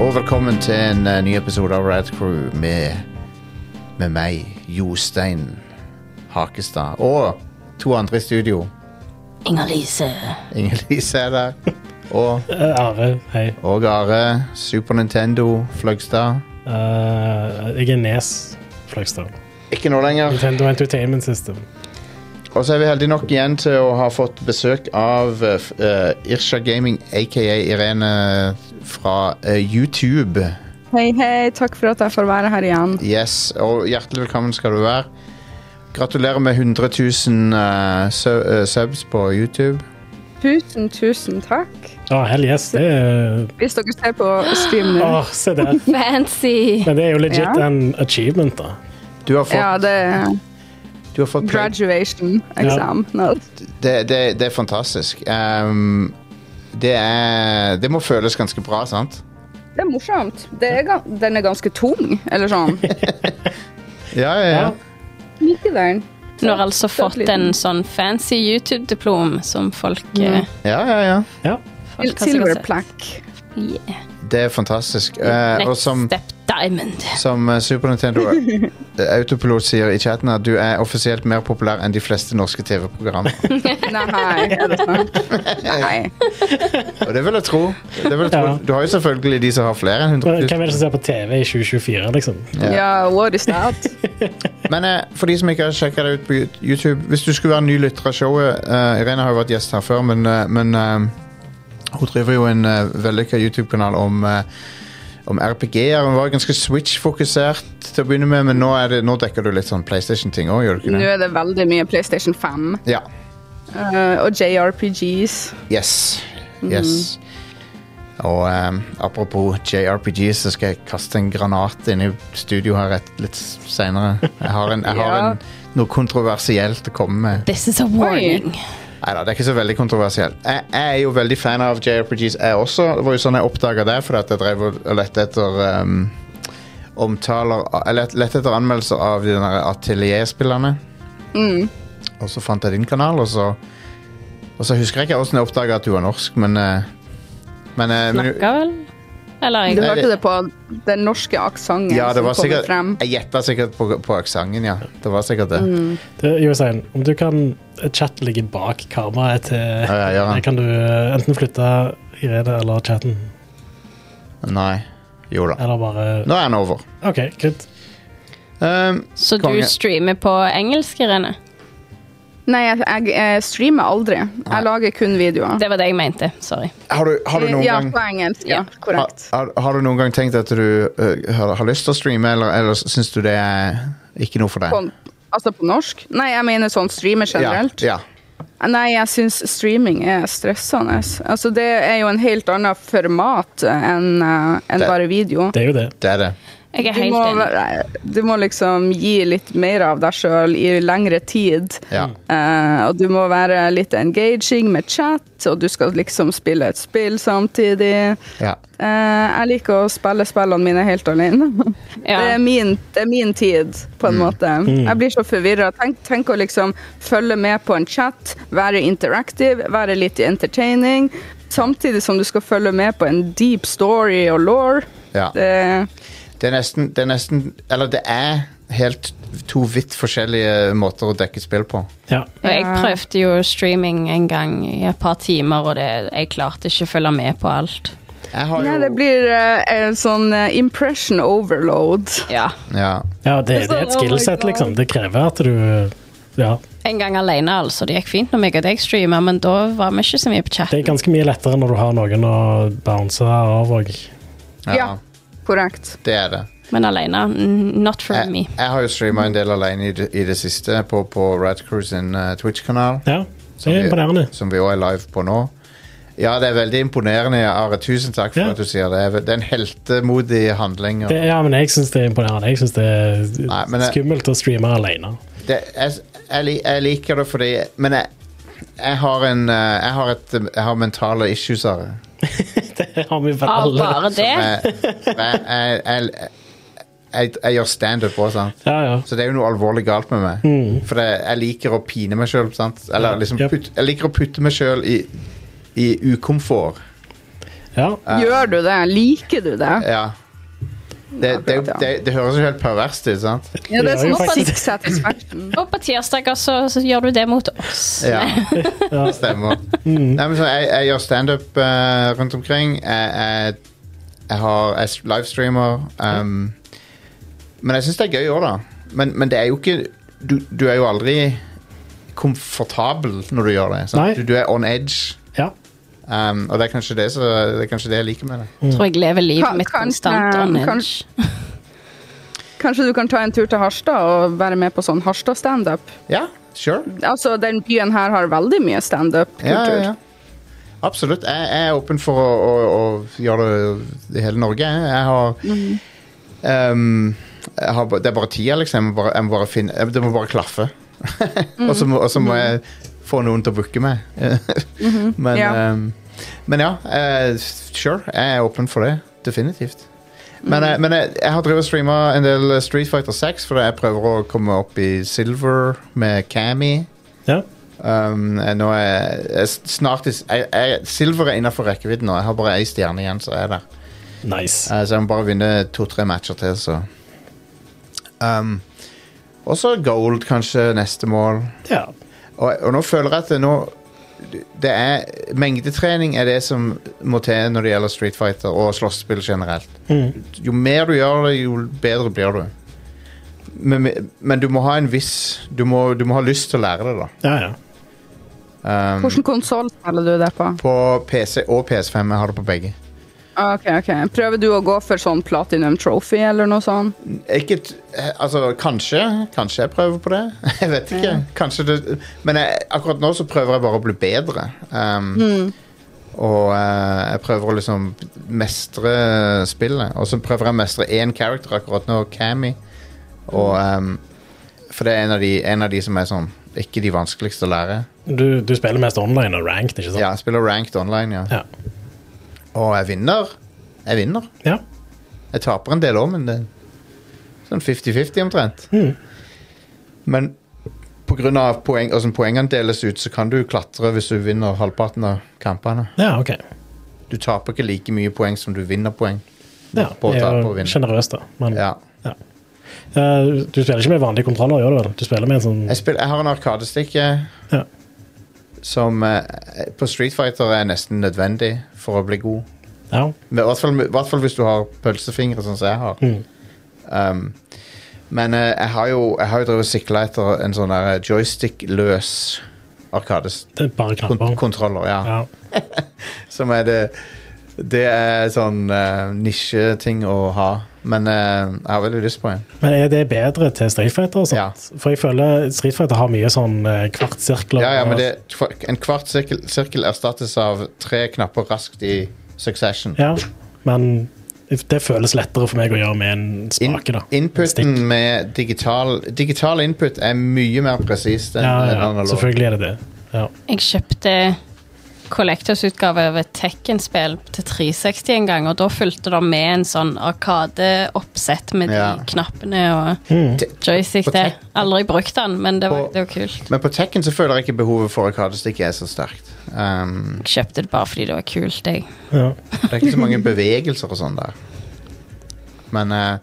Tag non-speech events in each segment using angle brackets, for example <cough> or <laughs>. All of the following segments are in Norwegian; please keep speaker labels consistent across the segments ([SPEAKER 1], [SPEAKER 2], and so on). [SPEAKER 1] og velkommen til en eh, ny episode av Rad Crew med, med meg, Jostein Hakestad, og to andre i studio.
[SPEAKER 2] Inger-Lise.
[SPEAKER 1] Inger-Lise er der, og,
[SPEAKER 3] Eh, Are, hei.
[SPEAKER 1] og Are, Super Nintendo, Fløgstad.
[SPEAKER 3] Eh, jeg er Nes Fløgstad.
[SPEAKER 1] Ikke nå lenger.
[SPEAKER 3] Nintendo Entertainment System.
[SPEAKER 1] Og så er vi heldige nok igjen til å ha fått besøk av eh, f- eh, Irsha Gaming, aka Irene fra eh, YouTube.
[SPEAKER 4] Hei, hei. Takk for at jeg får være her igjen.
[SPEAKER 1] Yes, og hjertelig velkommen skal du være. Gratulerer med 100 000 eh, su- eh, subs på YouTube.
[SPEAKER 4] Tusen, tusen takk.
[SPEAKER 3] Ja, hell yes, det er
[SPEAKER 4] Hvis dere ser på stream
[SPEAKER 3] Åh,
[SPEAKER 1] Ah,
[SPEAKER 4] nå.
[SPEAKER 3] se der.
[SPEAKER 2] Fancy!
[SPEAKER 3] Men det er jo legit
[SPEAKER 4] Ja.
[SPEAKER 3] en achievement, da.
[SPEAKER 1] Du har fått,
[SPEAKER 4] Ja, det er
[SPEAKER 1] du har fått play-
[SPEAKER 4] graduation exam. Nå.
[SPEAKER 1] det, det, det er fantastisk. Ehm, det, er, det må føles ganske bra, sant?
[SPEAKER 4] Det er morsomt. Det er, gan- den er ganske tung,
[SPEAKER 1] <laughs>
[SPEAKER 4] eller sånn.
[SPEAKER 1] Ja, ja, ja.
[SPEAKER 3] Ja.
[SPEAKER 4] Liker den.
[SPEAKER 2] Du har altså fått
[SPEAKER 4] litt.
[SPEAKER 2] en sånn fancy YouTube-diplom som folk, eh,
[SPEAKER 1] ja, ja, ja.
[SPEAKER 3] Ja.
[SPEAKER 2] folk har
[SPEAKER 4] Silver
[SPEAKER 2] sikkert
[SPEAKER 4] plaque.
[SPEAKER 2] sett. Yeah.
[SPEAKER 1] Det er fantastisk. Eh, og
[SPEAKER 2] Next
[SPEAKER 1] som,
[SPEAKER 2] Step Diamond.
[SPEAKER 1] som eh, Super Nintendo eh, Autopilot sier i chatten, at du er offisielt mer populær enn de fleste norske TV-programmer. <laughs>
[SPEAKER 4] Nei, er det sant? <laughs> Nei.
[SPEAKER 1] Og det vil jeg tro. Det vil jeg tro.
[SPEAKER 3] Ja.
[SPEAKER 1] Du har jo selvfølgelig de som har flere enn 100 000.
[SPEAKER 3] Men Hvem er det som ser på TV i 2024, liksom?
[SPEAKER 4] Ja, what is that?
[SPEAKER 1] Men eh, for de som ikke har sjekka det ut på Yout- YouTube Hvis du skulle være ny lytter av showet eh, Irene har jo vært gjest her før, men, eh, men eh, hun driver jo en uh, vellykka YouTube-kanal om, eh, om RPG-er. Hun var ganske Switch-fokusert til å begynne med, men nå, er det, nå dekker du litt sånn PlayStation-ting òg, gjør du
[SPEAKER 4] Nå
[SPEAKER 1] ikke det?
[SPEAKER 4] er det veldig mye PlayStation 5
[SPEAKER 1] Ja.
[SPEAKER 4] eh, og JRPGs.
[SPEAKER 1] Yes.
[SPEAKER 4] Mhm.
[SPEAKER 1] Yes. Og eh, apropos JRPG, så skal jeg kaste en granat inn i studio her et, litt seinere. Jeg har, en, jeg har
[SPEAKER 4] <laughs> Ja.
[SPEAKER 1] en, noe kontroversielt å komme med.
[SPEAKER 2] This is a warning.
[SPEAKER 1] Neida, det er ikke så veldig kontroversielt. Jeg, jeg er jo veldig fan av JRPGs, jeg også. Det var jo sånn jeg oppdaga det, fordi at jeg drev og og lette etter ehm, omtaler av- Eller lette etter anmeldelser av de der atelierspillerne.
[SPEAKER 4] Mm.
[SPEAKER 1] Og så fant jeg din kanal, og så Og så husker jeg ikke åssen jeg oppdaga at du var norsk, men eh, Men, eh, men
[SPEAKER 2] Snakka vel? Eller
[SPEAKER 4] Du
[SPEAKER 2] jeg
[SPEAKER 4] hørte det på den norske aksenten
[SPEAKER 1] ja, det
[SPEAKER 4] som
[SPEAKER 1] var
[SPEAKER 4] kommer
[SPEAKER 1] sikkert
[SPEAKER 4] frem. Mm.
[SPEAKER 1] Jeg gjetta sikkert på, på aksenten, ja. Det var sikkert det.
[SPEAKER 3] Det, Jostein, om du kan chatten ligge bak kameraet til
[SPEAKER 1] ja, gjør han.
[SPEAKER 3] Kan du eh, enten flytte Irene eller chatten,
[SPEAKER 1] Nei. Jo da.
[SPEAKER 3] eller bare
[SPEAKER 1] Nå er den over.
[SPEAKER 3] OK, good.
[SPEAKER 1] Ehm,
[SPEAKER 2] Så du
[SPEAKER 1] konge.
[SPEAKER 2] streamer på engelsk, Irene?
[SPEAKER 4] Nei, jeg, jeg eh, streamer aldri. Jeg lager kun videoer.
[SPEAKER 2] Det var det jeg mente. Sorry.
[SPEAKER 1] har, du, har du noen
[SPEAKER 4] Eh, ja,
[SPEAKER 1] gang
[SPEAKER 4] på engelsk. Ja, korrekt.
[SPEAKER 1] Har, har, har du noen gang tenkt at du øh, har, har lyst til å streame, eller, eller syns du det er ikke noe for deg?
[SPEAKER 4] På, altså på norsk? Nei, jeg mener sånn streamer generelt. Eh,
[SPEAKER 1] Ja, ja.
[SPEAKER 4] Nei, jeg syns streaming er stressende. Altså, det er jo en helt annen format enn eh, enn
[SPEAKER 1] Det-
[SPEAKER 4] bare video.
[SPEAKER 3] Det er jo det.
[SPEAKER 1] Det er det.
[SPEAKER 2] Jeg er
[SPEAKER 4] Du
[SPEAKER 2] helt
[SPEAKER 4] må,
[SPEAKER 2] enig.
[SPEAKER 4] du må liksom gi litt mer av deg sjøl i lengre tid.
[SPEAKER 1] Ja.
[SPEAKER 4] Eh, og du må være litt engaging med chat, og du skal liksom spille et spill samtidig.
[SPEAKER 1] ja.
[SPEAKER 4] Eh, jeg liker å spille spillene mine helt alene.
[SPEAKER 2] Ja.
[SPEAKER 4] Det, er min, det er min tid,
[SPEAKER 1] Mm.
[SPEAKER 4] på en måte. Jeg blir så forvirra. Tenk, tenk å liksom følge med på en chat, være interactive, være litt entertaining, samtidig som du skal følge med på en deep story og law.
[SPEAKER 1] ja.
[SPEAKER 4] Det,
[SPEAKER 1] Det, er nesten, det er nesten Eller det er helt to vidt forskjellige måter å dekke spill på.
[SPEAKER 3] Ja.
[SPEAKER 2] Og jeg
[SPEAKER 4] Ja.
[SPEAKER 2] prøvde jo streaming en gang i et par timer, og det, jeg klarte ikke å følge med på alt.
[SPEAKER 1] Jeg har
[SPEAKER 4] nei,
[SPEAKER 1] jo
[SPEAKER 4] det blir eh, en sånn eh, impression overload.
[SPEAKER 2] Ja.
[SPEAKER 1] ja.
[SPEAKER 3] Ja, det, det er et
[SPEAKER 4] Sånn, oh my
[SPEAKER 3] skillset,
[SPEAKER 4] God.
[SPEAKER 3] liksom. Det krever at du Ja.
[SPEAKER 2] En gang alene, altså. Det gikk fint når meg og deg streama, men da var vi ikke så mye på
[SPEAKER 3] Det er
[SPEAKER 2] chat.
[SPEAKER 3] ganske mye lettere når du har noen å bounce av og
[SPEAKER 1] ja.
[SPEAKER 4] Ja. Korrekt.
[SPEAKER 1] Det er det.
[SPEAKER 2] Men alene, mm, not for me.
[SPEAKER 1] Jeg, jeg har jo streama en del alene i det, i det siste på, på Radcrew sin eh, Twitch-kanal.
[SPEAKER 3] Ja, det er imponerende.
[SPEAKER 1] Som vi òg er live på nå. Ja, det er veldig imponerende, Are. Tusen takk for
[SPEAKER 3] Ja.
[SPEAKER 1] at du sier det. Det er ve- Det er en heltemodig handling. og-
[SPEAKER 3] Det, ja, men jeg syns det er imponerende. Jeg syns det er
[SPEAKER 1] Nei, men det-
[SPEAKER 3] skummelt å streame alene. <laughs>
[SPEAKER 1] det, jeg, jeg, li- jeg liker det fordi Men jeg, jeg har en eh, jeg har, et, eh, jeg har mentale issues av det.
[SPEAKER 3] Det har vi vel
[SPEAKER 2] Av
[SPEAKER 3] alle.
[SPEAKER 2] bare det?
[SPEAKER 1] Jeg, jeg, jeg, jeg, jeg, jeg gjør standup òg, sant.
[SPEAKER 3] Ja, ja.
[SPEAKER 1] Så det er jo noe alvorlig galt med meg.
[SPEAKER 3] Mm.
[SPEAKER 1] For det, jeg liker å pine meg sjøl. Eller liksom
[SPEAKER 3] Yep.
[SPEAKER 1] putt, jeg liker å putte meg sjøl i, i ukomfort.
[SPEAKER 3] Ja.
[SPEAKER 4] Gjør du det? Liker du det?
[SPEAKER 1] Ja. Det, det, det, det høres jo helt perverst ut, sant?
[SPEAKER 4] Ja, det er
[SPEAKER 3] Ja, jo,
[SPEAKER 4] sånn
[SPEAKER 2] faktisk.
[SPEAKER 4] sick satisfaction.
[SPEAKER 2] Og på tirsdager så, så gjør du det mot oss.
[SPEAKER 1] Ja,
[SPEAKER 3] Ja.
[SPEAKER 1] stemmer. Nei, men så jeg, jeg gjør standup uh, rundt omkring. Jeg, jeg, jeg har jeg s- livestreamer. Um, men jeg syns det er gøy òg, da. Men, men det er jo ikke du, du er jo aldri komfortabel når du gjør det.
[SPEAKER 3] Nei.
[SPEAKER 1] Sant? Du, du er on edge.
[SPEAKER 3] ja.
[SPEAKER 1] Um, og det er, kanskje det, så, det er kanskje det jeg liker med det.
[SPEAKER 3] Mm.
[SPEAKER 2] Tror jeg lever livet
[SPEAKER 4] Kan-
[SPEAKER 2] mitt
[SPEAKER 4] kan- eh,
[SPEAKER 2] konstant on
[SPEAKER 4] kan-
[SPEAKER 2] edge.
[SPEAKER 4] Kanskje du kan ta en tur til Harstad og være med på sånn Harstad-standup?
[SPEAKER 1] Ja, sure.
[SPEAKER 4] Altså, den byen her har veldig mye standup-kultur.
[SPEAKER 1] Ja, ja, ja. Absolutt. Jeg, jeg er åpen for å, å, å gjøre det i hele Norge. jeg. Jeg har, ehm, jeg har ba- Det er bare tida, liksom. Jeg må bare, jeg må bare finne, jeg, det må bare klaffe. <laughs> og så må, og så må jeg få noen til å booke meg. <laughs> men,
[SPEAKER 4] Ja.
[SPEAKER 1] ehm, men ja, eh, sure. Jeg er åpen for det. Definitivt. Men, eh, men jeg, jeg har drevet og streama en del Street Fighter 6 fordi jeg prøver å komme opp i silver med Cammy.
[SPEAKER 3] ja.
[SPEAKER 1] Um, jeg- nå er jeg snart i s- jeg, jeg, Silver er innenfor rekkevidden nå. Jeg har bare ei stjerne igjen, så er jeg der.
[SPEAKER 3] Nice.
[SPEAKER 1] Eh, så jeg må bare vinne to-tre matcher til, så um, Og så gold, kanskje, neste mål.
[SPEAKER 3] Ja.
[SPEAKER 1] Og, og nå føler jeg at det nå det er, Mengdetrening er det som må til når det gjelder Street Fighter og slåsspill generelt.
[SPEAKER 3] Mm.
[SPEAKER 1] Jo mer du gjør det, jo bedre blir du. Men, men du må ha en viss Du må, du må ha lyst til å lære det, da.
[SPEAKER 3] Ja, ja.
[SPEAKER 1] Um,
[SPEAKER 4] Hvilken konsoll spiller du det på? Ah,
[SPEAKER 1] På PC og PS5. Jeg har det på begge.
[SPEAKER 4] Ok, ok. Prøver du å gå for sånn platinum trophy eller noe sånt?
[SPEAKER 1] Ikke t eh, altså, kanskje. Kanskje jeg prøver på det. <laughs> Jeg vet ikke. Kanskje det Men jeg, akkurat nå så prøver jeg bare å bli bedre. Um, Og eh, jeg prøver å liksom mestre spillet. Og så prøver jeg å mestre én character akkurat nå, Cammy. Og, um, for det er en av, de, en av de som er sånn ikke de vanskeligste å lære.
[SPEAKER 3] Du, du spiller mest online og ranked, ikke sant?
[SPEAKER 1] Ja, jeg spiller ranked online, ja.
[SPEAKER 3] Ja.
[SPEAKER 1] Og jeg vinner. Jeg vinner.
[SPEAKER 3] ja.
[SPEAKER 1] Jeg taper en del òg, men det er sånn 50-50 omtrent.
[SPEAKER 3] Mm.
[SPEAKER 1] Men pga. Poeng, altså poengene deles ut, så kan du klatre hvis du vinner halvparten av kampene.
[SPEAKER 3] ja ok.
[SPEAKER 1] Du taper ikke like mye poeng som du vinner poeng.
[SPEAKER 3] Ja,
[SPEAKER 1] På å
[SPEAKER 3] jeg
[SPEAKER 1] tape og
[SPEAKER 3] er
[SPEAKER 1] vinne.
[SPEAKER 3] sjenerøs, da. Men,
[SPEAKER 1] Ja.
[SPEAKER 3] Eh, du spiller ikke med vanlige kontroller, gjør du vel? Du spiller med en sånn
[SPEAKER 1] Jeg, spiller, jeg har en arkadestikke
[SPEAKER 3] Ja.
[SPEAKER 1] som eh, på Street Fighter er nesten nødvendig for å bli god.
[SPEAKER 3] Ja.
[SPEAKER 1] Men I hvert fall, i hvert fall hvis du har pølsefingre, sånn som jeg har.
[SPEAKER 3] Mm.
[SPEAKER 1] Um, men eh, jeg har jo, jeg har jo drevet og sikla etter en sånn der joystick-løs arkadestikke.
[SPEAKER 3] Det er bare
[SPEAKER 1] Kont
[SPEAKER 3] knapper.
[SPEAKER 1] kontroller, ja.
[SPEAKER 3] Ja.
[SPEAKER 1] Som er det Det er sånn eh, nisjeting å ha. Men eh, jeg har veldig lyst på en.
[SPEAKER 3] Men er det bedre til Street Fighter? og sånt? For jeg føler Street Fighter har mye sånn eh, kvartsirkler.
[SPEAKER 1] Ja, ja, men
[SPEAKER 3] og-
[SPEAKER 1] det, En kvart sirkel, sirkel erstattes av tre knapper raskt i succession.
[SPEAKER 3] Ja, men det føles lettere for meg å gjøre med en
[SPEAKER 1] In,
[SPEAKER 3] spake, da. En
[SPEAKER 1] inputen
[SPEAKER 3] stick.
[SPEAKER 1] med digital Digital input er mye mer presist enn
[SPEAKER 3] Ja,
[SPEAKER 1] enn
[SPEAKER 3] ja,
[SPEAKER 1] analog.
[SPEAKER 3] selvfølgelig er det det. Ja.
[SPEAKER 2] Jeg kjøpte Collectors-utgave av et Tekken-spill til 360 en gang, og da fulgte det med en sånn arkadeoppsett med
[SPEAKER 1] Ja.
[SPEAKER 2] de knappene og
[SPEAKER 3] Mm.
[SPEAKER 1] Te-
[SPEAKER 2] joystick
[SPEAKER 1] På
[SPEAKER 2] der.
[SPEAKER 1] Tek-
[SPEAKER 2] Aldri brukt den, men det var,
[SPEAKER 1] På-
[SPEAKER 2] det var kult.
[SPEAKER 1] Men på Tekken så føler jeg ikke behovet for arkadestikk er så sterkt. Um,
[SPEAKER 2] Jeg kjøpte det bare fordi det var kult, jeg.
[SPEAKER 3] Ja.
[SPEAKER 1] det er ikke så mange bevegelser og sånn der. Men, eh,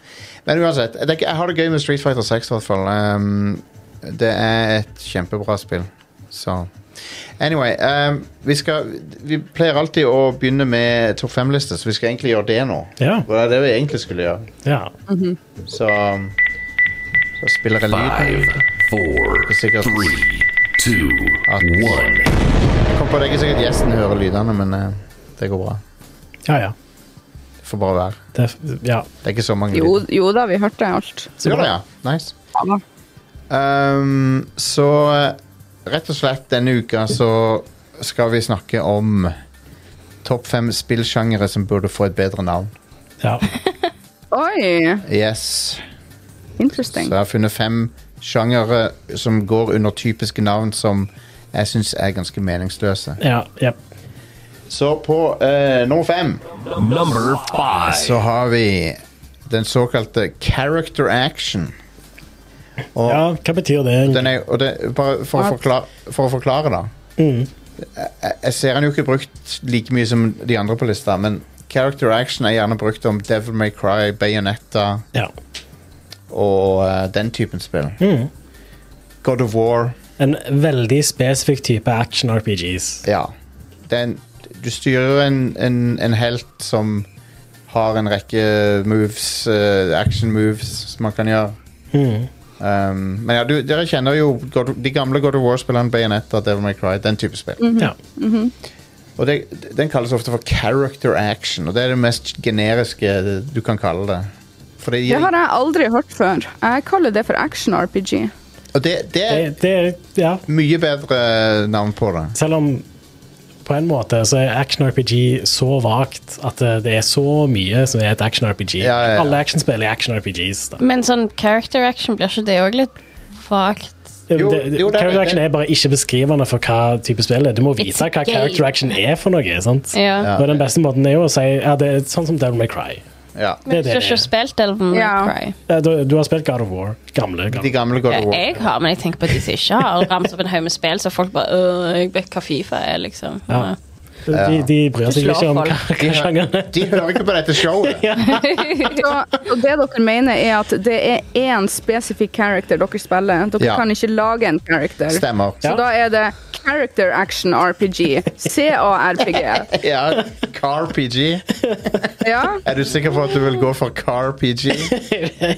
[SPEAKER 1] men uansett, det er, ikke- jeg har det gøy med Street Fighter 6 i hvert fall. Um, det er et kjempebra spill. Så Anyway, um, vi, skal, vi pleier alltid å begynne med topp fem-liste, så vi skal egentlig gjøre det nå.
[SPEAKER 3] Ja.
[SPEAKER 1] Det er det vi egentlig skulle gjøre.
[SPEAKER 3] ja.
[SPEAKER 1] Så, um, så spiller jeg
[SPEAKER 5] Five,
[SPEAKER 1] lyd.
[SPEAKER 5] four,
[SPEAKER 1] Let's take a-
[SPEAKER 5] three, two, one.
[SPEAKER 1] Jeg kom på det er ikke sikkert gjesten hører lydene, men eh, det går bra.
[SPEAKER 3] Ja, ja.
[SPEAKER 1] Det får bare være.
[SPEAKER 3] Det, ja.
[SPEAKER 1] Det er ikke så mange
[SPEAKER 4] Jo,
[SPEAKER 1] lyder.
[SPEAKER 4] jo da, vi hørte alt.
[SPEAKER 1] Så gjør det, ja. Nice.
[SPEAKER 4] Ja da.
[SPEAKER 1] Ehm, så eh, rett og slett denne uka så skal vi snakke om topp fem spillsjangere som burde få et bedre navn.
[SPEAKER 3] ja.
[SPEAKER 4] Oi,
[SPEAKER 1] Yes. Så
[SPEAKER 4] interesting.
[SPEAKER 1] jeg har funnet fem sjangere som går under typiske navn som jeg syns er ganske meningsløse.
[SPEAKER 3] ja. Jep.
[SPEAKER 1] Så på eh, nummer fem
[SPEAKER 5] Number five.
[SPEAKER 1] så har vi den såkalte character action. Og
[SPEAKER 3] ja, hva betyr det?
[SPEAKER 1] Den er, og det, bare for å,
[SPEAKER 4] At-
[SPEAKER 1] forklare, for å forklare, da. jeg, jeg ser han jo ikke brukt like mye som de andre på lista, men character action er gjerne brukt om Devil May Cry, Bayonetta
[SPEAKER 3] Ja.
[SPEAKER 1] og eh, den typen spill. God of War.
[SPEAKER 3] En veldig spesifikk type action-RPGs.
[SPEAKER 1] Ja. Det er en, du styrer en, en, en helt som har en rekke moves, eh, action moves, som man kan gjøre. Um, men ja, du, dere kjenner jo God, de gamle God of War-spillene, Bayonetta, Devil May Cry, den type spill.
[SPEAKER 3] Ja.
[SPEAKER 1] Og det, den kalles ofte for character action, og det er det mest generiske du kan kalle det. For det gir,
[SPEAKER 4] Det har jeg aldri hørt før. Jeg kaller det for action-RPG.
[SPEAKER 1] og det, det er
[SPEAKER 3] Det, det er Ja.
[SPEAKER 1] mye bedre navn på det.
[SPEAKER 3] Selv om på en måte så er action-RPG så vagt at det det er så mye som er et action-RPG.
[SPEAKER 1] Ja, ja, ja.
[SPEAKER 3] Alle actionspill er action-RPGs. da.
[SPEAKER 2] Men sånn character action, blir ikke det òg litt vagt?
[SPEAKER 1] Jo,
[SPEAKER 3] Det- det-
[SPEAKER 1] jo, det er-
[SPEAKER 3] character action er bare ikke beskrivende for hva type spill er. Du må vite
[SPEAKER 2] It's a
[SPEAKER 3] hva
[SPEAKER 2] game.
[SPEAKER 3] character action er for noe. sant?
[SPEAKER 2] Ja.
[SPEAKER 3] Og Den beste måten er jo å si ja, det er sånn som Devil May Cry.
[SPEAKER 1] Ja.
[SPEAKER 3] Det er
[SPEAKER 2] Men
[SPEAKER 3] det
[SPEAKER 2] du har
[SPEAKER 3] det er.
[SPEAKER 2] ikke spilt Elven
[SPEAKER 4] Ja.
[SPEAKER 2] Cry?
[SPEAKER 3] Eh, Du, du har spilt God of War. Gamle.
[SPEAKER 1] De
[SPEAKER 3] gamle.
[SPEAKER 1] gamle God
[SPEAKER 2] Ja,
[SPEAKER 1] of War.
[SPEAKER 2] jeg har, men jeg tenker på de som ikke har. Ramset opp en haug med spill, så folk bare øh, jeg vet hva Fifa er, liksom.
[SPEAKER 3] Ja.
[SPEAKER 2] Ja.
[SPEAKER 3] De, de bryr seg
[SPEAKER 2] Slår
[SPEAKER 3] ikke om hva,
[SPEAKER 2] folk.
[SPEAKER 3] hva sjangeren er.
[SPEAKER 1] De hører ikke på dette showet.
[SPEAKER 4] Så, og det dere mener, er at det er én spesifikk character dere spiller. Dere
[SPEAKER 1] Ja.
[SPEAKER 4] kan ikke lage en character.
[SPEAKER 1] Stemmer.
[SPEAKER 4] Så
[SPEAKER 3] Ja.
[SPEAKER 4] da er det character action RPG. CARPG.
[SPEAKER 1] Ja, CarPG.
[SPEAKER 4] Ja,
[SPEAKER 1] Er du sikker på at du vil gå for CarPG?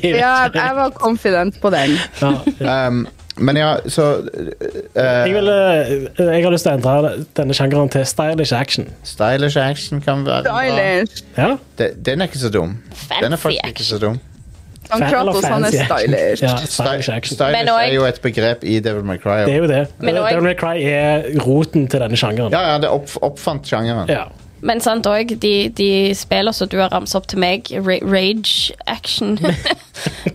[SPEAKER 4] ja jeg var confident på den.
[SPEAKER 1] Um, men ja, så eh,
[SPEAKER 3] Jeg, vil, eh, jeg har lyst til å endre denne sjangeren til stylish action.
[SPEAKER 1] Stylish action kan være bra.
[SPEAKER 4] Stylish.
[SPEAKER 3] Ja?
[SPEAKER 1] De- Den er ikke så dum. Den er
[SPEAKER 2] Fancy
[SPEAKER 1] faktisk ikke så dum.
[SPEAKER 4] Han
[SPEAKER 3] Fan- eller
[SPEAKER 4] Kratos, han er
[SPEAKER 3] fancy action.
[SPEAKER 4] stylish.
[SPEAKER 3] Ja, stylish
[SPEAKER 1] Sty-
[SPEAKER 3] action.
[SPEAKER 1] Stylish
[SPEAKER 2] Men og-
[SPEAKER 1] er jo et begrep i Devil May Cry.
[SPEAKER 3] Det er jo det. Eh,
[SPEAKER 2] Men også-
[SPEAKER 3] Devil May Cry er roten til denne sjangeren.
[SPEAKER 1] Ja, ja, det opp, oppfant sjangeren.
[SPEAKER 3] Ja.
[SPEAKER 2] <laughs> Men sant òg, de, de spiller som du har ramset opp til meg, Ra Rage Action.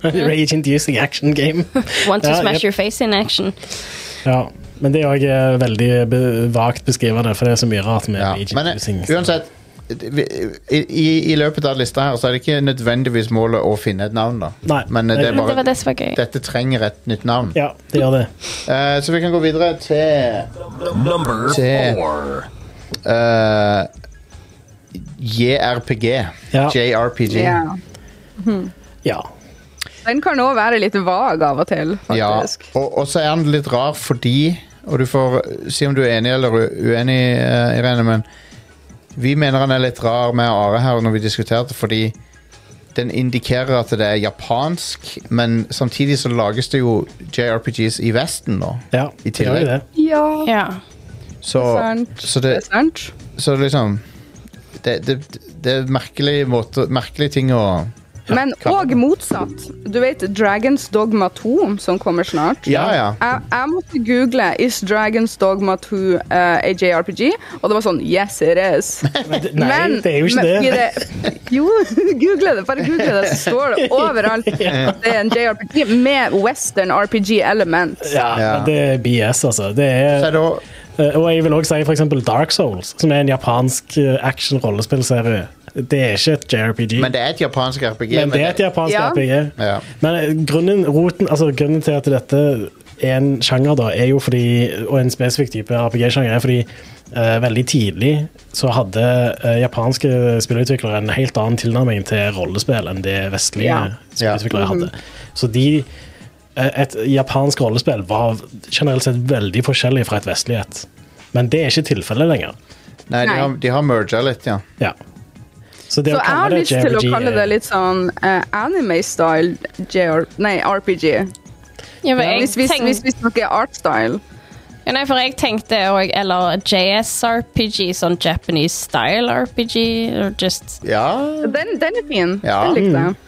[SPEAKER 3] Rage Inducing Action Game.
[SPEAKER 2] Want to
[SPEAKER 3] Ja,
[SPEAKER 2] smash
[SPEAKER 3] jep.
[SPEAKER 2] your face in action.
[SPEAKER 3] Ja. Men det er òg veldig be vagt beskrivende, for det er så mye rart med
[SPEAKER 1] Ja.
[SPEAKER 3] Rage
[SPEAKER 1] Men
[SPEAKER 3] Inducing.
[SPEAKER 1] eh, uansett vi- i, i, I løpet av lista her Så er det ikke nødvendigvis målet å finne et navn, da.
[SPEAKER 3] Nei.
[SPEAKER 1] Men eh, det er
[SPEAKER 2] Men det var
[SPEAKER 1] bare
[SPEAKER 2] det som var gøy.
[SPEAKER 1] dette trenger et nytt navn.
[SPEAKER 3] Ja, det gjør det.
[SPEAKER 1] Eh, så vi kan gå videre til
[SPEAKER 5] Number
[SPEAKER 1] Ten.
[SPEAKER 5] four.
[SPEAKER 1] eh, JRPG.
[SPEAKER 3] Ja.
[SPEAKER 1] JRPG.
[SPEAKER 4] Ja.
[SPEAKER 3] Ja.
[SPEAKER 4] Den kan òg være litt vag av og til,
[SPEAKER 1] Ja,
[SPEAKER 4] faktisk.
[SPEAKER 1] og, og så er han litt rar fordi Og du får si om du er enig eller u- uenig, eh, Irene, men vi mener han er litt rar med Are her når vi diskuterte, fordi den indikerer at det er japansk, men samtidig så lages det jo JRPGs i Vesten nå.
[SPEAKER 3] ja.
[SPEAKER 1] I
[SPEAKER 3] Det gjør
[SPEAKER 1] tillegg.
[SPEAKER 3] jo det.
[SPEAKER 4] Ja,
[SPEAKER 2] Ja.
[SPEAKER 1] Så,
[SPEAKER 4] sant.
[SPEAKER 1] så,
[SPEAKER 4] det
[SPEAKER 1] det,
[SPEAKER 4] er sant.
[SPEAKER 1] så liksom Det, det, det er merkelige, måter, merkelige ting å
[SPEAKER 4] Men
[SPEAKER 1] kan-
[SPEAKER 4] òg motsatt. Du vet Dragons Dogma 2, som kommer snart?
[SPEAKER 1] Ja, ja.
[SPEAKER 4] Jeg, jeg måtte google 'Is Dragons Dogma 2 eh, a JRPG?' Og det var sånn Yes, it is.
[SPEAKER 3] Men det- Nei, det er jo ikke
[SPEAKER 4] men i
[SPEAKER 3] det.
[SPEAKER 4] jo, <laughs> google det. Bare google det, så står det
[SPEAKER 3] <laughs>
[SPEAKER 4] overalt. Det er en JRPG med western RPG-element.
[SPEAKER 3] Ja,
[SPEAKER 1] Ja.
[SPEAKER 3] men Det er BS, altså. Det
[SPEAKER 1] Så
[SPEAKER 3] er,
[SPEAKER 1] er det også-
[SPEAKER 3] eh, og jeg vil òg si for eksempel Dark Souls, som er en japansk eh, action-rollespillserie. Det er ikke et JRPG.
[SPEAKER 1] Men det er et japansk RPG.
[SPEAKER 3] Men det er et japansk
[SPEAKER 4] Ja.
[SPEAKER 3] RPG.
[SPEAKER 1] Ja.
[SPEAKER 3] Men eh, grunnen, roten, altså grunnen til at dette er en sjanger, da, er jo fordi, og en spesifikk type RPG-sjanger, er fordi eh, veldig tidlig så hadde eh, japanske spillutviklere en helt annen tilnærming til rollespill enn det vestlige
[SPEAKER 4] Ja. Mhm.
[SPEAKER 3] spillutviklere hadde. Så de eh, et japansk rollespill var generelt sett veldig forskjellig fra et vestlig et. Men det er ikke tilfellet lenger.
[SPEAKER 1] Nei, de
[SPEAKER 4] Nei.
[SPEAKER 1] har, de har merga litt, ja.
[SPEAKER 3] Ja. Så det
[SPEAKER 4] Så
[SPEAKER 3] å
[SPEAKER 4] jeg
[SPEAKER 3] kalle
[SPEAKER 4] har
[SPEAKER 3] det
[SPEAKER 4] lyst til å
[SPEAKER 3] JRPG
[SPEAKER 4] kalle
[SPEAKER 3] er-
[SPEAKER 4] det litt sånn eh, anime-style JR... Nei, RPG.
[SPEAKER 2] Ja, men jeg
[SPEAKER 4] Hvis vi,
[SPEAKER 2] tenk-
[SPEAKER 4] hvis vi snakker art-style.
[SPEAKER 2] ja, nei, for jeg tenkte òg Eller JSRPG, sånn Japanese style RPG. or Just,
[SPEAKER 1] Ja,
[SPEAKER 4] Den, den er fin.
[SPEAKER 1] Ja.
[SPEAKER 4] Den likte jeg.
[SPEAKER 3] Mm.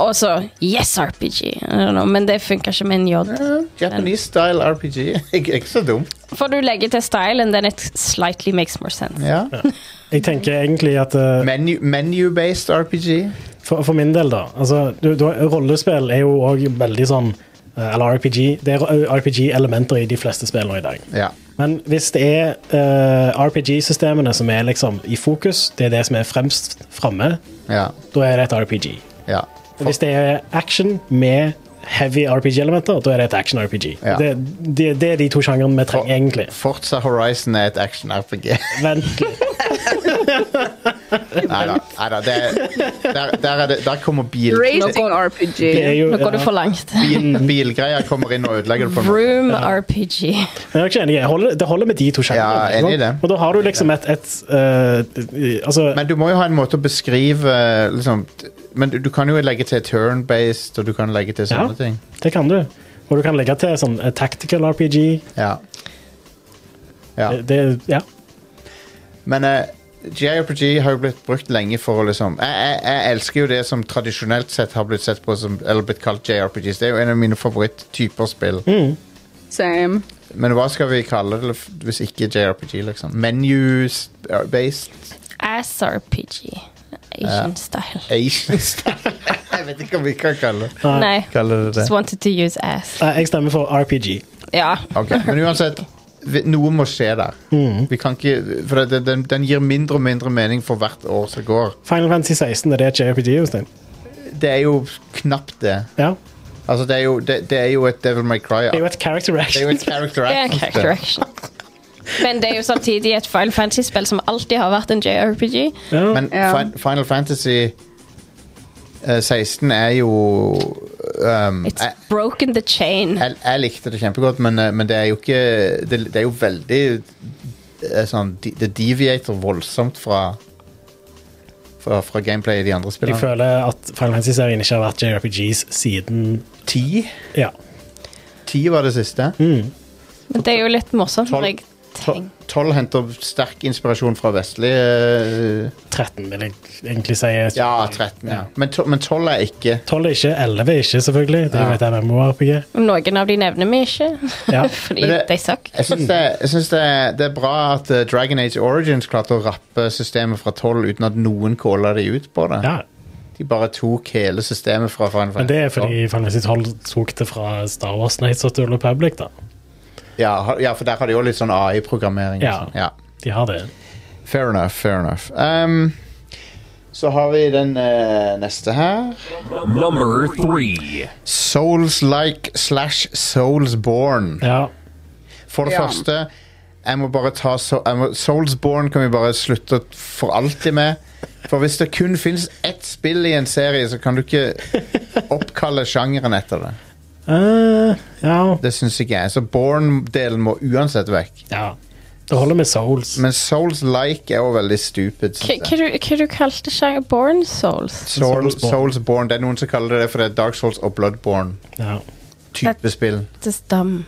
[SPEAKER 2] og så YesRPG. I don't know, Men det funker ikke med en J.
[SPEAKER 1] Japanese style RPG. <laughs> Ikke, ikke så dum.
[SPEAKER 2] For du legger til stylen, then it slightly makes more sense.
[SPEAKER 1] Ja.
[SPEAKER 3] Jeg tenker egentlig at eh,
[SPEAKER 1] Menu- Menu-based RPG.
[SPEAKER 3] For, for min del, da. Altså, du, du, rollespill er jo òg veldig sånn eh, Eller RPG. Det er RPG-elementer i de fleste spill nå i dag.
[SPEAKER 1] Ja.
[SPEAKER 3] Men hvis det er eh, RPG-systemene som er liksom i fokus, det er det som er fremst framme,
[SPEAKER 1] Ja.
[SPEAKER 3] da er det et RPG.
[SPEAKER 1] ja.
[SPEAKER 3] Og hvis det er action med heavy RPG-elementer, da er det et action-RPG.
[SPEAKER 1] Ja.
[SPEAKER 3] Det, det, det er de to sjangrene vi trenger, egentlig.
[SPEAKER 1] Forza Horizon er et <laughs> action-RPG.
[SPEAKER 3] Vent litt.
[SPEAKER 1] Nei da. Der, der, er det- der kommer bil,
[SPEAKER 4] Racing
[SPEAKER 3] Det er
[SPEAKER 4] RPG.
[SPEAKER 3] jo,
[SPEAKER 6] Nå går du
[SPEAKER 3] ja.
[SPEAKER 6] for langt.
[SPEAKER 1] bil, bilgreier kommer inn og ødelegger det. på en måte.
[SPEAKER 6] Room RPG.
[SPEAKER 3] Men jeg er ikke enig. Jeg holder, det holder med de to sjangrene.
[SPEAKER 1] Ja,
[SPEAKER 3] ikke
[SPEAKER 1] enig i
[SPEAKER 3] sant?
[SPEAKER 1] det.
[SPEAKER 3] Og da har du liksom et, et eh, Altså
[SPEAKER 1] Men du må jo ha en måte å beskrive liksom, t- Men du, du kan jo legge til turn-based, og du kan legge til sånne
[SPEAKER 3] Ja.
[SPEAKER 1] ting.
[SPEAKER 3] Det kan du. Og du kan legge til sånn eh, tactical RPG.
[SPEAKER 1] Ja. ja.
[SPEAKER 3] Eh, Det, ja.
[SPEAKER 1] Men eh, JRPG har jo blitt brukt lenge for å liksom jeg, jeg, jeg elsker jo det som tradisjonelt sett har blitt sett på som Eller blitt kalt JRPGs. Det er jo en av mine favoritttyper spill.
[SPEAKER 4] Same.
[SPEAKER 1] Men hva skal vi kalle det f- hvis ikke JRPG, liksom? Menu-based
[SPEAKER 6] Ass-RPG. Asian style.
[SPEAKER 1] Asian style? <laughs> jeg vet ikke om vi kan kalle det
[SPEAKER 6] Nei.
[SPEAKER 1] kalle det.
[SPEAKER 6] Just
[SPEAKER 1] det.
[SPEAKER 6] wanted to use ass.
[SPEAKER 3] Nei, Jeg stemmer for RPG.
[SPEAKER 6] Ja.
[SPEAKER 1] Ok, Men uansett, vi, noe må skje der. Vi kan ikke For det, den, den gir mindre og mindre mening for hvert år som går.
[SPEAKER 3] Final Fantasy 16, er det et JRPG, Jostein?
[SPEAKER 1] Det er jo knapt det.
[SPEAKER 3] Ja.
[SPEAKER 1] Altså, det er jo, det, det er jo et Devil May Cry.
[SPEAKER 3] Det er jo et character
[SPEAKER 1] Det er jo
[SPEAKER 3] action.
[SPEAKER 1] et
[SPEAKER 6] <laughs>
[SPEAKER 1] character
[SPEAKER 6] Det er en
[SPEAKER 1] action.
[SPEAKER 6] character action. Men det er jo samtidig et Final Fantasy-spill som alltid har vært en JRPG.
[SPEAKER 3] Ja.
[SPEAKER 1] Men
[SPEAKER 4] Ja.
[SPEAKER 1] Fin- Final Fantasy eh, 16 er jo um,
[SPEAKER 6] It's
[SPEAKER 1] jeg,
[SPEAKER 6] broken the chain.
[SPEAKER 1] jeg, jeg likte det kjempegodt, men, eh, men det er jo ikke Det, det er jo veldig eh, sånn, de- Det deviater voldsomt fra fra, fra gameplay i de andre
[SPEAKER 3] Jeg
[SPEAKER 1] spillene.
[SPEAKER 3] føler at Final Fantasy-serien ikke har vært JRPGs siden
[SPEAKER 1] Ti?
[SPEAKER 3] Ja.
[SPEAKER 1] Ti var det siste.
[SPEAKER 6] Men det er jo litt morsomt, for jeg
[SPEAKER 1] Tol-
[SPEAKER 6] tenker
[SPEAKER 1] Tolv henter sterk inspirasjon fra vestlige eh,
[SPEAKER 3] 13, vil jeg egentlig si.
[SPEAKER 1] Ja, 13. Ja. Men to- men tolv er ikke
[SPEAKER 3] 12 er ikke, 11 er ikke, selvfølgelig. Det er jo
[SPEAKER 1] Ja.
[SPEAKER 3] et MMO-RPG.
[SPEAKER 6] Noen av de nevner vi ikke,
[SPEAKER 3] Ja.
[SPEAKER 6] <laughs> fordi
[SPEAKER 1] Men det-
[SPEAKER 6] de suck.
[SPEAKER 1] Jeg syns, det, jeg synes det, det er bra at eh, Dragon Age Origins klarte å rappe systemet fra 12 uten at noen calla de ut på det.
[SPEAKER 3] Ja,
[SPEAKER 1] De bare tok hele systemet fra Final
[SPEAKER 3] men det er
[SPEAKER 1] Fantasy
[SPEAKER 3] fordi Final Fantasy 12 tok det fra Star Wars Nights of the Republic, da.
[SPEAKER 1] 12. Ja, ha- ja, for der har de jo litt sånn AI-programmering. og
[SPEAKER 3] Ja.
[SPEAKER 1] sånn. Ja.
[SPEAKER 3] De har det.
[SPEAKER 1] Fair enough, fair enough. Um, så har vi den eh, neste her.
[SPEAKER 5] Number three.
[SPEAKER 1] Souls-like slash Soulsborne.
[SPEAKER 3] Ja.
[SPEAKER 1] For det
[SPEAKER 4] Ja.
[SPEAKER 1] første jeg må bare ta so jeg må, Soulsborne kan vi bare slutte for alltid med. For hvis det kun fins ett spill i en serie, så kan du ikke oppkalle sjangeren etter det.
[SPEAKER 3] Eh, ja.
[SPEAKER 1] Det syns ikke jeg. Så Born-delen må uansett vekk.
[SPEAKER 3] ja. Det holder med Souls.
[SPEAKER 1] Men Souls-like er jo veldig stupid.
[SPEAKER 6] Hva
[SPEAKER 1] synes jeg.
[SPEAKER 6] hva du, hva du kalte sjanger Born Souls?
[SPEAKER 1] Soul,
[SPEAKER 3] Soulsborne.
[SPEAKER 1] Soulsborne. Det er noen som kaller det det, for det er Dark Souls og Bloodborne-type
[SPEAKER 3] Ja.
[SPEAKER 1] spill.
[SPEAKER 6] Det er dum.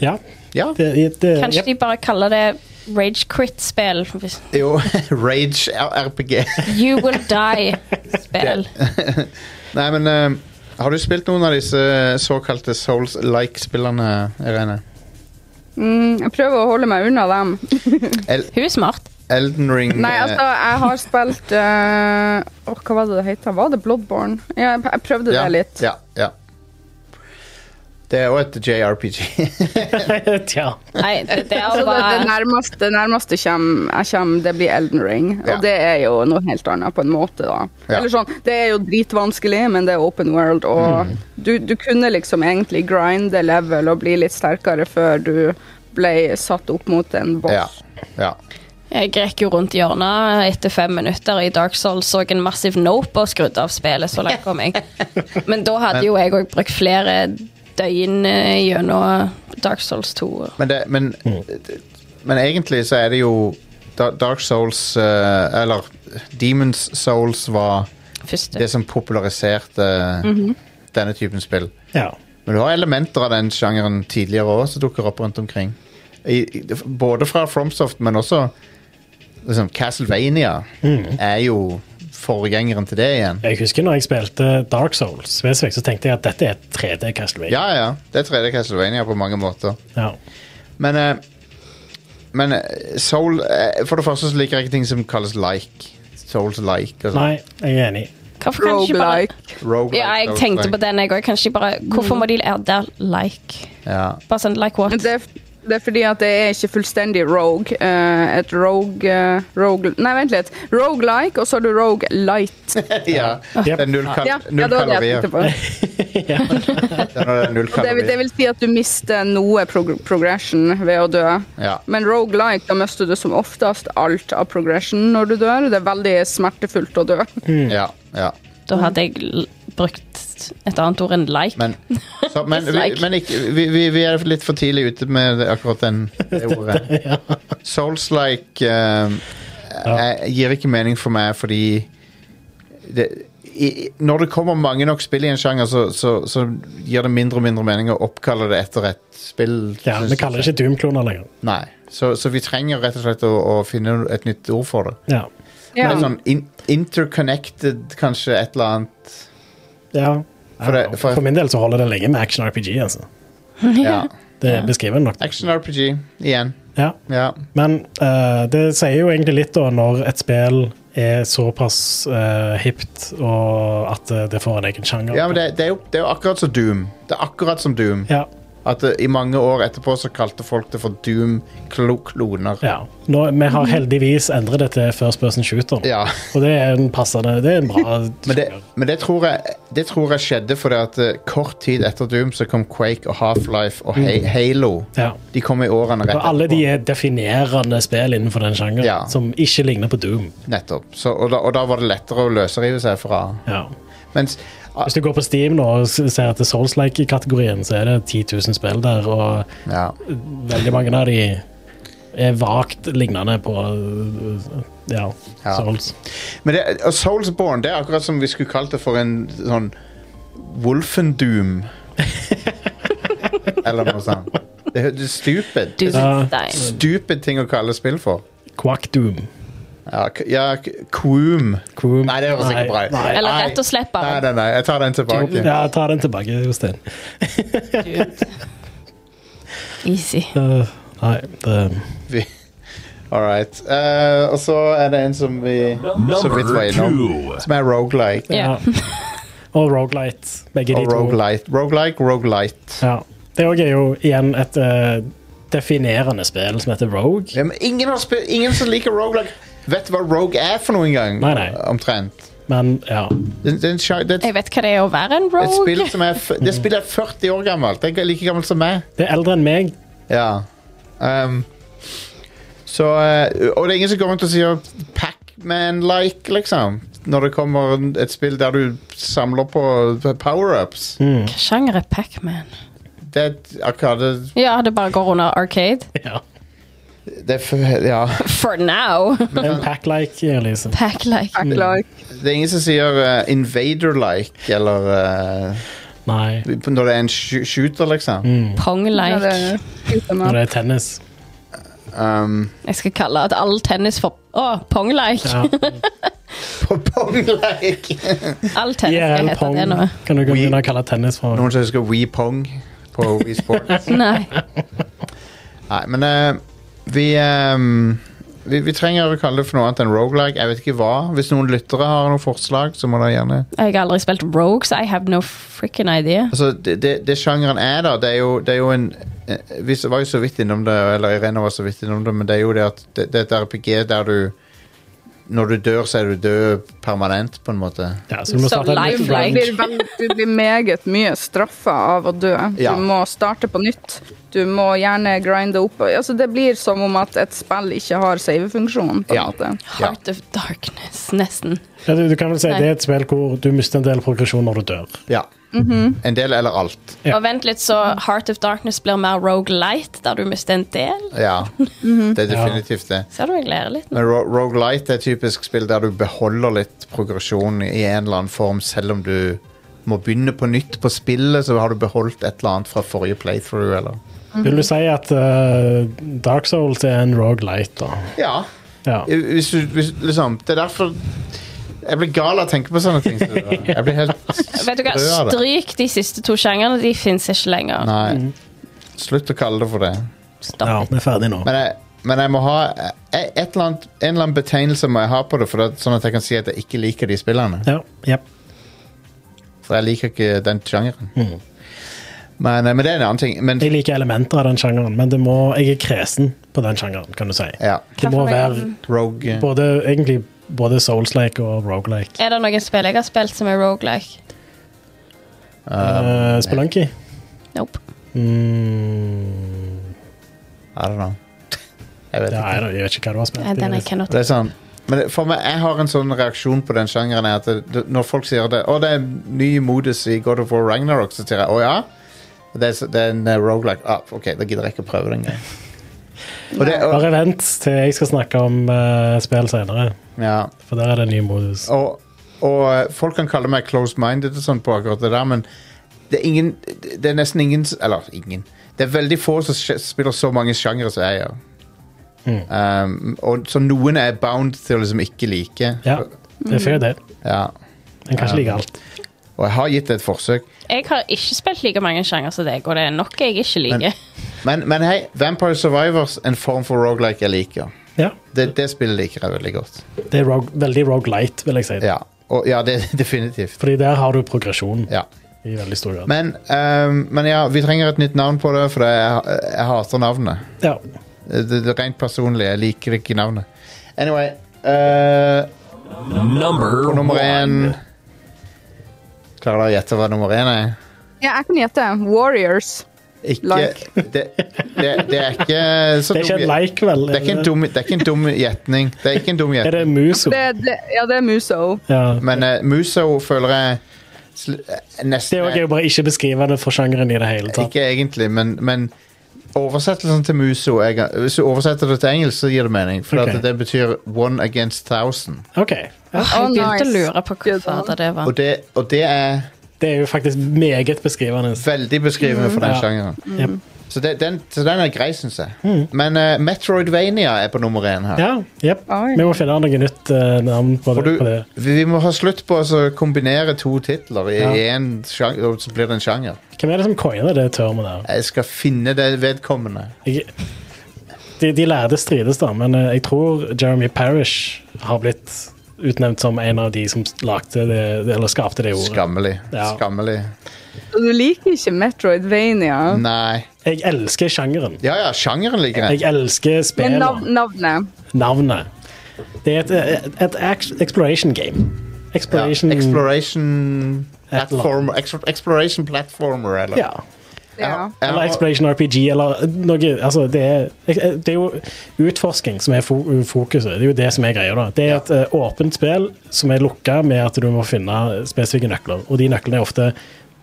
[SPEAKER 3] ja.
[SPEAKER 1] Ja.
[SPEAKER 3] Det, det,
[SPEAKER 6] Kanskje
[SPEAKER 3] jep.
[SPEAKER 6] de bare kaller det Rage Crit-spill. hvis-
[SPEAKER 1] Jo, <laughs> Rage RPG.
[SPEAKER 6] You Will Die-spill.
[SPEAKER 1] Nei, men eh, har du spilt noen av disse eh, såkalte Souls-like-spillene, Irene?
[SPEAKER 4] Mm, jeg prøver å holde meg unna dem. <laughs>
[SPEAKER 1] El
[SPEAKER 6] Hun er smart.
[SPEAKER 1] Elden Ring
[SPEAKER 4] Nei,
[SPEAKER 1] eh,
[SPEAKER 4] altså, jeg har spilt eh, åh, Hva var det det het? Var det Bloodborne? Ja, jeg, jeg prøvde
[SPEAKER 1] ja,
[SPEAKER 4] det litt.
[SPEAKER 1] Ja, ja. Det er jo et JRPG.
[SPEAKER 3] <laughs> Tja.
[SPEAKER 6] Nei, det, det er
[SPEAKER 4] Så Altså, det, det
[SPEAKER 6] bare
[SPEAKER 4] nærmeste, det nærmeste kjem- jeg kommer, det blir Elden Ring.
[SPEAKER 1] Ja.
[SPEAKER 4] Og det er jo noe helt annet, på en måte, da.
[SPEAKER 1] Ja.
[SPEAKER 4] Eller sånn, det er jo dritvanskelig, men det er open world, og
[SPEAKER 1] Mm.
[SPEAKER 4] du, du kunne liksom egentlig grinde level og bli litt sterkere før du ble satt opp mot en boss.
[SPEAKER 1] <laughs> ja, ja.
[SPEAKER 6] Jeg gikk jo rundt hjørnet etter fem minutter i Dark Souls så en massiv nope og skrudde av spillet. så langt
[SPEAKER 1] <laughs>
[SPEAKER 6] kom jeg. Men da hadde jo jeg òg brukt flere døgn eh, gjennom Dark Souls 2.
[SPEAKER 1] Men, det, men, men egentlig så er det jo Da- Dark Souls eh, Eller Demons Souls var
[SPEAKER 6] Første.
[SPEAKER 1] det som populariserte
[SPEAKER 4] Mhm.
[SPEAKER 1] denne typen spill.
[SPEAKER 3] Ja.
[SPEAKER 1] Men du har elementer av den sjangeren tidligere òg som dukker opp rundt omkring. I, i, både fra Fromsoft, men også liksom Castlevania er jo forgjengeren til det igjen.
[SPEAKER 3] Jeg husker når jeg spilte Dark Souls, spesifikt, så tenkte jeg at dette er et 3D Castlevania.
[SPEAKER 1] Ja, ja. Det er 3D Castlevania på mange måter.
[SPEAKER 3] Ja.
[SPEAKER 1] Men, eh, men eh, Soul eh, For det første så liker jeg ikke ting som kalles like. Souls like og sånn.
[SPEAKER 3] Nei, jeg er enig.
[SPEAKER 6] Hvorfor kan de ikke bare
[SPEAKER 4] Roguelike.
[SPEAKER 1] Roguelike,
[SPEAKER 6] Ja, jeg
[SPEAKER 1] Souls
[SPEAKER 6] tenkte
[SPEAKER 1] like.
[SPEAKER 6] på den, jeg òg. Kanskje de bare Hvorfor må de lære der like?
[SPEAKER 1] Ja.
[SPEAKER 6] Bare sånn like what?
[SPEAKER 4] Men det, Det er fordi at det er ikke fullstendig rogue. Eh, et rogue, eh, rogue Nei, vent litt. Rogue-like, og så har du rogue light.
[SPEAKER 1] <laughs> ja. Det er null, kal
[SPEAKER 4] Ja, ja,
[SPEAKER 1] null
[SPEAKER 4] det var det jeg
[SPEAKER 1] kalorier.
[SPEAKER 4] tenkte på.
[SPEAKER 1] Det er null
[SPEAKER 4] <laughs> Det, vil- det
[SPEAKER 1] kalorier.
[SPEAKER 4] vil si at du mister noe prog progression ved å dø.
[SPEAKER 1] Ja.
[SPEAKER 4] Men roguelike, da mister du som oftest alt av progression når du dør. Det er veldig smertefullt å dø.
[SPEAKER 1] Ja, ja.
[SPEAKER 2] Da hadde jeg l- brukt et annet ord enn like.
[SPEAKER 6] <laughs>
[SPEAKER 1] Men, så, men, vi,
[SPEAKER 2] Dislike.
[SPEAKER 1] men ikke, vi, vi, vi er litt for tidlig ute med det- akkurat
[SPEAKER 3] <laughs>
[SPEAKER 1] den det ordet. Souls-like eh, eh, gir ikke mening for meg fordi det, i, i- Når det kommer mange nok spill i en sjanger, så, så, så gir det mindre og mindre mening å oppkalle det etter et spill.
[SPEAKER 3] Ja,
[SPEAKER 1] synes
[SPEAKER 3] vi kaller det ikke Doom-kloner lenger.
[SPEAKER 1] Nei. Så, så vi trenger rett og slett å, å finne et nytt ord for det.
[SPEAKER 3] Ja.
[SPEAKER 1] Det
[SPEAKER 4] Ja.
[SPEAKER 1] er sånn in interconnected, kanskje, et eller annet.
[SPEAKER 3] ja.
[SPEAKER 1] For det- for-
[SPEAKER 3] For, min del så holder det lenge med action-RPG. altså.
[SPEAKER 1] Ja.
[SPEAKER 6] <laughs>
[SPEAKER 3] Det beskriver nok.
[SPEAKER 1] Action RPG igjen.
[SPEAKER 3] Ja.
[SPEAKER 1] Ja.
[SPEAKER 3] Men eh, det sier jo egentlig litt da når et spill er såpass eh, hipt og at eh, det får en egen sjanger.
[SPEAKER 1] Ja, men det, det, er jo, det er jo akkurat som Doom. Det er akkurat som Doom.
[SPEAKER 3] ja.
[SPEAKER 1] At eh, I mange år etterpå så kalte folk det for Doom-kloner.
[SPEAKER 3] Ja. Nå, vi har heldigvis endret det til First Person Shooter. nå.
[SPEAKER 1] Mhm. Ja.
[SPEAKER 3] Og det er en passende Det er en bra
[SPEAKER 1] <laughs> Men, det, men det, tror jeg, det tror jeg skjedde fordi at eh, kort tid etter Doom så kom Quake og Half-Life og ha Halo.
[SPEAKER 3] Mm. Ja.
[SPEAKER 1] De kom i årene rett
[SPEAKER 3] Og alle de
[SPEAKER 1] etterpå.
[SPEAKER 3] er definerende spill innenfor den sjangeren,
[SPEAKER 1] Ja.
[SPEAKER 3] som ikke ligner på Doom.
[SPEAKER 1] Nettopp. Så, og, da, og da var det lettere å løsrive seg fra.
[SPEAKER 3] Ja.
[SPEAKER 1] Mens ah,
[SPEAKER 3] Hvis du går på Steam nå og s- ser etter Souls-like-kategorien, så er det 10 000 spill der, og
[SPEAKER 1] ja.
[SPEAKER 3] veldig mange av de er vagt lignende på øh, ja,
[SPEAKER 1] Ja.
[SPEAKER 3] Souls.
[SPEAKER 1] Men det, og Soulsborne det er akkurat som vi skulle kalt det for en sånn
[SPEAKER 3] <laughs>
[SPEAKER 1] Wolfendoom. Eller noe sånt. Det er det er stupid.
[SPEAKER 2] Du
[SPEAKER 3] Ja.
[SPEAKER 2] stein.
[SPEAKER 1] Stupid ting å kalle spill for.
[SPEAKER 3] Quack Doom.
[SPEAKER 1] Ja, k- ja k- Quoom.
[SPEAKER 3] Quoom.
[SPEAKER 1] Nei, det høres ikke
[SPEAKER 3] Nei,
[SPEAKER 1] bra ut.
[SPEAKER 3] nei.
[SPEAKER 2] Eller rett og slett bare-
[SPEAKER 1] Nei, nei, nei, jeg tar den tilbake.
[SPEAKER 3] Ja, ta den tilbake, Jostein.
[SPEAKER 2] Easy.
[SPEAKER 3] Øh, nei, det
[SPEAKER 1] Vi- All right. Eh, og så er det en som vi så vidt var
[SPEAKER 5] Number
[SPEAKER 1] innom,
[SPEAKER 5] two.
[SPEAKER 1] som er rogelike. <laughs>
[SPEAKER 2] Ja.
[SPEAKER 3] Og Roguelite, begge de
[SPEAKER 1] Og
[SPEAKER 3] to.
[SPEAKER 1] rogelite. Rogelike, rogelite.
[SPEAKER 3] Ja. Det òg er jo igjen et eh, definerende spill som heter Rogue.
[SPEAKER 1] Ja, men ingen, har spe- ingen som liker rogelike, vet hva rogue er for noen gang.
[SPEAKER 3] Nei, nei.
[SPEAKER 1] Omtrent.
[SPEAKER 3] Men ja.
[SPEAKER 1] Det, det, er en sja- det, er
[SPEAKER 2] Jeg vet hva det er å være en
[SPEAKER 1] et
[SPEAKER 2] rogue.
[SPEAKER 1] spill som er, f- det spillet er 40 år gammelt. Det er like gammelt som meg.
[SPEAKER 3] Det er eldre enn meg.
[SPEAKER 1] Ja. Ehm, så eh, Og det er ingen som kommer til å si Pac-Man-like, liksom. Når det kommer en- et spill der du samler på power-ups.
[SPEAKER 3] Mm.
[SPEAKER 2] Hva sjanger er Pac-Man?
[SPEAKER 1] Det er et arkade
[SPEAKER 2] Ja, det bare går under arcade.
[SPEAKER 3] <laughs> Ja.
[SPEAKER 1] det er, f- ja.
[SPEAKER 2] For <laughs> now.
[SPEAKER 3] En pack-like, liksom. Elise.
[SPEAKER 2] Pac-like.
[SPEAKER 4] Like.
[SPEAKER 2] Mm.
[SPEAKER 1] det er ingen som sier eh, invader-like, eller eh,
[SPEAKER 3] Nei,
[SPEAKER 1] Når det er en sh shooter, liksom.
[SPEAKER 2] Mm.
[SPEAKER 4] Ja,
[SPEAKER 2] Pong-like.
[SPEAKER 4] det er-
[SPEAKER 3] når det er tennis.
[SPEAKER 1] Um,
[SPEAKER 2] Jeg skal kalle at all tennis for Å, pong-like.
[SPEAKER 3] Ja.
[SPEAKER 1] på Pong-like!
[SPEAKER 2] All tennis skal
[SPEAKER 3] IRL
[SPEAKER 2] hete
[SPEAKER 3] pong
[SPEAKER 2] det nå.
[SPEAKER 3] kan du
[SPEAKER 1] We-
[SPEAKER 3] begynne å kalle tennis for.
[SPEAKER 1] Noen som husker Wii Pong på Wii Sports? <laughs>
[SPEAKER 2] Nei.
[SPEAKER 1] Nei, men eh, vi, ehm, vi Vi trenger å kalle det for noe annet enn roguelike. Jeg vet ikke hva. Hvis noen lyttere har noen forslag, så må dere gjerne
[SPEAKER 2] Jeg har aldri spilt Rogues. I have no freaking idea.
[SPEAKER 1] Altså, det, det, det sjangeren er, da, det er jo, det er jo en eh, Vi var jo så vidt innom det, eller Irene var så vidt innom det, men det er jo det at det, det er et RPG der du Når du dør, så er du død permanent, på en måte.
[SPEAKER 3] Ja, så du må
[SPEAKER 2] Så
[SPEAKER 3] starte en
[SPEAKER 2] lifelike.
[SPEAKER 3] nytt
[SPEAKER 4] Du
[SPEAKER 3] round.
[SPEAKER 4] blir, veldig, du blir meget mye straffa av å dø. Du
[SPEAKER 1] Ja.
[SPEAKER 4] må starte på nytt. Du må gjerne grinde opp. Altså, det blir som om at et spill ikke har savefunksjon. på en
[SPEAKER 1] Ja.
[SPEAKER 4] måte.
[SPEAKER 2] Heart of Darkness, nesten.
[SPEAKER 3] Ja, du, du kan vel si
[SPEAKER 2] Nei.
[SPEAKER 3] det er et spill hvor du mister en del progresjon når du dør.
[SPEAKER 1] Ja. En del eller alt.
[SPEAKER 3] Ja.
[SPEAKER 2] Og vent litt, så Heart of Darkness blir mer roguelite, der du mister en del.
[SPEAKER 1] Ja. Det er definitivt det.
[SPEAKER 2] Ser du jeg ler litt nå?
[SPEAKER 1] Men Ro Roguelite er et typisk spill der du beholder litt progresjon i en eller annen form, selv om du må begynne på nytt på spillet, så har du beholdt et eller annet fra forrige playthrough, eller
[SPEAKER 2] Mhm.
[SPEAKER 3] Vil du si at eh, Dark Souls er en roguelite da?
[SPEAKER 1] Ja.
[SPEAKER 3] Ja.
[SPEAKER 1] Hvis du, hvis, liksom, det er derfor Jeg blir gal av å tenke på sånne ting. som det der. Jeg blir helt
[SPEAKER 2] Vet du hva,
[SPEAKER 1] sprø av det.
[SPEAKER 2] Stryk de siste to sjangerne. De fins ikke lenger.
[SPEAKER 1] Nei. Slutt å kalle det for det.
[SPEAKER 2] Stopp.
[SPEAKER 3] ja, vi er ferdige nå.
[SPEAKER 1] Men jeg, men jeg må ha et eller annet, en eller annen betegnelse må jeg ha på det, for det, sånn at jeg kan si at jeg ikke liker de spillene.
[SPEAKER 3] Ja, jep.
[SPEAKER 1] For jeg liker ikke den sjangeren. Men, eh, men det er en annen ting. Men,
[SPEAKER 3] Jeg liker elementer av den sjangeren, men det må, jeg er kresen på den sjangeren, kan du si.
[SPEAKER 1] ja.
[SPEAKER 3] Det må
[SPEAKER 2] Derfor er
[SPEAKER 3] være
[SPEAKER 2] den-
[SPEAKER 1] Rogue eh,
[SPEAKER 3] både, egentlig både Souls-like og Roguelike.
[SPEAKER 2] Er det noen spill jeg har spilt som er roguelike?
[SPEAKER 1] Um,
[SPEAKER 3] Uh, Spelunky?
[SPEAKER 2] Nope.
[SPEAKER 3] Mm,
[SPEAKER 1] I don't know. Jeg vet
[SPEAKER 3] det
[SPEAKER 1] ikke.
[SPEAKER 3] er, jeg vet ikke hva du har
[SPEAKER 2] Eh,
[SPEAKER 3] spilt.
[SPEAKER 2] Den I
[SPEAKER 3] i.
[SPEAKER 2] cannot.
[SPEAKER 1] Det er sånn men det- for meg, Jeg har en sånn reaksjon på den sjangeren er at det, det, når folk sier det, å det er en ny modus i God of War Ragnarok, så sier jeg å ja. Og Det er, så- det er en uh, roguelike. Ah, ok, da gidder jeg ikke å prøve den greia. Og det, og,
[SPEAKER 3] Bare vent til jeg skal snakke om eh, spill senere,
[SPEAKER 1] ja,
[SPEAKER 3] for der er det en ny modus.
[SPEAKER 1] og, og eh, folk kan kalle meg close-minded og sånn på akkurat det der, men det er ingen Det er nesten ingen s- Eller ingen. Det er veldig få som sj- spiller så mange sjangere som jeg gjør. Um, og, så noen er bound til å liksom ikke like.
[SPEAKER 3] Ja, det er fair, det.
[SPEAKER 1] Ja.
[SPEAKER 3] En kan ikke like alt.
[SPEAKER 1] Og jeg har gitt det et forsøk.
[SPEAKER 2] Jeg har ikke spilt like mange sjanger som deg, og det er nok jeg ikke
[SPEAKER 1] Men-
[SPEAKER 2] liker.
[SPEAKER 3] <laughs>
[SPEAKER 1] Men, men hei, Vampire Survivors en form for roguelike jeg liker.
[SPEAKER 3] Ja,
[SPEAKER 1] Det, det spillet liker jeg veldig godt.
[SPEAKER 3] det er rogue, veldig roguelite, vil jeg si.
[SPEAKER 1] Ja, og, ja det <laughs> definitivt.
[SPEAKER 3] Fordi der har du progresjon
[SPEAKER 1] Ja.
[SPEAKER 3] i veldig stor grad.
[SPEAKER 1] Men, ehm, men ja, vi trenger et nytt navn på det, for det, jeg, jeg hater navnet.
[SPEAKER 3] Ja.
[SPEAKER 1] Eh, Det, det er Rent personlig, jeg liker ikke navnet. Anyway eh,
[SPEAKER 5] Number
[SPEAKER 1] Nummer én
[SPEAKER 5] one.
[SPEAKER 1] Klarer dere å gjette hva nummer én er?
[SPEAKER 4] Ja, jeg kan gjette. Warriors.
[SPEAKER 1] Ikke,
[SPEAKER 4] Like.
[SPEAKER 1] det, det, det er ikke så
[SPEAKER 3] Det er ikke
[SPEAKER 1] dum-
[SPEAKER 3] en like, vel?
[SPEAKER 1] det er ikke en dum- det er ikke en dum gjetning. Det er ikke en dum gjetning.
[SPEAKER 3] Er det Muso?
[SPEAKER 4] Det, det, ja, det er Muso.
[SPEAKER 3] Ja.
[SPEAKER 1] Men eh, Muso føler jeg sl eh,
[SPEAKER 3] Det
[SPEAKER 1] nesten
[SPEAKER 3] er jo gøy å bare ikke beskrive det for sjangeren i det hele tatt.
[SPEAKER 1] Ikke egentlig, men, men oversettelsen til Muso er, ga- Hvis du oversetter det til engelsk, så gir det mening. For
[SPEAKER 3] Ok.
[SPEAKER 1] at det betyr one against thousand.
[SPEAKER 3] Ok, ja.
[SPEAKER 2] Jeg begynte å lure på hva
[SPEAKER 4] Good one.
[SPEAKER 2] fader det var.
[SPEAKER 1] Og det, og det er
[SPEAKER 3] Det er jo faktisk meget beskrivende.
[SPEAKER 1] veldig beskrivende for den
[SPEAKER 3] Mm. Ja.
[SPEAKER 1] sjangeren.
[SPEAKER 4] Mm.
[SPEAKER 3] Jep.
[SPEAKER 1] Så, det, den, så den er grei, syns jeg. Men eh, Metroidvania er på nummer én her.
[SPEAKER 3] Mm. Ja, jep.
[SPEAKER 4] Oi.
[SPEAKER 3] Vi må finne noe nytt eh, navn på
[SPEAKER 1] For
[SPEAKER 3] det.
[SPEAKER 1] du,
[SPEAKER 3] på det.
[SPEAKER 1] vi vi må ha slutt på å så kombinere to titler i
[SPEAKER 3] Ja.
[SPEAKER 1] én sjanger, og så blir det en sjanger.
[SPEAKER 3] Hvem er det som coiner det termet der?
[SPEAKER 1] Jeg skal finne det vedkommende.
[SPEAKER 3] Jeg, de, de lærde strides, da, men eh, jeg tror Jeremy Parish har blitt utnevnt som en av de som lagde det, eller skapte det ordet.
[SPEAKER 1] Skammelig.
[SPEAKER 3] Ja.
[SPEAKER 1] Skammelig.
[SPEAKER 4] Og du liker ikke Metroidvania,
[SPEAKER 1] Nei.
[SPEAKER 3] Jeg elsker sjangeren.
[SPEAKER 1] Ja, ja, sjangeren liker jeg.
[SPEAKER 3] Jeg elsker
[SPEAKER 4] men
[SPEAKER 3] spillet.
[SPEAKER 4] nav navnet.
[SPEAKER 3] Navnet. Det er et, et, et act- exploration game.
[SPEAKER 1] Ja,
[SPEAKER 3] Exploration
[SPEAKER 1] exploration
[SPEAKER 3] eller
[SPEAKER 1] platformer, exp- Exploration platformer, eller?
[SPEAKER 3] Ja.
[SPEAKER 4] Ja.
[SPEAKER 1] Jeg
[SPEAKER 3] Eller
[SPEAKER 1] har-
[SPEAKER 3] Exploration RPG, eller noe altså det, er, det er jo utforsking som er fo fokuset. Det er jo det som er greia. da. Det er et eh, åpent spill som er lukka med at du må finne spesifikke nøkler. Og de nøklene er ofte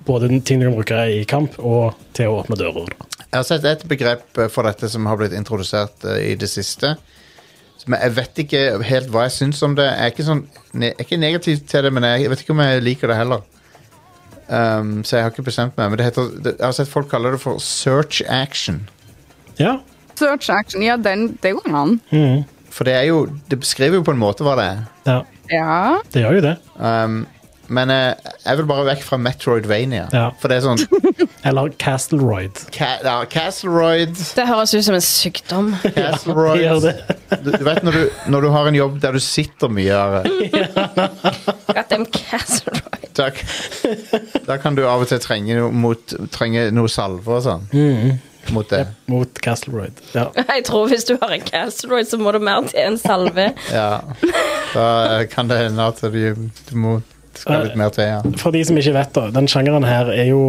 [SPEAKER 3] både den ting du kan bruke i kamp, og til å åpne dører. da.
[SPEAKER 1] jeg har sett et begrep eh, for dette som har blitt introdusert eh, i det siste. Men jeg vet ikke helt hva jeg syns om det. Jeg er ikke, sånn, ne- jeg er ikke negativ til det, men jeg vet ikke om jeg liker det heller. Um, så jeg har ikke bestemt meg. Men det heter, det, jeg har sett folk kalle det for search action.
[SPEAKER 3] Ja.
[SPEAKER 4] Search action. Ja, den, det går an.
[SPEAKER 1] For det er jo Det beskriver jo på en måte hva det er.
[SPEAKER 3] ja.
[SPEAKER 4] Ja.
[SPEAKER 3] Det gjør jo det.
[SPEAKER 1] Um, men eh, jeg vil bare vekk fra Metroidvania.
[SPEAKER 3] Ja.
[SPEAKER 1] For det er sånn
[SPEAKER 3] Eller Castleroid.
[SPEAKER 1] Ca ja, Castleroid
[SPEAKER 3] <laughs>
[SPEAKER 2] Det høres ut som en sykdom.
[SPEAKER 1] Castleroid
[SPEAKER 3] Det gjør det.
[SPEAKER 1] du, du vet når du, når du har en jobb der du sitter mye Are,
[SPEAKER 2] Goddamn Castle
[SPEAKER 6] <laughs>
[SPEAKER 2] Roy.
[SPEAKER 1] da, da kan du av og til trenge noe, mot, trenge noe salve og sånn Mot det
[SPEAKER 3] Mot Castleroid. Ja.
[SPEAKER 2] Jeg tror hvis du har en Castleroid, så må du mer til en salve.
[SPEAKER 1] ja. Da eh, kan det hende at du, du må det skal litt mer til ja.
[SPEAKER 3] For de som ikke vet, da. Den sjangeren her er jo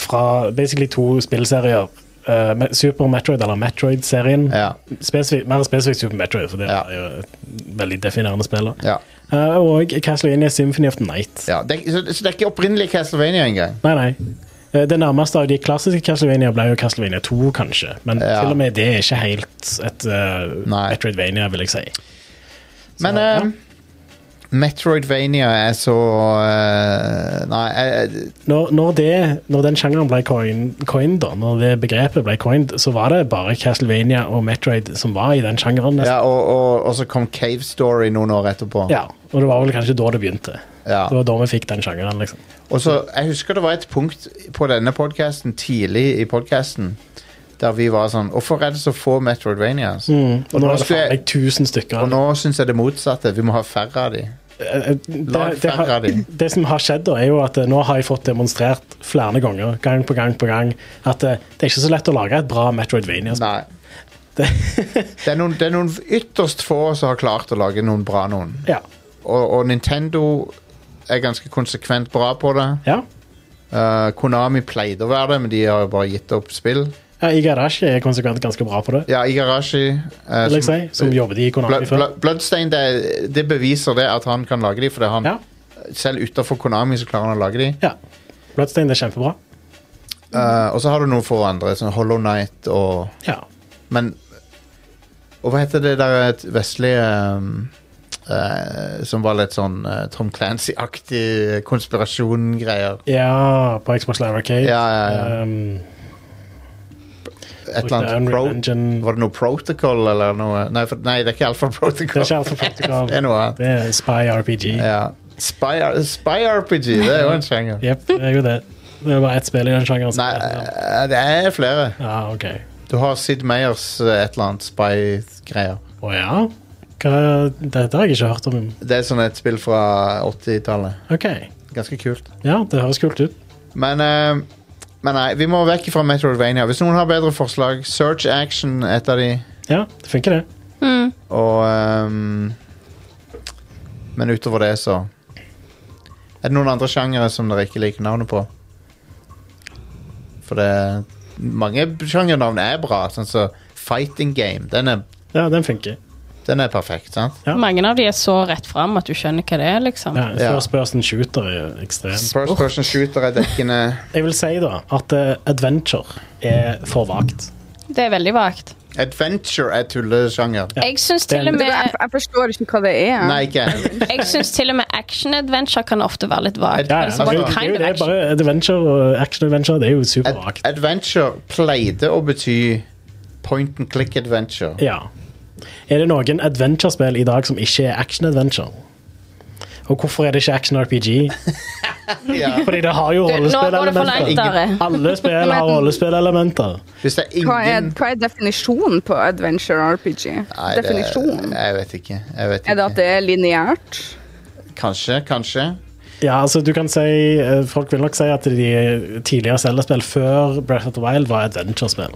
[SPEAKER 3] fra basically to spillserier. Eh, Me- Super Metroid, eller Metroid-serien.
[SPEAKER 1] Ja.
[SPEAKER 3] Spesifikt- mer spesifikt Super Metroid, for det
[SPEAKER 1] Ja.
[SPEAKER 3] er jo et veldig definerende spill. da.
[SPEAKER 1] Ja.
[SPEAKER 3] Eh, og Castlevania Symphony of the Night.
[SPEAKER 1] Ja, det, er- så, så det er ikke opprinnelig Castlevania engang
[SPEAKER 3] Nei, nei. Eh, Det nærmeste av de klassiske Castlevania ble jo Castlevania 2, kanskje. Men
[SPEAKER 1] Ja.
[SPEAKER 3] til og med det er ikke helt et eh,
[SPEAKER 1] Nei.
[SPEAKER 3] Metroidvania, vil jeg si.
[SPEAKER 1] Men
[SPEAKER 3] ja.
[SPEAKER 1] eh, Metroidvania er så eh, Nei jeg,
[SPEAKER 3] Når, når, det, når den sjangeren ble coin, coined, da, når det begrepet ble coined, så var det bare Castlevania og Metroid som var i den sjangeren. nesten.
[SPEAKER 1] ja, og, og, og så kom Cave Story noen år etterpå
[SPEAKER 3] Ja, og det var vel kanskje da det begynte.
[SPEAKER 1] Ja.
[SPEAKER 3] Det var da vi fikk den sjangeren, liksom.
[SPEAKER 1] Og så, Jeg husker det var et punkt på denne podcasten, tidlig i podcasten, der vi var sånn Hvorfor er det så få Metroidvanias?
[SPEAKER 3] Og nå er det
[SPEAKER 1] skulle
[SPEAKER 3] faen
[SPEAKER 1] jeg-
[SPEAKER 3] meg tusen stykker.
[SPEAKER 1] og nå syns jeg det motsatte. Vi må ha færre av de.
[SPEAKER 3] eh, det,
[SPEAKER 1] Lag
[SPEAKER 3] det,
[SPEAKER 1] færre
[SPEAKER 3] har,
[SPEAKER 1] av de.
[SPEAKER 3] det som har skjedd, da, er jo at eh, nå har jeg fått demonstrert flere ganger, gang på gang på gang, at eh, det er ikke så lett å lage et bra Metroidvania.
[SPEAKER 1] Nei.
[SPEAKER 3] Det, <laughs>
[SPEAKER 1] Det er, noen, det er noen ytterst få som har klart å lage noen bra noen.
[SPEAKER 3] ja.
[SPEAKER 1] Og, og Nintendo er ganske konsekvent bra på det.
[SPEAKER 3] ja.
[SPEAKER 1] Eh, Konami pleide å være det, men de har jo bare gitt opp spill.
[SPEAKER 3] Ja, Igarashi er konsekvent ganske bra på det,
[SPEAKER 1] Ja, Igarashi eh,
[SPEAKER 3] vil jeg si, som jobbet i
[SPEAKER 1] Blood,
[SPEAKER 3] Konami før.
[SPEAKER 1] Blood, Bloodstained det, det beviser det at han kan lage de, fordi han
[SPEAKER 3] Ja.
[SPEAKER 1] selv utenfor Konami så klarer han å lage de.
[SPEAKER 3] ja. Bloodstained er kjempebra.
[SPEAKER 1] Eh, og så har du noen få andre, sånn Hollow Knight og
[SPEAKER 3] Ja.
[SPEAKER 1] Men Og hva heter det der et vestlig ehm, eh, Som var litt sånn eh, Tom Clancy-aktig konspirasjongreier.
[SPEAKER 3] Ja, på Xbox Live Arcade.
[SPEAKER 1] Ja, ja, ja.
[SPEAKER 3] Um,
[SPEAKER 1] Et eller annet
[SPEAKER 3] Unreal
[SPEAKER 1] pro,
[SPEAKER 3] Engine.
[SPEAKER 1] Var det noe protocol eller noe? Nei, for, nei det er ikke Alpha
[SPEAKER 3] Det er
[SPEAKER 1] Protocol.
[SPEAKER 3] ikke
[SPEAKER 1] <laughs>
[SPEAKER 3] Alpha
[SPEAKER 1] Det er
[SPEAKER 3] Protocol.
[SPEAKER 1] noe annet.
[SPEAKER 3] Det er Spy RPG.
[SPEAKER 1] Ja. Spy, Spy RPG, det er jo en sjanger.
[SPEAKER 3] Jep, det er jo det. Det er bare ett spill i den sjangeren. som
[SPEAKER 1] Nei,
[SPEAKER 3] er det.
[SPEAKER 1] eh, det er flere.
[SPEAKER 3] Ja, ok.
[SPEAKER 1] Du har Sid Meyers eh, et eller annet spy-greier.
[SPEAKER 3] Å ja? Hva, dette har jeg ikke hørt om.
[SPEAKER 1] Det er sånn et spill fra 80-tallet.
[SPEAKER 3] Ok.
[SPEAKER 1] Ganske kult.
[SPEAKER 3] Ja, det høres kult ut.
[SPEAKER 1] Men, eh, men nei, vi må vekk fra Metroidvania. Hvis noen har bedre forslag, Search Action er et av de.
[SPEAKER 3] Ja, det funker, det.
[SPEAKER 1] Og ehm, Men utover det, så Er det noen andre sjangere som dere ikke liker navnet på? For det Mange sjangernavn er bra, sånn som Fighting Game. Den er,
[SPEAKER 3] Ja, den funker.
[SPEAKER 1] den er perfekt, sant?
[SPEAKER 3] <laughs> Ja.
[SPEAKER 6] Mange av de er så rett fram at du skjønner hva det er, liksom.
[SPEAKER 3] Ja,
[SPEAKER 1] Ja.
[SPEAKER 3] First person shooter er jo ekstremt.
[SPEAKER 1] First Person Shooter er dekkende.
[SPEAKER 3] Jeg vil si da at eh, adventure er for vagt.
[SPEAKER 6] Det er veldig vagt.
[SPEAKER 1] Adventure er tullesjanger.
[SPEAKER 3] Ja.
[SPEAKER 6] Jeg syns
[SPEAKER 3] Det er
[SPEAKER 6] til og
[SPEAKER 3] en-
[SPEAKER 4] Jeg,
[SPEAKER 6] med
[SPEAKER 4] jeg forstår ikke hva det er.
[SPEAKER 1] Nei, ikke jeg.
[SPEAKER 6] Jeg synes til og med action-adventure kan ofte være litt vagt.
[SPEAKER 3] Ja, ja.
[SPEAKER 6] Altså,
[SPEAKER 3] Det, er jo-
[SPEAKER 6] what
[SPEAKER 3] det, er
[SPEAKER 6] kind
[SPEAKER 3] jo-
[SPEAKER 6] of
[SPEAKER 3] det er
[SPEAKER 6] action?
[SPEAKER 3] bare adventure og action-adventure. Det er jo
[SPEAKER 1] Ad
[SPEAKER 3] supervagt.
[SPEAKER 1] adventure pleide å bety point and click adventure.
[SPEAKER 3] Ja. Er det noen adventure-spill i dag som ikke er action-adventure? Og hvorfor er det ikke action-RPG?
[SPEAKER 1] Ja.
[SPEAKER 3] Fordi det har jo
[SPEAKER 6] Du, Nå går det for langt,
[SPEAKER 3] rollespillelementer.
[SPEAKER 6] Are.
[SPEAKER 3] Alle spill
[SPEAKER 6] <laughs>
[SPEAKER 3] har rollespillelementer.
[SPEAKER 1] Hvis det er
[SPEAKER 4] Hva er,
[SPEAKER 1] ingen
[SPEAKER 4] hva er definisjonen på adventure RPG?
[SPEAKER 1] Nei, det-
[SPEAKER 4] Definisjonen?
[SPEAKER 1] Jeg vet ikke. Jeg vet
[SPEAKER 4] Er det at
[SPEAKER 1] ikke.
[SPEAKER 4] det er lineært?
[SPEAKER 1] Kanskje, kanskje.
[SPEAKER 3] Ja, altså du kan si eh, Folk vil nok si at de tidligere Zelda-spill før Breath of the Wild var adventure-spill.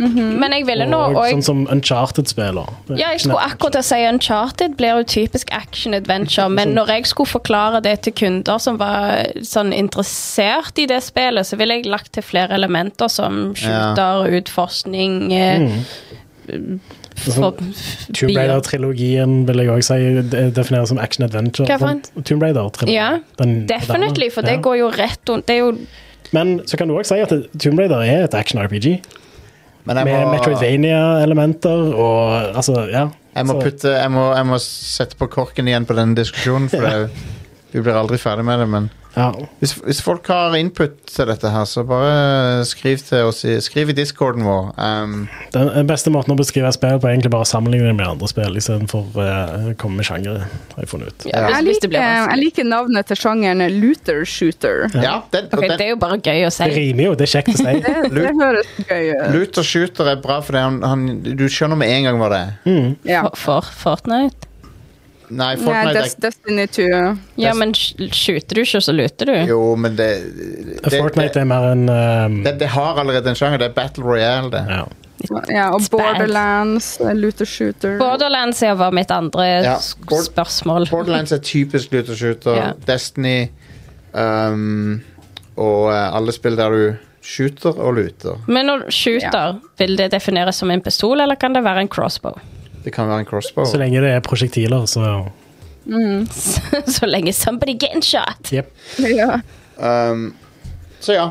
[SPEAKER 6] Men jeg ville nå
[SPEAKER 3] Mm. Og
[SPEAKER 6] og jeg,
[SPEAKER 3] sånn som Uncharted-spiller.
[SPEAKER 6] ja, jeg skulle akkurat til å si Uncharted blir jo typisk action-adventure, men når jeg skulle forklare det til kunder som var sånn interessert i det spillet, så ville jeg lagt til flere elementer som skjuter, utforskning eh, for,
[SPEAKER 3] Tomb Raider-trilogien vil jeg òg si de- defineres som action-adventure.
[SPEAKER 6] Hva for en?
[SPEAKER 3] Sånn, Tomb Raider-trilogien.
[SPEAKER 6] Ja,
[SPEAKER 3] Den-
[SPEAKER 6] Definitely, for det
[SPEAKER 3] Ja.
[SPEAKER 6] går jo rett rundt Det er jo
[SPEAKER 3] Men så kan du òg si at Tomb Raider er et action-RPG.
[SPEAKER 1] Men jeg
[SPEAKER 3] Med
[SPEAKER 1] må,
[SPEAKER 3] Metroidvania-elementer og altså, ja.
[SPEAKER 1] jeg må,
[SPEAKER 3] Så-
[SPEAKER 1] putte, jeg, må, jeg må sette på korken igjen på denne diskusjonen, for det, vi blir aldri ferdig med det. Men
[SPEAKER 3] ja.
[SPEAKER 1] hvis, hvis folk har input til dette her, så bare skriv til oss i, skriv i discorden vår. Um,
[SPEAKER 3] Den den beste måten å beskrive et spill på er egentlig bare å sammenligne det med andre spill istedenfor eh, å komme med sjangere, har jeg funnet ut.
[SPEAKER 6] ja, hvis,
[SPEAKER 4] Jeg
[SPEAKER 6] hvis det
[SPEAKER 4] liker,
[SPEAKER 6] blir
[SPEAKER 4] jeg
[SPEAKER 6] vanskelig.
[SPEAKER 4] liker navnet til sjangeren looter shooter.
[SPEAKER 1] ja, den, og
[SPEAKER 6] Ok,
[SPEAKER 1] den,
[SPEAKER 6] det er jo bare gøy å
[SPEAKER 3] Det
[SPEAKER 6] si.
[SPEAKER 3] rimer jo, det er kjekt å si.
[SPEAKER 4] <laughs> Det, det høres gøy ut.
[SPEAKER 1] Luther Shooter er bra, for han, han, du skjønner med en gang hva det er.
[SPEAKER 4] Ja.
[SPEAKER 6] For, for Fortnite?
[SPEAKER 1] Nei,
[SPEAKER 4] Nei,
[SPEAKER 1] Fortnite
[SPEAKER 4] Des
[SPEAKER 1] er
[SPEAKER 4] Destiny 2.
[SPEAKER 6] Ja, men sk- skjuter du ikke, så luter du.
[SPEAKER 1] Jo, men det det,
[SPEAKER 3] Fortnite
[SPEAKER 1] det,
[SPEAKER 3] Mm. er mer en ehm,
[SPEAKER 1] det, det har allerede en sjanger. Det er Battle Royale, det.
[SPEAKER 3] ja.
[SPEAKER 4] Ja, og
[SPEAKER 6] It's bad.
[SPEAKER 4] Borderlands, looter shooter.
[SPEAKER 6] Borderlands ja, var mitt andre
[SPEAKER 1] Ja,
[SPEAKER 6] s-
[SPEAKER 1] Bord-
[SPEAKER 6] spørsmål.
[SPEAKER 1] Borderlands er typisk loot and shooter.
[SPEAKER 6] Ja.
[SPEAKER 1] Destiny um, og eh, alle spill der du shooter og luter.
[SPEAKER 6] Men når du skjuter, vil det defineres som en pistol, eller kan det være en crossbow? <laughs>
[SPEAKER 1] Det kan være en crossbow.
[SPEAKER 3] Så lenge det er prosjektiler, så
[SPEAKER 6] så lenge somebody getting shot.
[SPEAKER 3] Jep.
[SPEAKER 4] Ja.
[SPEAKER 1] Um, så ja.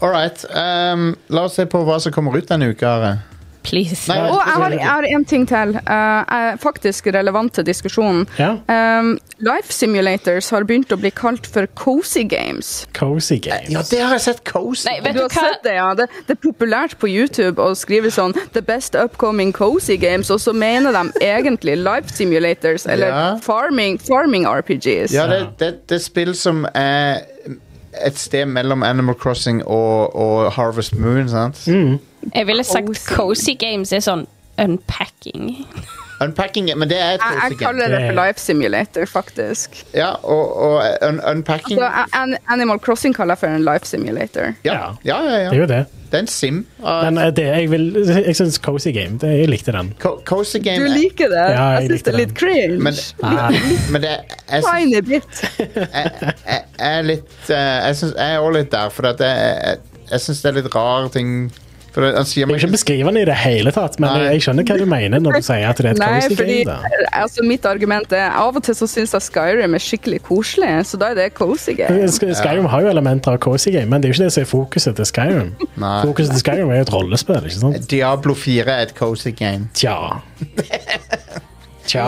[SPEAKER 1] All right. Um, la oss se på hva som kommer ut denne uka. Are.
[SPEAKER 6] Please.
[SPEAKER 1] Nei,
[SPEAKER 4] Og jeg har, jeg har en ting til. eh, er faktisk relevant til diskusjonen.
[SPEAKER 3] Ja.
[SPEAKER 4] Um, Life Simulators har begynt å bli kalt for cozy games.
[SPEAKER 3] Cozy altså. games.
[SPEAKER 1] Ja, det har jeg sett Cozy.
[SPEAKER 6] Nei, vet
[SPEAKER 4] Du
[SPEAKER 6] du
[SPEAKER 4] har
[SPEAKER 6] hva?
[SPEAKER 4] sett det, ja. Det, det er populært på YouTube å skrive sånn The best upcoming cozy games, og så mener de egentlig Life Simulators eller
[SPEAKER 1] Ja.
[SPEAKER 4] farming, farming RPGs.
[SPEAKER 1] Ja, det, det, det er spill som er et sted mellom Animal Crossing og, og Harvest Moon, sant?
[SPEAKER 6] Jeg ville sagt
[SPEAKER 4] Cozy.
[SPEAKER 6] cozy games er sånn unpacking.
[SPEAKER 1] Unpacking, men det er et
[SPEAKER 4] Jeg, jeg
[SPEAKER 1] kosegame.
[SPEAKER 4] kaller det
[SPEAKER 3] Det-
[SPEAKER 4] for Life Simulator, faktisk.
[SPEAKER 1] Ja, og, og un unpacking
[SPEAKER 4] Så an Animal Crossing kaller jeg for en Life Simulator.
[SPEAKER 1] ja. Ja, ja,
[SPEAKER 3] Det er
[SPEAKER 1] ja.
[SPEAKER 3] jo det.
[SPEAKER 1] Det er en sim. av-
[SPEAKER 3] Men eh, det, jeg, vil- jeg syns Cozy Game det, Jeg likte den.
[SPEAKER 1] Co- Cozy
[SPEAKER 4] Du
[SPEAKER 1] game er-
[SPEAKER 4] liker det?
[SPEAKER 3] Ja, jeg
[SPEAKER 4] jeg syns
[SPEAKER 3] likte
[SPEAKER 4] det er litt
[SPEAKER 3] den.
[SPEAKER 4] cringe.
[SPEAKER 1] Men, men det jeg syns-
[SPEAKER 4] Tiny bit.
[SPEAKER 1] jeg, jeg, jeg er litt eh, Jeg, synes, jeg er også litt der, for at jeg, jeg, jeg syns det er litt rar ting For det- han sier
[SPEAKER 3] Jeg kan ikke beskrive den i det hele tatt, men
[SPEAKER 1] Nei.
[SPEAKER 3] jeg skjønner hva du mener når du sier at det er et
[SPEAKER 4] Nei,
[SPEAKER 3] Cozy
[SPEAKER 4] fordi
[SPEAKER 3] Game. Da.
[SPEAKER 4] altså, mitt argument er av og til så syns jeg Skyrim er skikkelig koselig, så da er det cozy game.
[SPEAKER 3] Sk- Skyrim har jo elementer av Cozy Game, men det er jo ikke det som er fokuset til Skyrim.
[SPEAKER 1] Nei.
[SPEAKER 3] Fokuset til Skyrim er jo et rollespill, ikke sant?
[SPEAKER 1] Diablo 4 er et cozy game.
[SPEAKER 3] Tja.
[SPEAKER 1] <laughs>
[SPEAKER 3] Tja.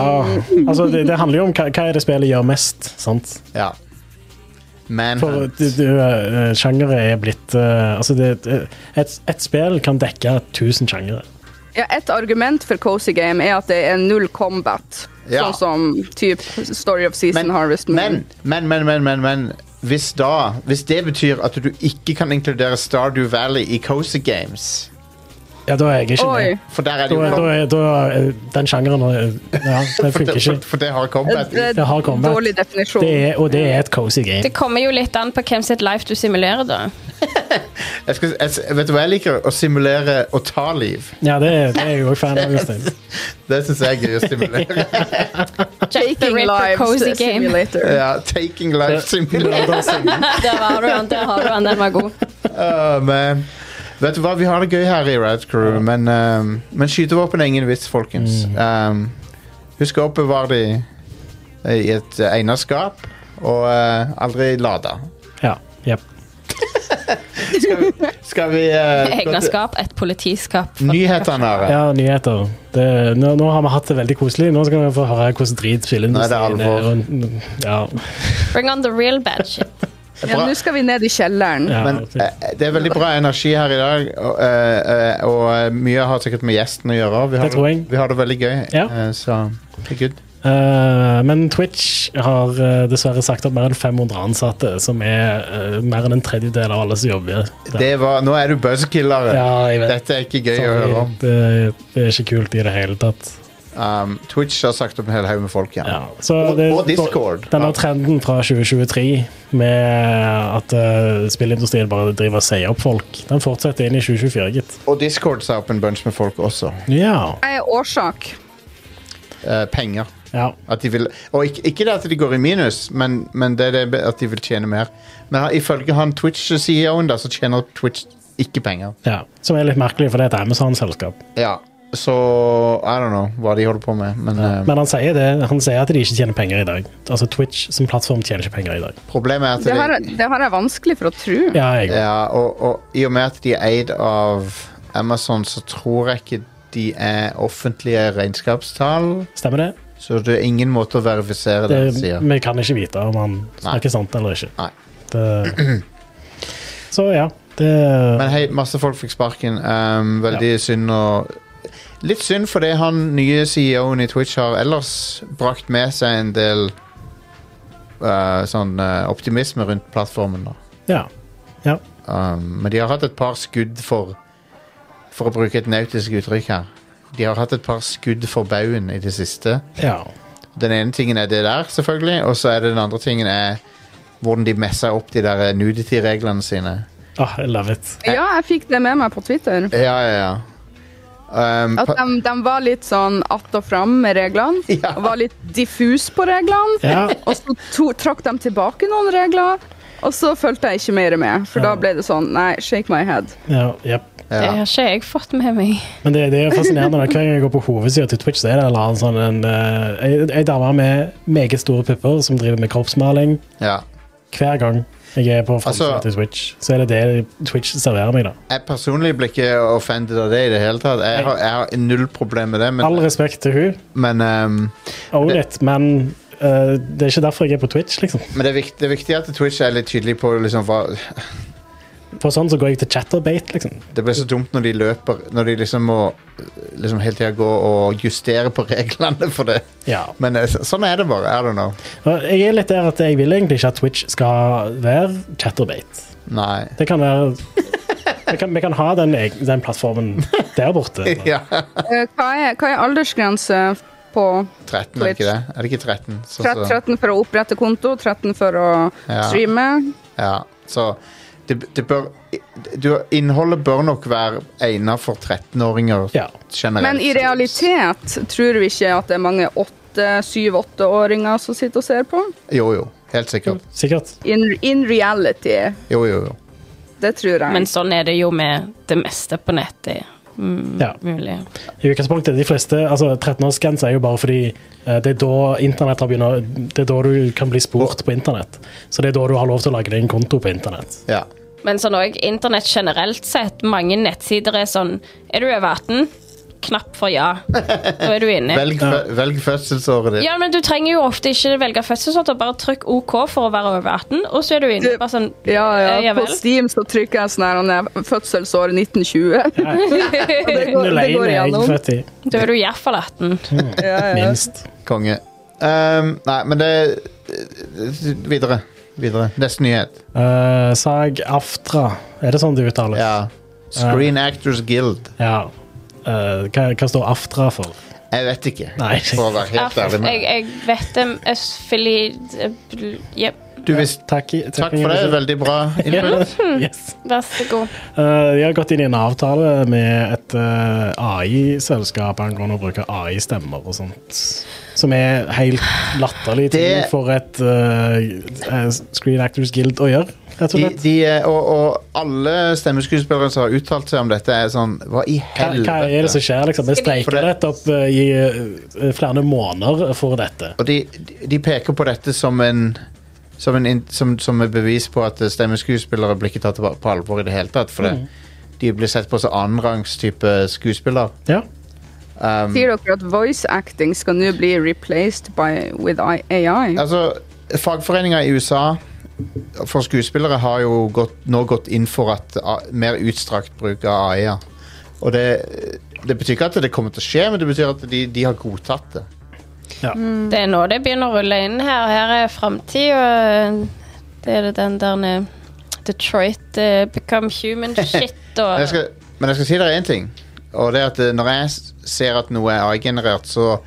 [SPEAKER 3] Altså, det, det handler jo om hva, hva er det spillet gjør mest, sant?
[SPEAKER 1] Ja.
[SPEAKER 3] For
[SPEAKER 1] Manhunt.
[SPEAKER 3] du, du, eh, sjangere er blitt eh, Altså, det, det- et, et spill kan dekke 1000 sjangere.
[SPEAKER 4] Ja, et argument for cozy game er at det er null combat,
[SPEAKER 1] Ja.
[SPEAKER 4] sånn som typ Story of Season
[SPEAKER 1] Men,
[SPEAKER 4] Harvest Moon.
[SPEAKER 1] men, men, men, men, men, men hvis da Hvis det betyr at du ikke kan inkludere Stardew Valley i cozy games
[SPEAKER 3] Ja, da er jeg ikke
[SPEAKER 4] Oi.
[SPEAKER 3] med.
[SPEAKER 1] For der er det
[SPEAKER 3] Da,
[SPEAKER 1] jo
[SPEAKER 3] er- da, er- da, er- den sjangeren eh, Ja, den
[SPEAKER 1] for,
[SPEAKER 3] funker
[SPEAKER 1] det-
[SPEAKER 3] ikke.
[SPEAKER 1] for, for det har combat i.
[SPEAKER 4] Det
[SPEAKER 3] Det har
[SPEAKER 4] er
[SPEAKER 3] combat.
[SPEAKER 4] dårlig definisjon.
[SPEAKER 3] Det er, og det er et cozy game.
[SPEAKER 2] Det kommer jo litt an på hvem sitt life du simulerer, da.
[SPEAKER 1] Jeg skal, jeg, vet du hva jeg liker? Å simulere å ta liv.
[SPEAKER 3] Ja, det, er- det er jeg jo
[SPEAKER 4] <laughs>
[SPEAKER 3] fan av. Jostein.
[SPEAKER 1] Det syns jeg er gøy å stimulere.
[SPEAKER 2] Jack the
[SPEAKER 4] Taking
[SPEAKER 2] Ripper
[SPEAKER 4] Lives
[SPEAKER 2] Cozy Game.
[SPEAKER 4] Simulator.
[SPEAKER 1] <laughs> Ja, taking life simulator.
[SPEAKER 2] <laughs>
[SPEAKER 1] <laughs>
[SPEAKER 2] Der har du den, der har du den, den var god.
[SPEAKER 1] Åh, men Vet du hva, vi har det gøy her i Rad Crew, men, um, men skytevåpen er ingen vits, folkens. Um, husk å oppbevare de i et eh, egnet skap, og eh, aldri lade.
[SPEAKER 3] Ja, jep.
[SPEAKER 1] Skal vi
[SPEAKER 6] <laughs>
[SPEAKER 1] eh, gå til
[SPEAKER 2] Egnerskap, et politiskap.
[SPEAKER 1] nyhetene her?
[SPEAKER 3] ja nyheter. Det, nå, nå har vi hatt det veldig koselig. Nå skal vi få høre hvordan
[SPEAKER 1] Nå
[SPEAKER 3] drit
[SPEAKER 1] er
[SPEAKER 3] spilleindustrien
[SPEAKER 1] det alvor.
[SPEAKER 3] og- Ja,
[SPEAKER 2] Bring on the real bad shit.
[SPEAKER 4] Ja,
[SPEAKER 1] Bra.
[SPEAKER 4] Nå skal vi ned i kjelleren.
[SPEAKER 3] ja,
[SPEAKER 1] Men
[SPEAKER 3] ok.
[SPEAKER 1] eh, det er veldig bra energi her i dag, og, eh, eh, og eh, mye har sikkert med gjesten å gjøre. Vi har,
[SPEAKER 3] Det tror jeg.
[SPEAKER 1] Vi har det veldig gøy,
[SPEAKER 3] Ja.
[SPEAKER 1] eh, så det er good.
[SPEAKER 3] Eh, men Twitch har eh, dessverre sagt opp mer enn 500 ansatte, som er eh, mer enn en tredjedel av alle som jobber. der.
[SPEAKER 1] Det var, nå er du buzzkillere.
[SPEAKER 3] Ja, jeg vet.
[SPEAKER 1] Dette er ikke gøy å
[SPEAKER 3] Sorry,
[SPEAKER 1] høre om.
[SPEAKER 3] det, det er ikke kult i det hele tatt.
[SPEAKER 1] Um, Twitch har sagt opp en hel haug med folk, ja.
[SPEAKER 3] Ja. Så
[SPEAKER 1] Og-
[SPEAKER 3] det-
[SPEAKER 1] og Discord.
[SPEAKER 3] Denne
[SPEAKER 1] Ja.
[SPEAKER 3] trenden fra 2023 med at eh, spillindustrien bare driver og sier opp folk, den fortsetter inn i 2024, gitt.
[SPEAKER 1] Og Discord sa opp en bunch med folk også.
[SPEAKER 3] Ja.
[SPEAKER 4] Jeg er årsak.
[SPEAKER 1] Eh, penger.
[SPEAKER 3] ja.
[SPEAKER 1] At de vil, og ikke, ikke det at de går i minus, men, men det er det at de vil tjene mer. Men han- ifølge han Twitch-CEO-en, da, så tjener Twitch ikke penger.
[SPEAKER 3] ja. Som er litt merkelig, for det er et Amazon-selskap.
[SPEAKER 1] Ja, så I don't know hva de holder på med, men eh,
[SPEAKER 3] Men han sier, det, han sier at de ikke tjener penger i dag. Altså Twitch som plattform tjener ikke penger i dag.
[SPEAKER 1] problemet er at
[SPEAKER 4] Det har,
[SPEAKER 1] de,
[SPEAKER 4] jeg- det har jeg vanskelig for å tro.
[SPEAKER 3] Ja, jeg,
[SPEAKER 1] ja, og, og i og med at de er eid av Amazon, så tror jeg ikke de er offentlige regnskapstall.
[SPEAKER 3] Stemmer det?
[SPEAKER 1] Så det er ingen måte å verifisere det, han
[SPEAKER 3] det
[SPEAKER 1] sier.
[SPEAKER 3] vi kan ikke vite om han snakker sant eller ikke.
[SPEAKER 1] Nei.
[SPEAKER 3] Det, <clears throat> så ja. Det,
[SPEAKER 1] Men hei, masse folk fikk sparken. Um, veldig synd å Litt synd fordi han nye CEO-en i Twitch har ellers brakt med seg en del uh, sånn uh, optimisme rundt plattformen. da.
[SPEAKER 3] ja. ja.
[SPEAKER 1] Um, men de har hatt et par skudd for For å bruke et nautisk uttrykk her. De har hatt et par skudd for baugen i det siste.
[SPEAKER 3] Ja.
[SPEAKER 1] Den ene tingen er det der, selvfølgelig, og så er det den andre tingen er hvordan de messer opp de der nudity-reglene sine.
[SPEAKER 3] Ah, I love it.
[SPEAKER 4] Ja, jeg fikk det med meg på Twitter.
[SPEAKER 1] Ja, ja, ja. Um,
[SPEAKER 4] At
[SPEAKER 1] pa-
[SPEAKER 4] de, de var litt sånn att og fram med reglene,
[SPEAKER 1] Ja.
[SPEAKER 4] og var litt diffus på reglene.
[SPEAKER 3] Ja.
[SPEAKER 4] Og så to, trakk de tilbake noen regler, og så fulgte jeg ikke mer med. For da
[SPEAKER 3] Ja.
[SPEAKER 4] ble det sånn, nei, shake my head.
[SPEAKER 3] ja, jep.
[SPEAKER 2] Det
[SPEAKER 1] ja.
[SPEAKER 2] har ikke jeg fått med meg.
[SPEAKER 3] Men det, det er fascinerende. da. Hver gang jeg går på hovedsida til Twitch, så er det en eller annen sånn en, eh, ei- ei dame med meget store pupper som driver med kroppsmaling.
[SPEAKER 1] ja.
[SPEAKER 3] Hver gang jeg er på forsida
[SPEAKER 1] Altså-
[SPEAKER 3] til Twitch, så er det det Twitch serverer meg. da.
[SPEAKER 1] Jeg personlig blir ikke offended av det i det hele tatt. Jeg har, jeg har null problem med det,
[SPEAKER 3] All
[SPEAKER 1] men,
[SPEAKER 3] respekt til hun,
[SPEAKER 1] men, um,
[SPEAKER 3] own
[SPEAKER 1] Det-
[SPEAKER 3] it, men eh, det er ikke derfor jeg er på Twitch. liksom.
[SPEAKER 1] men det, er viktig, det er viktig at Twitch er litt tydelig på liksom, hva
[SPEAKER 3] For sånn så går jeg til Chatterbate, liksom.
[SPEAKER 1] Det blir så dumt når de løper Når de liksom må liksom, hele tida gå og justere på <laughs> reglene for det.
[SPEAKER 3] Ja.
[SPEAKER 1] Men eh, så- sånn er det bare. I don't know.
[SPEAKER 3] Og Jeg er litt der at jeg vil egentlig ikke at Twitch skal være Chatterbate.
[SPEAKER 1] Nei. <laughs>
[SPEAKER 3] Det kan
[SPEAKER 4] <laughs>
[SPEAKER 3] være Vi kan, vi kan ha
[SPEAKER 4] <laughs>
[SPEAKER 3] den, eg- den plattformen der borte.
[SPEAKER 1] Ja.
[SPEAKER 4] Eh, Hva er, hva er aldersgrense på
[SPEAKER 1] 13,
[SPEAKER 3] Altså-
[SPEAKER 1] er det ikke
[SPEAKER 4] Twitch.
[SPEAKER 1] det? Er det ikke 13? Så,
[SPEAKER 4] 13,
[SPEAKER 1] så,
[SPEAKER 4] 13 for å opprette konto, 13 for å
[SPEAKER 1] Ja.
[SPEAKER 4] streame.
[SPEAKER 1] ja, så det, det bør du, Innholdet bør nok være egnet for 13-åringer
[SPEAKER 3] Ja.
[SPEAKER 1] generelt.
[SPEAKER 4] Men i realitet tror vi ikke at det er mange 7-8-åringer som sitter og ser på.
[SPEAKER 1] Jo, jo. Helt sikkert.
[SPEAKER 3] Sikkert.
[SPEAKER 4] In, in reality.
[SPEAKER 1] Jo, jo, jo.
[SPEAKER 4] Det tror jeg.
[SPEAKER 2] Men sånn er det jo med det meste på nettet. Mm,
[SPEAKER 3] Ja.
[SPEAKER 2] Mulig.
[SPEAKER 3] I utgangspunktet, de fleste, altså 13-årsgrense er jo bare fordi eh, det er da internett har begynner, det er da du kan bli spurt på internett. Så det er da du har lov til å lage deg en konto på internett.
[SPEAKER 1] Ja.
[SPEAKER 2] Men sånn òg internett generelt sett. Mange nettsider er sånn Er du over 18? Knapp for ja. Da er du inne.
[SPEAKER 1] Velg, fø- velg fødselsåret ditt.
[SPEAKER 2] Ja, men Du trenger jo ofte ikke velge fødselsdato, bare trykk OK for å være over 18, og så er du inne.
[SPEAKER 4] Du-
[SPEAKER 2] Bare sånn,
[SPEAKER 4] Ja, ja.
[SPEAKER 2] eh, ja
[SPEAKER 4] På
[SPEAKER 2] vel.
[SPEAKER 4] Steam så trykker jeg sånn her han er fødselsår 1920. Og <laughs> det går, det
[SPEAKER 3] 01
[SPEAKER 4] går
[SPEAKER 3] er jeg
[SPEAKER 4] igjennom.
[SPEAKER 3] født i,
[SPEAKER 2] Da er du iallfall 18.
[SPEAKER 4] <laughs> Ja, ja.
[SPEAKER 3] minst.
[SPEAKER 1] Konge. Ehm, nei, men det Videre. Videre. Neste nyhet.
[SPEAKER 3] Eh, Sag Aftra, er det sånn det uttales?
[SPEAKER 1] Ja. Screen Actors Guild.
[SPEAKER 3] Ja. Eh, hva, hva står Aftra for?
[SPEAKER 1] Jeg vet ikke,
[SPEAKER 3] Nei.
[SPEAKER 1] for å være helt
[SPEAKER 2] Ja,
[SPEAKER 1] ærlig.
[SPEAKER 2] jeg,
[SPEAKER 1] Med.
[SPEAKER 2] jeg eh, vet dem Østfili Jepp,
[SPEAKER 1] deg. Du, hvis,
[SPEAKER 3] Takk, i-
[SPEAKER 1] takk for det. Veldig bra input.
[SPEAKER 2] Mm-hmm.
[SPEAKER 3] Ja, yes.
[SPEAKER 2] vær så god.
[SPEAKER 3] Eh, de har gått inn i en avtale med et eh, AI-selskap angående å bruke AI-stemmer og sånt. Som er helt latterlig ting
[SPEAKER 1] Det-
[SPEAKER 3] for et eh, eh, Screen Actors Guild å gjøre, rett og
[SPEAKER 1] De,
[SPEAKER 3] slett.
[SPEAKER 1] de, eh, og, og alle stemmeskuespillere som har uttalt seg om dette, er sånn Hva i
[SPEAKER 3] Hva, hva er det som
[SPEAKER 1] helvete?
[SPEAKER 3] skjer? liksom?
[SPEAKER 1] For
[SPEAKER 3] Vi
[SPEAKER 1] det-
[SPEAKER 3] streiker rett opp eh, i eh, flere måneder for dette.
[SPEAKER 1] Og de, de- de peker på dette som en som, en, in- som, som et bevis på at eh, stemmeskuespillere blir ikke tatt på på alvor i det hele tatt. For det,
[SPEAKER 3] Mm.
[SPEAKER 1] de blir sett på som annenrangs type skuespiller.
[SPEAKER 3] Ja.
[SPEAKER 1] Um,
[SPEAKER 4] Sier dere at voice acting skal nå bli replaced by, with I- AI?
[SPEAKER 1] Altså, fagforeninger i USA for skuespillere har jo gått, nå gått inn for at ah, mer utstrakt bruk av AI-er. Og det, det betyr ikke at det kommer til å skje, men det betyr at de, de har godtatt det.
[SPEAKER 3] ja.
[SPEAKER 4] Mm.
[SPEAKER 2] Det er nå det begynner å rulle inn her. Her er framtida. Det er det den der nede. Detroit eh, become human shit
[SPEAKER 1] Men
[SPEAKER 2] og
[SPEAKER 1] jeg skal, men jeg skal si dere én ting. Og det er at eh, når jeg s- ser at noe er AI-generert, så,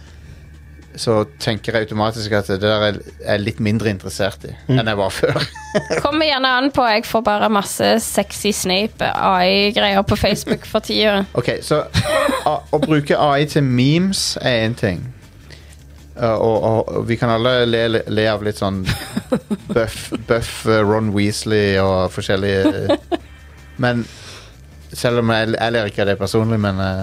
[SPEAKER 1] så tenker jeg automatisk at det der er jeg er litt mindre interessert i enn jeg var før. <laughs>
[SPEAKER 2] Kommer gjerne an på. Jeg får bare masse sexy Snape AI-greier på Facebook for tida.
[SPEAKER 1] Ok, så å, å bruke AI til memes er én ting. Uh, og, og, og vi kan alle le, le, le av litt sånn buff, buff uh, Ron Weasley og forskjellige uh, Men selv om jeg, jeg ler ikke av det personlig, men uh,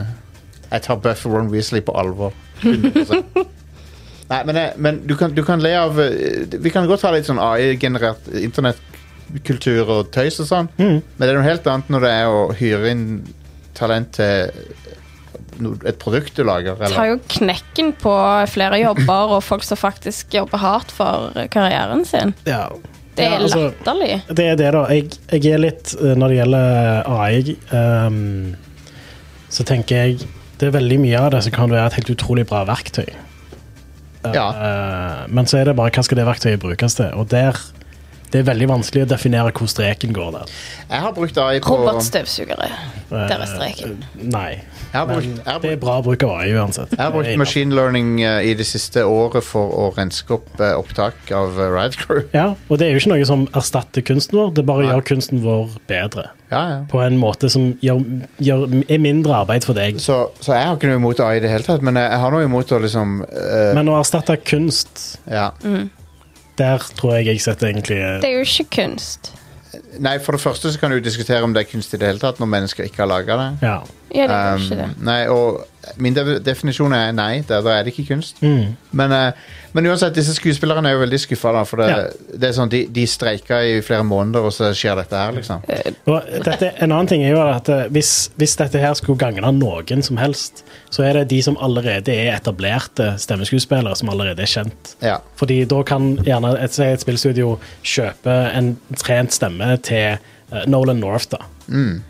[SPEAKER 1] jeg tar buff Ron Weasley på alvor. 100%. Nei, men, jeg, men du, kan, du kan le av uh, Vi kan godt ha litt sånn AI-generert internettkultur og tøys og sånn, men det er noe helt annet når det er å hyre inn talent til no- et produkt du lager. eller-
[SPEAKER 2] Tar jo knekken på flere jobber og folk som faktisk jobber hardt for karrieren sin.
[SPEAKER 3] ja.
[SPEAKER 2] Det
[SPEAKER 3] Ja,
[SPEAKER 2] er
[SPEAKER 3] altså-
[SPEAKER 2] latterlig.
[SPEAKER 3] det er det, da. Jeg, jeg er litt eh, Når det gjelder AI, ehm, så tenker jeg det er veldig mye av det som kan være et helt utrolig bra verktøy. Eh, men så er det bare hva skal det verktøyet brukes til? Og der det er veldig vanskelig å definere hvor streken går der.
[SPEAKER 1] Jeg har brukt AI på
[SPEAKER 2] Robotstøvsugere.
[SPEAKER 3] Eh,
[SPEAKER 2] Der er streken.
[SPEAKER 3] Nei.
[SPEAKER 1] Jeg har brukt,
[SPEAKER 3] Men
[SPEAKER 1] jeg har
[SPEAKER 3] det
[SPEAKER 1] brukt,
[SPEAKER 3] er bra bruk av AI uansett.
[SPEAKER 1] jeg har brukt machine learning eh, i det siste året for å renske opp eh, opptak av uh, Ride Crew. <laughs>
[SPEAKER 3] Ja, og det er jo ikke noe som erstatter kunsten vår, det bare gjør kunsten vår bedre.
[SPEAKER 1] Ja, ja.
[SPEAKER 3] På en måte som gjør, gjør, er mindre arbeid for deg.
[SPEAKER 1] Så, så jeg har ikke noe imot AI i det hele tatt, men jeg, jeg har noe imot å liksom eh,
[SPEAKER 3] Men å erstatte kunst
[SPEAKER 1] ja.
[SPEAKER 2] Mm.
[SPEAKER 3] Der tror jeg jeg setter egentlig eh,
[SPEAKER 2] Det er jo ikke kunst.
[SPEAKER 1] Nei, for det første så kan du jo diskutere om det er kunst i det hele tatt, når mennesker ikke har laga det.
[SPEAKER 3] Ja.
[SPEAKER 2] Ja, det er jo
[SPEAKER 1] Um,
[SPEAKER 2] ikke det.
[SPEAKER 1] nei, og min de definisjon er nei, da, da er det ikke kunst.
[SPEAKER 3] Mm.
[SPEAKER 1] Men, eh, men uansett, disse skuespillerne er jo veldig skuffa, da. For det, det er sånn, de, de streika i flere måneder, og så skjer dette her, liksom.
[SPEAKER 2] Eh,
[SPEAKER 3] Og dette, en annen ting er jo at eh, hvis, hvis dette her skulle gagne noen som helst, så er det de som allerede er etablerte stemmeskuespillere, som allerede er kjent.
[SPEAKER 1] Ja.
[SPEAKER 3] Fordi da kan gjerne et, si et spillstudio kjøpe en trent stemme til eh, Nolan North, da.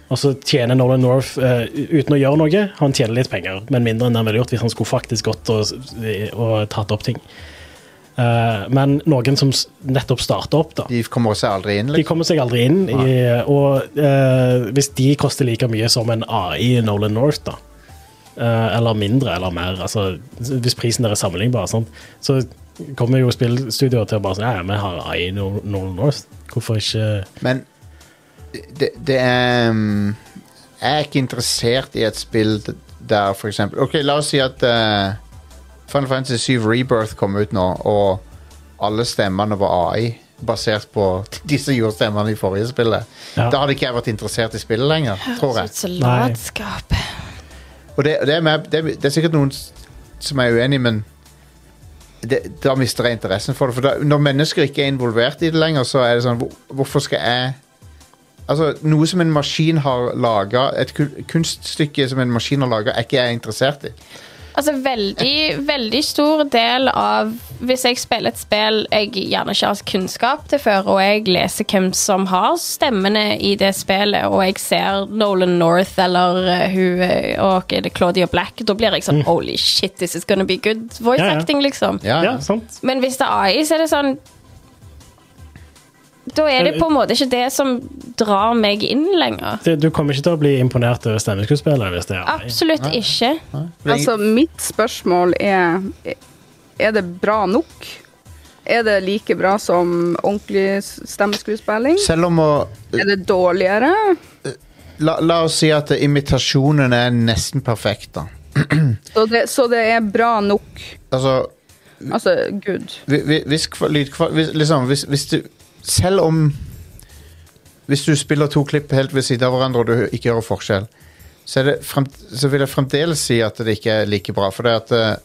[SPEAKER 3] Og så tjener Nolan North eh, uten å gjøre noe. Han tjener litt penger, men mindre enn han ville gjort hvis han skulle faktisk gått og, og tatt opp ting. Eh, men noen som s- nettopp starter opp, da.
[SPEAKER 1] De kommer seg aldri inn,
[SPEAKER 3] De
[SPEAKER 1] liksom.
[SPEAKER 3] kommer seg aldri inn, i, og eh, hvis de koster like mye som en AI i Nolan North, da, eh, eller mindre eller mer, altså hvis prisen der er sammenlignbar, sant? så kommer jo spillstudioer til å bare si ja, ja, vi har AI Nor- Nolan North. Hvorfor ikke
[SPEAKER 1] Men det, det er um, Jeg er ikke interessert i et spill der for eksempel Ok, la oss si at uh, Final Fantasy 7 Rebirth kom ut nå, og alle stemmene var AI. Basert på <laughs> de som gjorde stemmene i forrige spillet.
[SPEAKER 3] Ja.
[SPEAKER 1] Da hadde ikke jeg vært interessert i spillet lenger. tror jeg.
[SPEAKER 6] Høres ut som latskap.
[SPEAKER 1] Og det, det, er med, det, er- det er sikkert noen s- som er uenig, men det, da mister jeg interessen for det. For da, når mennesker ikke er involvert i det lenger, så er det sånn hvor, Hvorfor skal jeg Altså, noe som en maskin har laga, et kun- kunststykke som en maskin har laga, er ikke jeg interessert i.
[SPEAKER 6] Altså, veldig, veldig stor del av Hvis jeg spiller et spill jeg gjerne ikke har kunnskap til før, og jeg leser hvem som har stemmene i det spillet, og jeg ser Nolan North eller eh, hun eh, og er det Claudia Black, da blir jeg sånn Holy shit, this is gonna be good voice
[SPEAKER 3] Mm. Ja, ja.
[SPEAKER 6] acting, liksom.
[SPEAKER 1] Ja,
[SPEAKER 3] Ja, altså.
[SPEAKER 1] ja.
[SPEAKER 3] sant?
[SPEAKER 6] Men hvis det er AI, så er det sånn Da er det på en måte ikke det som drar meg inn lenger.
[SPEAKER 3] Det, du kommer ikke til å bli imponert over stemmeskuespillere hvis det er AI.
[SPEAKER 6] Absolutt ikke.
[SPEAKER 4] Altså, mitt spørsmål er Er det bra nok? Er det like bra som ordentlig s- stemmeskuespilling?
[SPEAKER 1] Selv om å
[SPEAKER 4] Er det dårligere?
[SPEAKER 1] la, la oss si at eh, imitasjonen er nesten perfekt, da.
[SPEAKER 4] Så det, så det er bra nok?
[SPEAKER 1] Altså
[SPEAKER 4] Altså, good.
[SPEAKER 1] Hvi- hvi- Hvis kva- lydkva- hvis- liksom, hvis, hvis du Selv om Hvis du spiller to klipp helt ved siden av hverandre og du ikke hører forskjell, så, er det frem, så vil jeg fremdeles si at det ikke er like bra. For det, at, eh,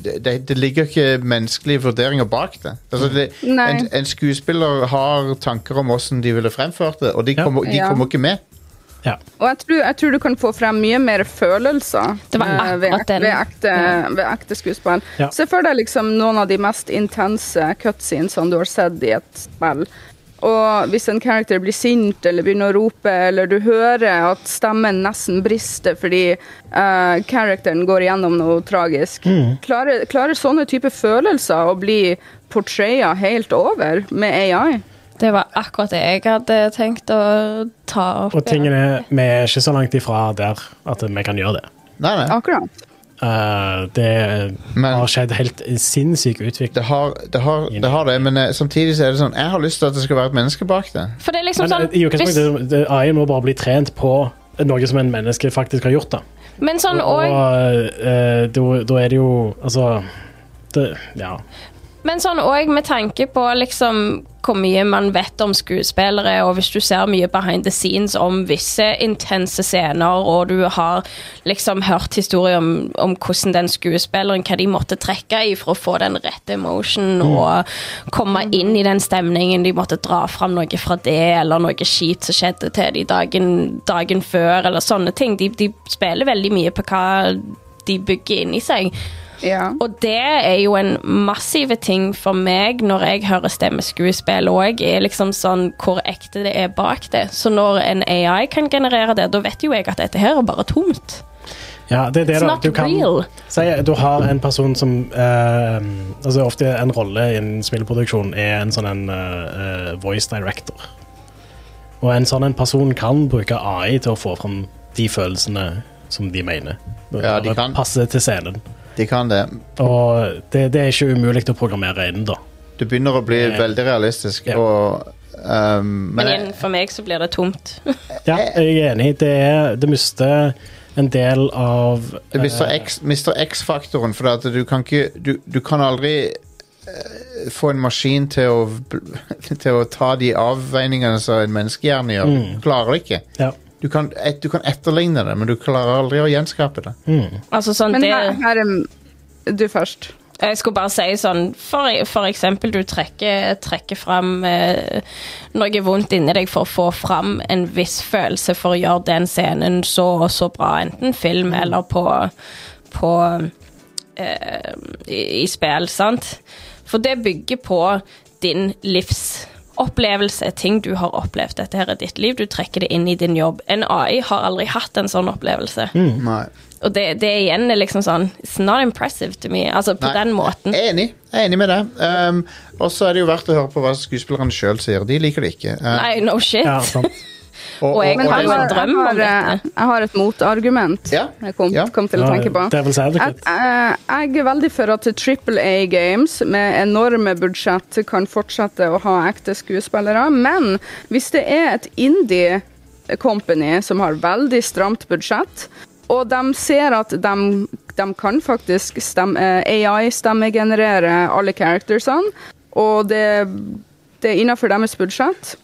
[SPEAKER 1] det, det, det ligger ikke menneskelige vurderinger bak det. Altså det
[SPEAKER 4] Nei.
[SPEAKER 1] en, en skuespiller har tanker om åssen de ville fremført det, og de
[SPEAKER 3] Ja.
[SPEAKER 1] kommer, de
[SPEAKER 4] Ja.
[SPEAKER 1] kommer ikke med.
[SPEAKER 3] Ja.
[SPEAKER 4] Og jeg tror, jeg tror du kan få frem mye mer følelser
[SPEAKER 6] Det var
[SPEAKER 4] eh, ved,
[SPEAKER 6] akkurat den.
[SPEAKER 4] ved ekte, ved ekte skuespill.
[SPEAKER 3] Ja.
[SPEAKER 4] Se for deg liksom noen av de mest intense cutscenesene du har sett i et spill. Og hvis en character blir sint eller begynner å rope, eller du hører at stemmen nesten brister fordi eh, characteren går igjennom noe tragisk, klarer, klarer sånne type følelser å bli portraya helt over med AI?
[SPEAKER 6] Det var akkurat det jeg hadde tenkt å ta opp.
[SPEAKER 3] Og tingene er, vi er ikke så langt ifra der at vi kan gjøre det.
[SPEAKER 1] Nei, nei.
[SPEAKER 4] Akkurat.
[SPEAKER 3] Eh, det
[SPEAKER 1] Men-
[SPEAKER 3] har skjedd helt sinnssyk utvikling.
[SPEAKER 1] Det har det, har, det, har det men eh, samtidig så er det sånn Jeg har lyst til at det skal være et menneske bak det.
[SPEAKER 6] For det er liksom
[SPEAKER 3] Men
[SPEAKER 6] sånn,
[SPEAKER 3] eh, i
[SPEAKER 6] hvis,
[SPEAKER 3] utgangspunktet, det- AI må bare bli trent på noe som en menneske faktisk har gjort. da.
[SPEAKER 6] men sånn og,
[SPEAKER 3] Og eh, da da er det jo Altså det, Ja.
[SPEAKER 6] men sånn og med tanke på liksom hvor mye man vet om skuespillere, og hvis du ser mye behind the scenes om visse intense scener, og du har liksom hørt historier om, om hvordan den skuespilleren, hva de måtte trekke i for å få den rette emotionen,
[SPEAKER 3] Mm.
[SPEAKER 6] og komme inn i den stemningen, de måtte dra fram noe fra det, eller noe kjipt som skjedde til de dagen, dagen før, eller sånne ting. De, de spiller veldig mye på hva de bygger inni seg.
[SPEAKER 4] Ja.
[SPEAKER 6] Og det er jo en massiv ting for meg når jeg hører stemmeskuespill òg, er liksom sånn hvor ekte det er bak det. Så når en AI kan generere det, da vet jo jeg at dette her er bare tomt.
[SPEAKER 3] Ja, det er det
[SPEAKER 6] It's
[SPEAKER 3] da.
[SPEAKER 6] not
[SPEAKER 3] Du kan
[SPEAKER 6] real.
[SPEAKER 3] si at du har en person som eh, altså Ofte en rolle innen spillproduksjon er en sånn en eh, eh, voice director. Og en sånn en person kan bruke AI til å få fram de følelsene som de mener.
[SPEAKER 1] Ja, de
[SPEAKER 3] Eller
[SPEAKER 1] kan.
[SPEAKER 3] Passe til scenen.
[SPEAKER 1] De kan det.
[SPEAKER 3] Og det, det er ikke umulig å programmere inn, da.
[SPEAKER 1] Det begynner å bli
[SPEAKER 3] Eh,
[SPEAKER 1] veldig realistisk.
[SPEAKER 3] ja.
[SPEAKER 1] Og, um, men
[SPEAKER 6] Men
[SPEAKER 1] jeg,
[SPEAKER 6] igjen, for meg så blir det tomt. <laughs>
[SPEAKER 3] Ja, jeg er enig. Det, er, det mister en del av eh,
[SPEAKER 1] det mister X- mister X-faktoren, for at du kan ikke Du, du kan aldri eh, få en maskin til å, bl- <laughs> til å ta de avveiningene som en menneskehjerne gjør. Du klarer det ikke.
[SPEAKER 3] ja.
[SPEAKER 1] Du kan, et, du kan etterligne det, men du klarer aldri å gjenskape det.
[SPEAKER 6] Altså sånn
[SPEAKER 4] Men
[SPEAKER 6] det...
[SPEAKER 4] her, her er Du først.
[SPEAKER 6] Jeg skulle bare si sånn For, for eksempel, du trekker, trekker fram eh, noe vondt inni deg for å få fram en viss følelse for å gjøre den scenen så og så bra, enten film eller på, på eh, i, i spill, sant? For det bygger på din livsopplevelse, ting du har opplevd. Dette her er ditt liv, du trekker det inn i din jobb. En AI har aldri hatt en sånn opplevelse.
[SPEAKER 1] Nei.
[SPEAKER 6] Og det, det igjen er liksom sånn It's not impressive to me. Altså på
[SPEAKER 1] Nei.
[SPEAKER 6] den måten.
[SPEAKER 1] Jeg er enig. Jeg er enig med deg. Um, og så er det jo verdt å høre på hva skuespillerne sjøl sier. De liker det ikke. Uh,
[SPEAKER 6] Nei, no shit.
[SPEAKER 3] ja, sant.
[SPEAKER 1] Og,
[SPEAKER 6] Og jeg
[SPEAKER 4] Men
[SPEAKER 6] har
[SPEAKER 4] jeg
[SPEAKER 6] jo en
[SPEAKER 4] har,
[SPEAKER 6] drøm om
[SPEAKER 4] jeg har,
[SPEAKER 6] dette.
[SPEAKER 4] jeg har et motargument
[SPEAKER 1] Ja,
[SPEAKER 4] jeg kom,
[SPEAKER 1] ja.
[SPEAKER 4] kom til å tenke på.
[SPEAKER 3] Devil's
[SPEAKER 4] Jeg,
[SPEAKER 3] Advocate.
[SPEAKER 4] jeg jeg er veldig for at Triple A Games med enorme budsjett kan fortsette å ha ekte skuespillere, men hvis det er et indie company som har veldig stramt budsjett, og de ser at de, de kan faktisk eh, stemme, AI-stemmegenerere alle charactersene, og det, det er innenfor deres budsjett,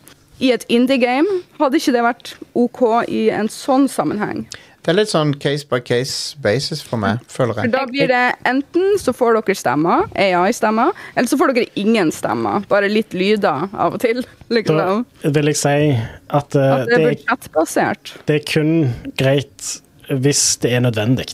[SPEAKER 4] i et indie-game hadde ikke det vært OK i en sånn sammenheng.
[SPEAKER 1] Det er litt sånn case by case basis for meg, føler
[SPEAKER 4] For
[SPEAKER 1] jeg.
[SPEAKER 4] da blir det enten så får dere stemmer, AI-stemmer, eller så får dere ingen stemmer. Bare litt lyder av og til. Liksom.
[SPEAKER 3] Da vil jeg si at, eh,
[SPEAKER 4] At
[SPEAKER 3] det,
[SPEAKER 4] det er
[SPEAKER 3] er,
[SPEAKER 4] budsjettbasert.
[SPEAKER 3] det er kun greit hvis det er nødvendig.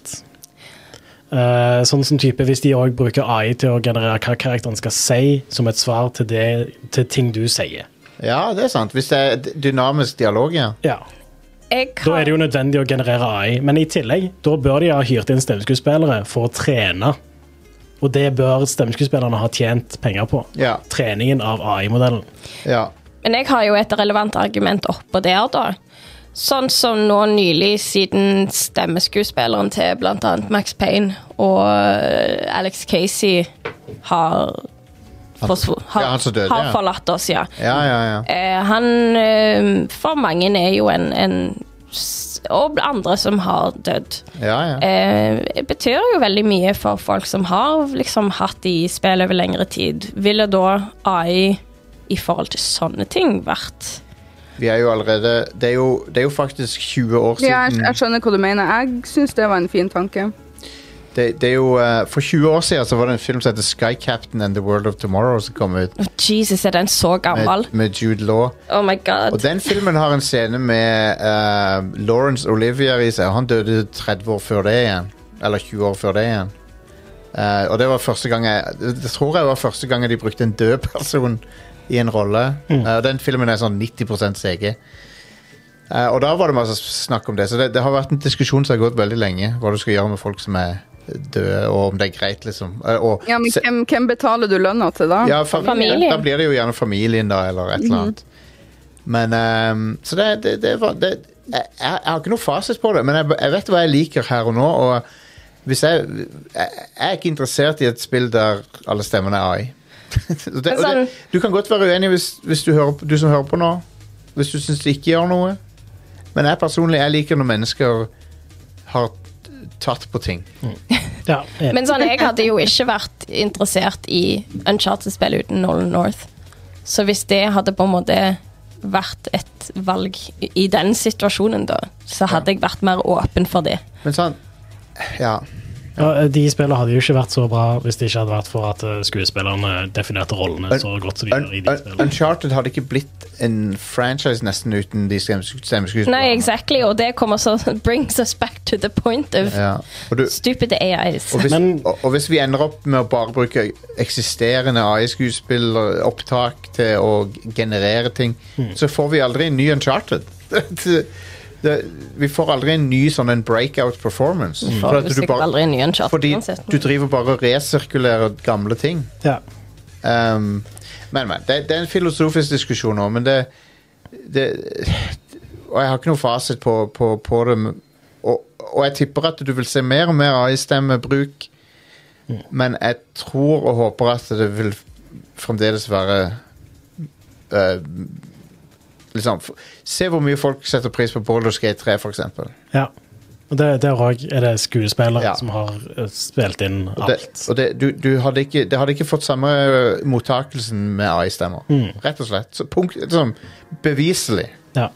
[SPEAKER 3] Eh, sånn som type Hvis de òg bruker AI til å generere hva karakteren skal si, som et svar til, det, til ting du sier.
[SPEAKER 1] Ja, det er sant. Hvis det er d- dynamisk dialog, ja.
[SPEAKER 3] Ja.
[SPEAKER 6] Jeg
[SPEAKER 3] Da
[SPEAKER 6] kan,
[SPEAKER 3] er det jo nødvendig å generere AI, men i tillegg da bør de ha hyrt inn stemmeskuespillere for å trene. Og det bør stemmeskuespillerne ha tjent penger på.
[SPEAKER 1] Ja.
[SPEAKER 3] Treningen av AI-modellen.
[SPEAKER 1] ja.
[SPEAKER 6] men jeg har jo et relevant argument oppå der, da. Sånn som nå nylig, siden stemmeskuespilleren til bl.a. Max Payne og eh, Alex Casey har, forsvo- har,
[SPEAKER 1] Ja, han som døde,
[SPEAKER 6] har
[SPEAKER 1] ja.
[SPEAKER 6] forlatt oss, ja.
[SPEAKER 1] Ja, ja, ja.
[SPEAKER 6] Eh, han eh, For mange er jo en, en s- Og andre som har dødd.
[SPEAKER 1] ja, ja.
[SPEAKER 6] Eh, betyr jo veldig mye for folk som har liksom hatt de i spill over lengre tid. Ville da AI i forhold til sånne ting vært
[SPEAKER 1] Vi er jo allerede Det er jo, det er jo faktisk 20 år
[SPEAKER 4] Ja, jeg,
[SPEAKER 1] siden
[SPEAKER 4] jeg skjønner hva du mener. Jeg syns det var en fin tanke.
[SPEAKER 1] det, det er jo, eh, For 20 år siden så var det en film som heter Sky Captain and the World of Tomorrow som kom ut.
[SPEAKER 6] Å, Jesus, er den så gammel?
[SPEAKER 1] Med, med Jude Law.
[SPEAKER 6] Oh my
[SPEAKER 1] Og
[SPEAKER 6] god.
[SPEAKER 1] den filmen har en scene med eh, Lawrence Olivier i seg. og Han døde 30 år før det igjen. Eller 20 år før det igjen. Eh, og det var første gang jeg Det tror jeg var første gang de brukte en død person i en rolle. Eh, og den filmen er sånn 90 CG. Eh, og da var det masse snakk om det. Så det, det har vært en diskusjon som har gått veldig lenge. Hva du skal gjøre med folk som er døde, og om det er greit, liksom. Eh, og,
[SPEAKER 4] Ja, men
[SPEAKER 1] se-
[SPEAKER 4] hvem, hvem betaler du lønna til, da?
[SPEAKER 1] ja, fam
[SPEAKER 6] Familien.
[SPEAKER 1] Da blir det jo gjerne familien, da, eller et eller annet. Men ehm, Så det, det, det var det, jeg, jeg har ikke noe fasit på det, men jeg, jeg vet hva jeg liker her og nå. Og hvis jeg, jeg, jeg er ikke interessert i et spill der alle stemmene er <laughs> AI. Og det, og det,
[SPEAKER 6] sånn-
[SPEAKER 1] du kan godt være uenig hvis, hvis du, hører, du som hører på nå, hvis du syns det ikke gjør noe. Men jeg personlig jeg liker når mennesker har tatt på ting.
[SPEAKER 3] Ja, eh,
[SPEAKER 6] Men sånn, jeg hadde jo ikke vært interessert i Uncharted-spill uten Nolan North. Så hvis det hadde på en måte vært et valg i- i den situasjonen, da, så hadde jeg vært mer åpen for det.
[SPEAKER 1] Men sånn Ja.
[SPEAKER 3] ja, de spillene hadde jo ikke vært så bra hvis det ikke hadde vært for at eh, skuespillerne definerte rollene så godt som de
[SPEAKER 1] Un
[SPEAKER 3] gjør i de
[SPEAKER 1] Un
[SPEAKER 3] spillene.
[SPEAKER 1] Uncharted hadde ikke blitt en franchise nesten uten de stem- stemmeskuespillerne.
[SPEAKER 6] Nei, exactly, og det kommer så <laughs> brings us back to the point of
[SPEAKER 1] Ja. Og, du,
[SPEAKER 6] stupid AIs.
[SPEAKER 1] og, hvis,
[SPEAKER 3] Men-
[SPEAKER 1] og, og hvis vi ender opp med å bare bruke eksisterende AI-skuespilleropptak til å generere ting, så får vi aldri en ny Uncharted. <laughs> det, det, vi får aldri en ny sånn en breakout performance.
[SPEAKER 6] For
[SPEAKER 1] at
[SPEAKER 6] du sikkert aldri en ny Uncharted
[SPEAKER 1] fordi
[SPEAKER 6] uansett.
[SPEAKER 1] du driver bare og resirkulerer gamle ting.
[SPEAKER 3] Ja.
[SPEAKER 1] Um, men, men. Det, det er en filosofisk diskusjon nå, men det, det Og jeg har ikke noe fasit på, på, på det. men- Og, og jeg tipper at du vil se mer og mer AI-stemmebruk, men jeg tror og håper at det vil fremdeles være eh, Liksom, f- se hvor mye folk setter pris på Baldur's Gate 3, for eksempel.
[SPEAKER 3] ja. Og det, der òg er det skuespillere
[SPEAKER 1] Ja.
[SPEAKER 3] som har eh, spilt inn
[SPEAKER 1] Og det,
[SPEAKER 3] alt.
[SPEAKER 1] og det, du, du hadde ikke, det hadde ikke fått samme ø, mottakelsen med AI-stemmer. Rett og slett. Så punkt, liksom, beviselig.
[SPEAKER 3] Ja.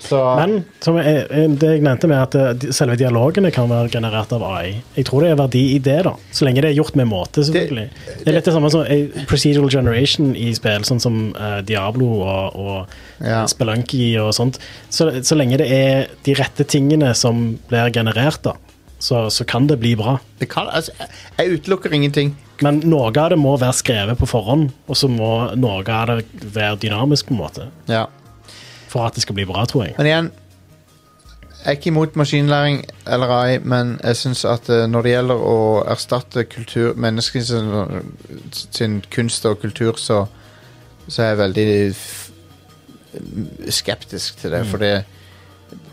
[SPEAKER 1] Så,
[SPEAKER 3] Men som jeg, jeg- det jeg nevnte med at eh, de- selve dialogene kan være generert av AI. Jeg tror det er verdi i det, da. Så lenge det er gjort med måte, selvfølgelig. Det, er litt det samme som eh, procedural generation i spill, sånn som eh, Diablo og, og
[SPEAKER 1] Ja.
[SPEAKER 3] Spelunky og sånt. Så, så lenge det er de rette tingene som blir generert, da, så, så kan det bli bra.
[SPEAKER 1] det kan, altså, jeg- jeg utelukker ingenting.
[SPEAKER 3] Men noe av det må være skrevet på forhånd, og så må noe av det være dynamisk på en måte.
[SPEAKER 1] Ja.
[SPEAKER 3] For at det skal bli bra, tror jeg.
[SPEAKER 1] Men igjen, jeg er ikke imot maskinlæring eller AI, men jeg syns at ø, når det gjelder å erstatte kultur, eh, menneskene sin, sin kunst og kultur, så, så er jeg veldig f skeptisk til det, for det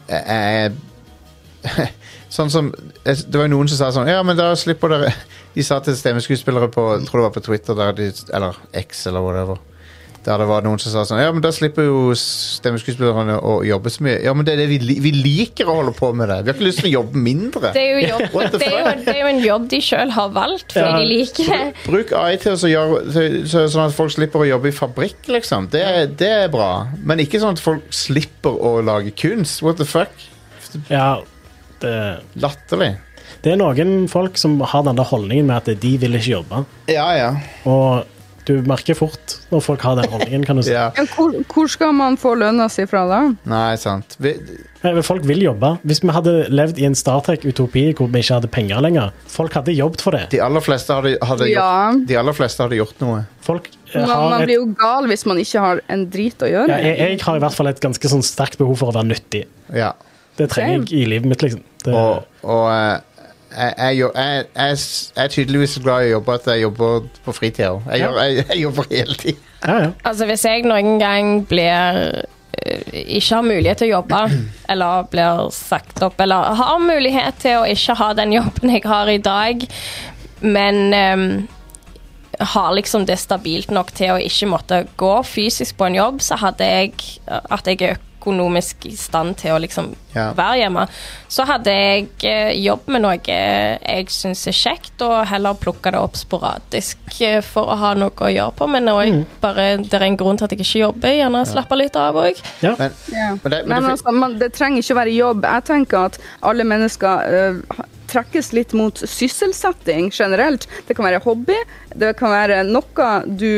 [SPEAKER 1] jeg, jeg- <laughs> Sånn som jeg- Det var jo noen som sa sånn Ja, men da slipper dere <laughs> De sa til stemmeskuespillere på Jeg tror det var på Twitter der de, Eller X eller whatever Der det var noen som sa sånn Ja, men da slipper jo stemmeskuespillerne å jobbe så mye Ja, men det er det vi, li- vi liker å holde på med det Vi har ikke lyst til å jobbe mindre
[SPEAKER 6] Det er jo, jobb,
[SPEAKER 1] <laughs> What the
[SPEAKER 6] det er jo, det er jo en jobb de sjøl har valgt, fordi
[SPEAKER 3] Ja.
[SPEAKER 6] de liker det.
[SPEAKER 1] Bruk AI til å gjøre til- så- Sånn at folk slipper å jobbe i fabrikk liksom. det, er- det er bra Men ikke sånn at folk slipper å lage kunst What the fuck?
[SPEAKER 3] Ja, det,
[SPEAKER 1] Latterlig
[SPEAKER 3] det er noen folk som har den der holdningen med at de vil ikke jobbe.
[SPEAKER 1] Ja, ja,
[SPEAKER 3] Og du merker fort når folk har den holdningen, kan du si.
[SPEAKER 1] <laughs> ja.
[SPEAKER 4] Men hvor, hvor skal man få lønna si fra da?
[SPEAKER 1] Nei, sant vi,
[SPEAKER 3] Nei, men Folk vil jobbe. Hvis vi hadde levd i en Star Trek-utopi hvor vi ikke hadde penger lenger Folk hadde jobbet for det.
[SPEAKER 1] De aller fleste hadde, hadde,
[SPEAKER 4] Ja.
[SPEAKER 1] gjort, de aller fleste hadde gjort noe
[SPEAKER 3] Folk eh,
[SPEAKER 4] Man,
[SPEAKER 3] har
[SPEAKER 4] man
[SPEAKER 3] et,
[SPEAKER 4] blir jo gal hvis man ikke har en drit å gjøre.
[SPEAKER 3] ja, jeg, jeg har i hvert fall et ganske sånn sterkt behov for å være nyttig.
[SPEAKER 1] Ja
[SPEAKER 3] Det trenger jeg i livet mitt, liksom. Det,
[SPEAKER 1] Og, og eh, jeg, jeg, gjør- jeg, jeg, s- jeg er tydeligvis så glad i å jobbe at jeg jobber på fritida òg. Jeg,
[SPEAKER 3] Ja.
[SPEAKER 1] gjør- jeg, jeg jobber hele tida.
[SPEAKER 3] ja, ja.
[SPEAKER 6] Altså, hvis jeg noen gang blir eh, ikke har mulighet til å jobbe, eller blir sagt opp, eller har mulighet til å ikke ha den jobben jeg har i dag, men ehm, har liksom det stabilt nok til å ikke måtte gå fysisk på en jobb, så hadde jeg at jeg er økonomisk i stand til å liksom
[SPEAKER 1] Ja.
[SPEAKER 6] være hjemme. Så hadde jeg eh, jobb med noe jeg syns er kjekt, og heller plukka det opp sporadisk eh, for å ha noe å gjøre på. Men også
[SPEAKER 1] Mm.
[SPEAKER 6] bare, det er en grunn til at jeg ikke jobber. Gjerne slappe litt av òg.
[SPEAKER 3] Ja.
[SPEAKER 1] Men,
[SPEAKER 4] Ja.
[SPEAKER 1] men, det, men
[SPEAKER 4] Men
[SPEAKER 1] det,
[SPEAKER 4] altså, man, det trenger ikke å være jobb. Jeg tenker at alle mennesker eh, ha- trekkes litt mot sysselsetting generelt. Det kan være hobby, det kan være noe du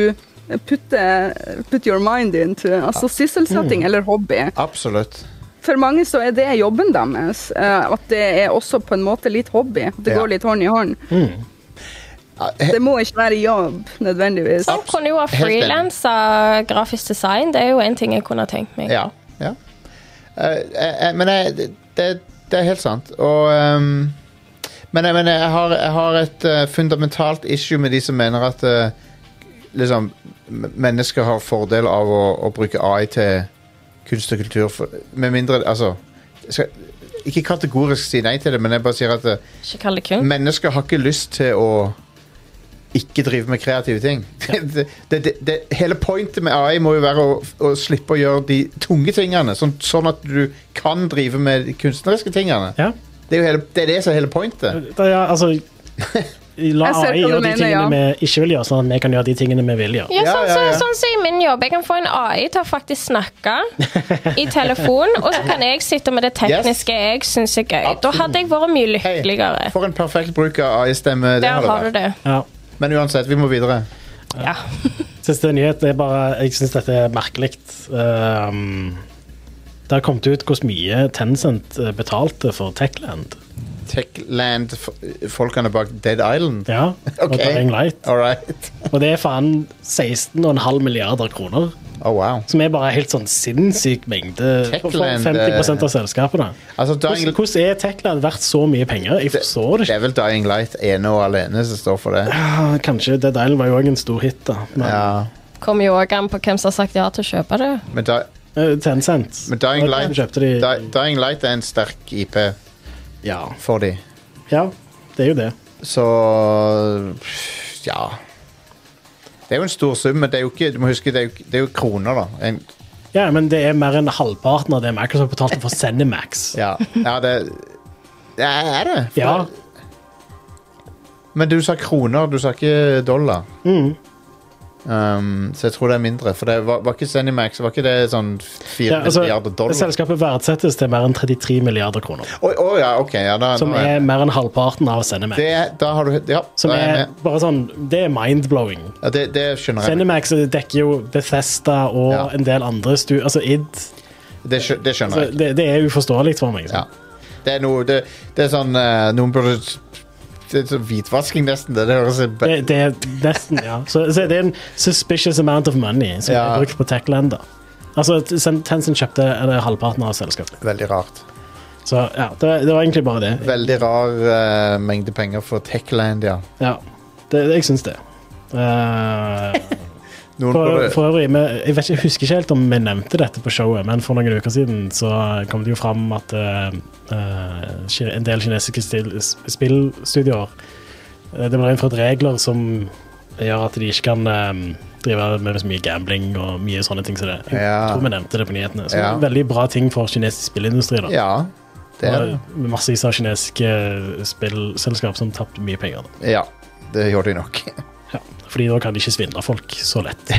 [SPEAKER 4] putter put your mind into. Altså
[SPEAKER 1] Mm.
[SPEAKER 4] sysselsetting eller hobby.
[SPEAKER 1] absolutt.
[SPEAKER 4] For mange så er det jobben deres. eh, at det er også på en måte litt hobby. At det
[SPEAKER 1] Ja.
[SPEAKER 4] går litt hånd i hånd.
[SPEAKER 1] Ja, he-
[SPEAKER 4] Det må ikke være jobb nødvendigvis.
[SPEAKER 6] Man Sånn kunne jo ha
[SPEAKER 1] Helt enig.
[SPEAKER 6] frilansa grafisk design. Det er jo en ting jeg kunne ha tenkt meg.
[SPEAKER 1] Ja. ja. Eh, jeg- jeg- men jeg, det, det- det er helt sant. Og ehm, Men, jeg, men jeg, har, jeg har et eh, fundamentalt issue med de som mener at eh, liksom, m- mennesker har fordel av å, å bruke AI til kunst og kultur. For, med mindre Altså jeg skal, Ikke kategorisk si nei til det, men jeg bare sier at eh,
[SPEAKER 6] Ikke kall det kunst.
[SPEAKER 1] mennesker har ikke lyst til å ikke drive med kreative ting. <laughs> det, det, det, det, hele pointet med AI må jo være å, å slippe å gjøre de tunge tingene, sånn, sånn at du kan drive med de kunstneriske tingene.
[SPEAKER 3] ja.
[SPEAKER 1] Det er jo hele, det, er det som er hele pointet.
[SPEAKER 3] Det, ja altså
[SPEAKER 1] <laughs>
[SPEAKER 3] La
[SPEAKER 4] Jeg
[SPEAKER 3] AI
[SPEAKER 4] ser hva du
[SPEAKER 3] gjøre de
[SPEAKER 4] mener,
[SPEAKER 3] tingene
[SPEAKER 4] ja.
[SPEAKER 3] vi ikke vil gjøre, sånn at vi kan gjøre de tingene vi vil gjøre.
[SPEAKER 6] Ja,
[SPEAKER 1] Ja,
[SPEAKER 6] sånn
[SPEAKER 1] ja,
[SPEAKER 6] som
[SPEAKER 1] ja.
[SPEAKER 6] sånn som i min jobb. Jeg kan få en AI til å faktisk snakke i telefon, og så kan jeg sitte med det tekniske jeg syns er gøy. Da hadde jeg vært
[SPEAKER 1] Hei,
[SPEAKER 6] mye lykkeligere.
[SPEAKER 1] for en perfekt bruk av AI-stemme. Det
[SPEAKER 6] Der har
[SPEAKER 1] har
[SPEAKER 6] du
[SPEAKER 1] det vært.
[SPEAKER 6] det.
[SPEAKER 3] Ja.
[SPEAKER 1] Men uansett, vi må videre.
[SPEAKER 6] Ja.
[SPEAKER 3] Siste nyhet er bare Jeg syns dette er merkelig. Ehm, det har kommet ut hvor mye Tencent eh, betalte for Techland.
[SPEAKER 1] Techland-folkene bak Dead Island.
[SPEAKER 3] Ja, og
[SPEAKER 1] Ok.
[SPEAKER 3] Dying Light.
[SPEAKER 1] All right.
[SPEAKER 3] Og det er faen 16,5 milliarder kroner.
[SPEAKER 1] Oh, wow.
[SPEAKER 3] Som er bare helt sånn sinnssyk mengde for
[SPEAKER 1] Techland, eh,
[SPEAKER 3] 50 av selskapene.
[SPEAKER 1] Altså,
[SPEAKER 3] Hvordan,
[SPEAKER 1] Dying,
[SPEAKER 3] hvordan er Techland verdt så mye penger? Jeg forstår det
[SPEAKER 1] det
[SPEAKER 3] ikke.
[SPEAKER 1] er vel Dying Light ene og alene som står for det.
[SPEAKER 3] Ah, Kanskje Dead Island var jo òg en stor hit, da. Men
[SPEAKER 1] Ja.
[SPEAKER 6] Kommer jo òg an på hvem som har sagt ja til å kjøpe det.
[SPEAKER 1] Men, Di-
[SPEAKER 3] eh, Tencent
[SPEAKER 1] men Dying,
[SPEAKER 3] da
[SPEAKER 1] Light,
[SPEAKER 3] kjøpte de,
[SPEAKER 1] Di Dying Light er en sterk IP
[SPEAKER 3] ja.
[SPEAKER 1] for de.
[SPEAKER 3] ja, det er jo det.
[SPEAKER 1] Så ja. Det er jo en stor sum, men det er jo ikke, du må huske, det er jo, ikke- det er jo kroner, da. En,
[SPEAKER 3] Ja, men det er mer enn halvparten av det Microsoft betalte for Cinemax.
[SPEAKER 1] <laughs> ja. ja, det det er det. For
[SPEAKER 3] Ja,
[SPEAKER 1] det- Men du sa kroner, du sa ikke dollar.
[SPEAKER 3] Mm.
[SPEAKER 1] Um, så jeg tror det er mindre. For det var, var ikke Zenimax var ikke det sånn 4
[SPEAKER 3] ja altså,
[SPEAKER 1] milliarder dollar?
[SPEAKER 3] Selskapet verdsettes til mer enn 33 milliarder kroner,
[SPEAKER 1] Å å, ja, ok. Ja, da,
[SPEAKER 3] som
[SPEAKER 1] nå er,
[SPEAKER 3] er mer enn halvparten av Cinemax.
[SPEAKER 1] det, er- da har du Ja,
[SPEAKER 3] Som
[SPEAKER 1] da er
[SPEAKER 3] er
[SPEAKER 1] jeg med.
[SPEAKER 3] bare sånn Det er mind-blowing.
[SPEAKER 1] Ja, det, det skjønner jeg.
[SPEAKER 3] Cinemax dekker jo Bethesda og
[SPEAKER 1] Ja.
[SPEAKER 3] en del andre stu... Altså id.
[SPEAKER 1] Det, skjø- det skjønner
[SPEAKER 3] Så
[SPEAKER 1] jeg.
[SPEAKER 3] det, det er uforståelig for meg.
[SPEAKER 1] Ja.
[SPEAKER 3] sant?
[SPEAKER 1] Det er noe Det, det er sånn eh, Noen burde Det er sånn hvitvasking, nesten. Det, det høres ut
[SPEAKER 3] Det, det er nesten, ja. Så, så det er en suspicious amount of money som
[SPEAKER 1] Ja.
[SPEAKER 3] er brukt på Techland. da. Altså, Ten- Tencent kjøpte eller, halvparten av selskapet.
[SPEAKER 1] veldig rart.
[SPEAKER 3] Så ja, det, det var egentlig bare det.
[SPEAKER 1] Veldig rar eh, mengde penger for Techland, ja. <laughs>
[SPEAKER 3] Ja, det, det- jeg syns det. Eh,
[SPEAKER 1] Noen
[SPEAKER 3] For,
[SPEAKER 1] burde-
[SPEAKER 3] for øvrig, vi, jeg, vet ikke, jeg husker ikke helt om vi nevnte dette på showet, men for noen uker siden så kom det jo fram at eh, eh, ki- en del kinesiske stil- s- spillstudioer eh, Det ble innført regler som gjør at de ikke kan eh, drive med så mye gambling og mye sånne ting som det. Jeg
[SPEAKER 1] Ja.
[SPEAKER 3] tror vi nevnte det på nyhetene. Så
[SPEAKER 1] Ja.
[SPEAKER 3] Veldig bra ting for kinesisk spillindustri. da.
[SPEAKER 1] Ja, det er det.
[SPEAKER 3] Og Massevis av kinesiske spillselskap som tapte mye penger. Da.
[SPEAKER 1] Ja, det gjorde de nok. <laughs>
[SPEAKER 3] Ja. Fordi da kan de ikke svindle folk så lett.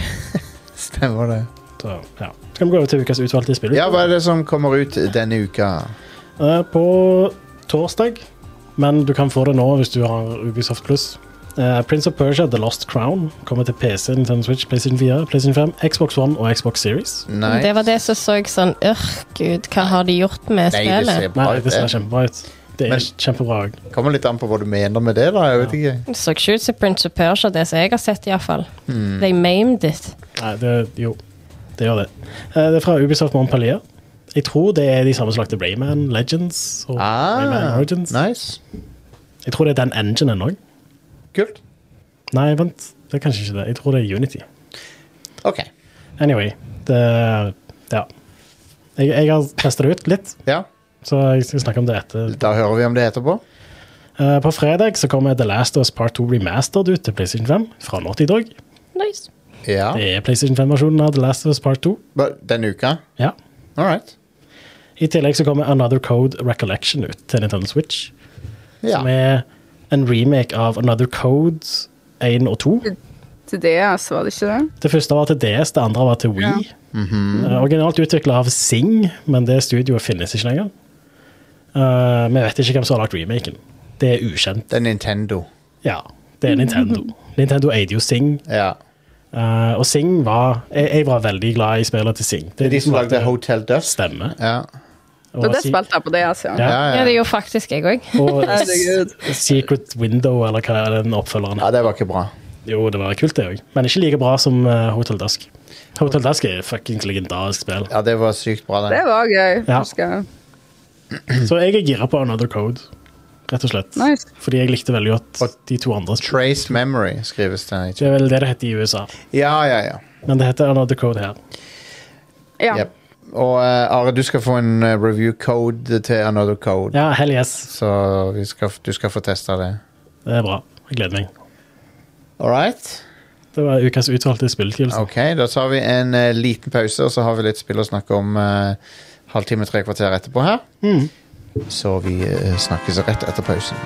[SPEAKER 1] Stemmer det.
[SPEAKER 3] Så, ja. Skal vi gå over til ukas utvalgte spill?
[SPEAKER 1] Ja, hva er det som kommer ut denne uka?
[SPEAKER 3] Eh, På torsdag, men du kan få det nå hvis du har Ubisoft Plus. Eh, Prince of Persia The Lost Crown kommer til PC, Nintendo Switch, PlayStation 4, PlayStation 5, Xbox One og Xbox Series.
[SPEAKER 1] Nei.
[SPEAKER 6] Det var det som så jeg sånn Ørr, gud, hva har de gjort med
[SPEAKER 1] Nei, det ser
[SPEAKER 6] spillet?
[SPEAKER 1] bra
[SPEAKER 3] Nei,
[SPEAKER 1] ut.
[SPEAKER 3] det ser
[SPEAKER 1] Det
[SPEAKER 3] kjempebra ut. Det er
[SPEAKER 1] Men-
[SPEAKER 3] kjempebra òg.
[SPEAKER 1] kommer litt an på hva du mener med det, da. Jeg vet ikke.
[SPEAKER 6] Det så ikke ut som Prince of Persia, det som jeg har sett, iallfall.
[SPEAKER 1] Hmm.
[SPEAKER 6] They maimed it.
[SPEAKER 3] Nei, det Jo, det gjør det. Eh, Det er fra Ubisoft Montpellier. Jeg tror det er de samme som lagde Rayman Legends og Rayman
[SPEAKER 1] Ah,
[SPEAKER 3] Origins.
[SPEAKER 1] nice.
[SPEAKER 3] Jeg tror det er den enginen òg.
[SPEAKER 1] Kult.
[SPEAKER 3] Nei, vent. Det er kanskje ikke det. Jeg tror det er Unity.
[SPEAKER 1] OK.
[SPEAKER 3] Anyway, det Ja. Jeg, jeg har testa det ut litt,
[SPEAKER 1] Ja,
[SPEAKER 3] så jeg skal snakke om det etter.
[SPEAKER 1] da hører vi om det etterpå.
[SPEAKER 3] Eh, på fredag så kommer The Last of Us Part 2 Remastered ut til PlayStation 5 fra Naughty Dog.
[SPEAKER 6] Nice.
[SPEAKER 1] Ja.
[SPEAKER 3] Det er PlayStation 5-versjonen av The Last of Us Part 2.
[SPEAKER 1] Ba- Denne uka?
[SPEAKER 3] Ja.
[SPEAKER 1] All right.
[SPEAKER 3] I tillegg så kommer Another Code Recollection ut til Nintendo Switch,
[SPEAKER 1] Ja.
[SPEAKER 3] som er en remake av Another Code 1 og 2.
[SPEAKER 4] Til DS, var det ikke det?
[SPEAKER 3] Det første var til DS, det andre var til Wii.
[SPEAKER 4] Ja.
[SPEAKER 1] Mhm.
[SPEAKER 3] Eh, originalt utvikla av Sing, men det studioet finnes ikke lenger. Eh, vi vet ikke hvem som har lagd remaken. Det er ukjent.
[SPEAKER 1] Det er Nintendo.
[SPEAKER 3] Ja, det er Nintendo.
[SPEAKER 4] <laughs>
[SPEAKER 3] Nintendo eide jo Sing,
[SPEAKER 1] Ja.
[SPEAKER 3] eh, og Sing var jeg, jeg var veldig glad i spillet til Sing.
[SPEAKER 1] Det er de som lagde Hotel Dust.
[SPEAKER 3] Stemme.
[SPEAKER 1] Ja.
[SPEAKER 3] Og,
[SPEAKER 4] Og det
[SPEAKER 3] Se-
[SPEAKER 4] spilte jeg på DS, ja.
[SPEAKER 3] Ja.
[SPEAKER 1] Ja,
[SPEAKER 6] Ja,
[SPEAKER 1] ja.
[SPEAKER 6] det gjorde faktisk jeg òg.
[SPEAKER 3] <laughs> og
[SPEAKER 4] <laughs> Herregud.
[SPEAKER 3] Secret Window, eller hva er den oppfølgeren
[SPEAKER 1] ja, det var ikke bra.
[SPEAKER 3] Jo, det var kult, det òg, men ikke like bra som eh, Hotel Dusk. Hotel Dusk er fuckings legendarisk spill.
[SPEAKER 1] Ja, det var sykt bra,
[SPEAKER 4] Det
[SPEAKER 1] den.
[SPEAKER 4] var gøy.
[SPEAKER 3] Ja.
[SPEAKER 4] husker jeg.
[SPEAKER 3] Så jeg er gira på Another Code, rett og slett.
[SPEAKER 4] Nice.
[SPEAKER 3] Fordi jeg likte veldig godt de to andre.
[SPEAKER 1] Trace Memory skrives det.
[SPEAKER 3] Det er vel det det heter i USA.
[SPEAKER 1] Ja, ja, ja.
[SPEAKER 3] Men det heter Another Code her.
[SPEAKER 4] Ja.
[SPEAKER 1] Yep. Og eh, Are, du skal få en eh, review code til Another Code.
[SPEAKER 3] Ja, hell yes.
[SPEAKER 1] Så vi skal, du skal få testa det.
[SPEAKER 3] Det er bra. Jeg gleder meg.
[SPEAKER 1] All right?
[SPEAKER 3] Det var ukas utvalgte spilletgivelse.
[SPEAKER 1] Ok, da tar vi en eh, liten pause, og så har vi litt spill å snakke om eh, halvtime, tre kvarter etterpå her. Så vi eh, snakkes rett etter pausen.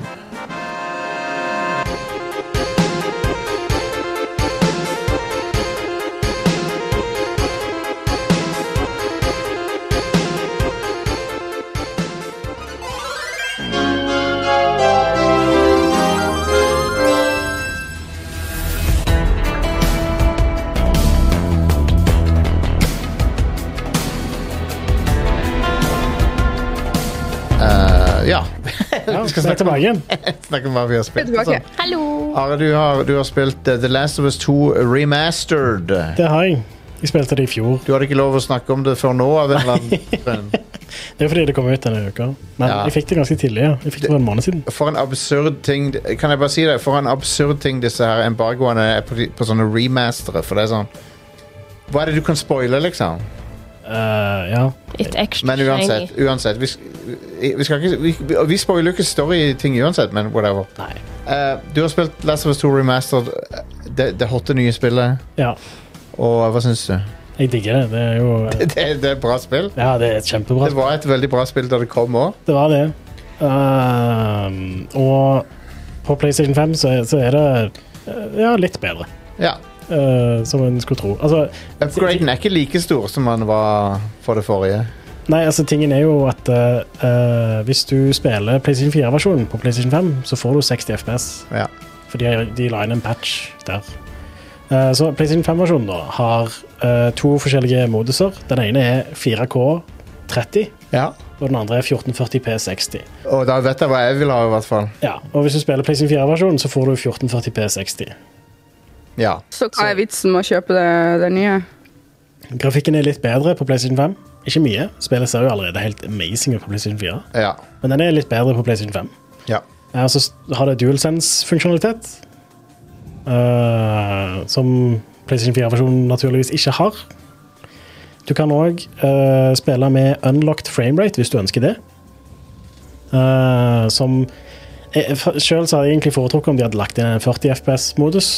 [SPEAKER 1] Eh, ja. <laughs>
[SPEAKER 3] Ja, vi skal snakke tilbake igjen.
[SPEAKER 1] Snakk om hva vi har spilt. og
[SPEAKER 4] Tilbake.
[SPEAKER 1] sånn.
[SPEAKER 6] Hallo!
[SPEAKER 1] Are, du har, du har spilt eh, The Last of Us 2 Remastered.
[SPEAKER 3] Det har jeg. Jeg spilte det i fjor.
[SPEAKER 1] Du hadde ikke lov å snakke om det før nå av en eller annen grunn.
[SPEAKER 3] Det er fordi det kom ut denne uka. Men
[SPEAKER 1] Ja.
[SPEAKER 3] jeg fikk det ganske tidlig. ja. Jeg fikk det for en måned siden.
[SPEAKER 1] For en absurd ting Kan jeg bare si det? For en absurd ting disse her embargoene er på, de- på sånne remastere. For det er sånn Hva er det du kan spoile, liksom?
[SPEAKER 3] Eh, ja.
[SPEAKER 6] Et extra
[SPEAKER 1] Men uansett,
[SPEAKER 6] shiny.
[SPEAKER 1] uansett vi, sk- vi, skal ikke, vi, vi spoiler ikke storyting uansett, men whatever.
[SPEAKER 3] Nei.
[SPEAKER 1] Eh, du har spilt Last of Us 2 Remastered, eh, det, det hotte nye spillet.
[SPEAKER 3] Ja,
[SPEAKER 1] Og hva syns du? <laughs>
[SPEAKER 3] jeg digger det. Det er jo
[SPEAKER 1] Det, det er et bra spill.
[SPEAKER 3] Ja, det er et kjempebra
[SPEAKER 1] Det var et veldig bra spill da det kom òg.
[SPEAKER 3] Det var det. Ehm, og på PlayStation 5 så er, så er det eh, ja, litt bedre,
[SPEAKER 1] Ja.
[SPEAKER 3] eh, som en skulle tro. Altså,
[SPEAKER 1] Upgraden er ikke like stor som den var for det forrige.
[SPEAKER 3] nei, altså tingen er jo at eh, eh, hvis du spiller PlayStation 4-versjonen på PlayStation 5, så får du 60 FPS,
[SPEAKER 1] Ja.
[SPEAKER 3] for de, de la inn en patch der. Eh, så PlayStation 5-versjonen da har eh, to forskjellige moduser. Den ene er 4K 30,
[SPEAKER 1] ja.
[SPEAKER 3] og den andre er 1440P 60.
[SPEAKER 1] Og da vet jeg hva jeg vil ha, i hvert fall.
[SPEAKER 3] Ja, og hvis du spiller PlayStation 4-versjonen, så får du 1440P 60.
[SPEAKER 1] Ja.
[SPEAKER 4] Så hva er vitsen med å kjøpe det, det nye?
[SPEAKER 3] Grafikken er litt bedre på PlayStation 5. Ikke mye. Spillet ser jo allerede helt amazing ut på PlayStation 4,
[SPEAKER 1] Ja.
[SPEAKER 3] men den er litt bedre på PlayStation 5.
[SPEAKER 1] ja.
[SPEAKER 3] Eh, Og så s- har det DualSense-funksjonalitet, eh, som PlayStation 4-versjonen naturligvis ikke har. Du kan òg spille med unlocked framerate hvis du ønsker det. Eh, som Sjøl hadde jeg egentlig foretrukket om de hadde lagt inn en 40 FPS-modus,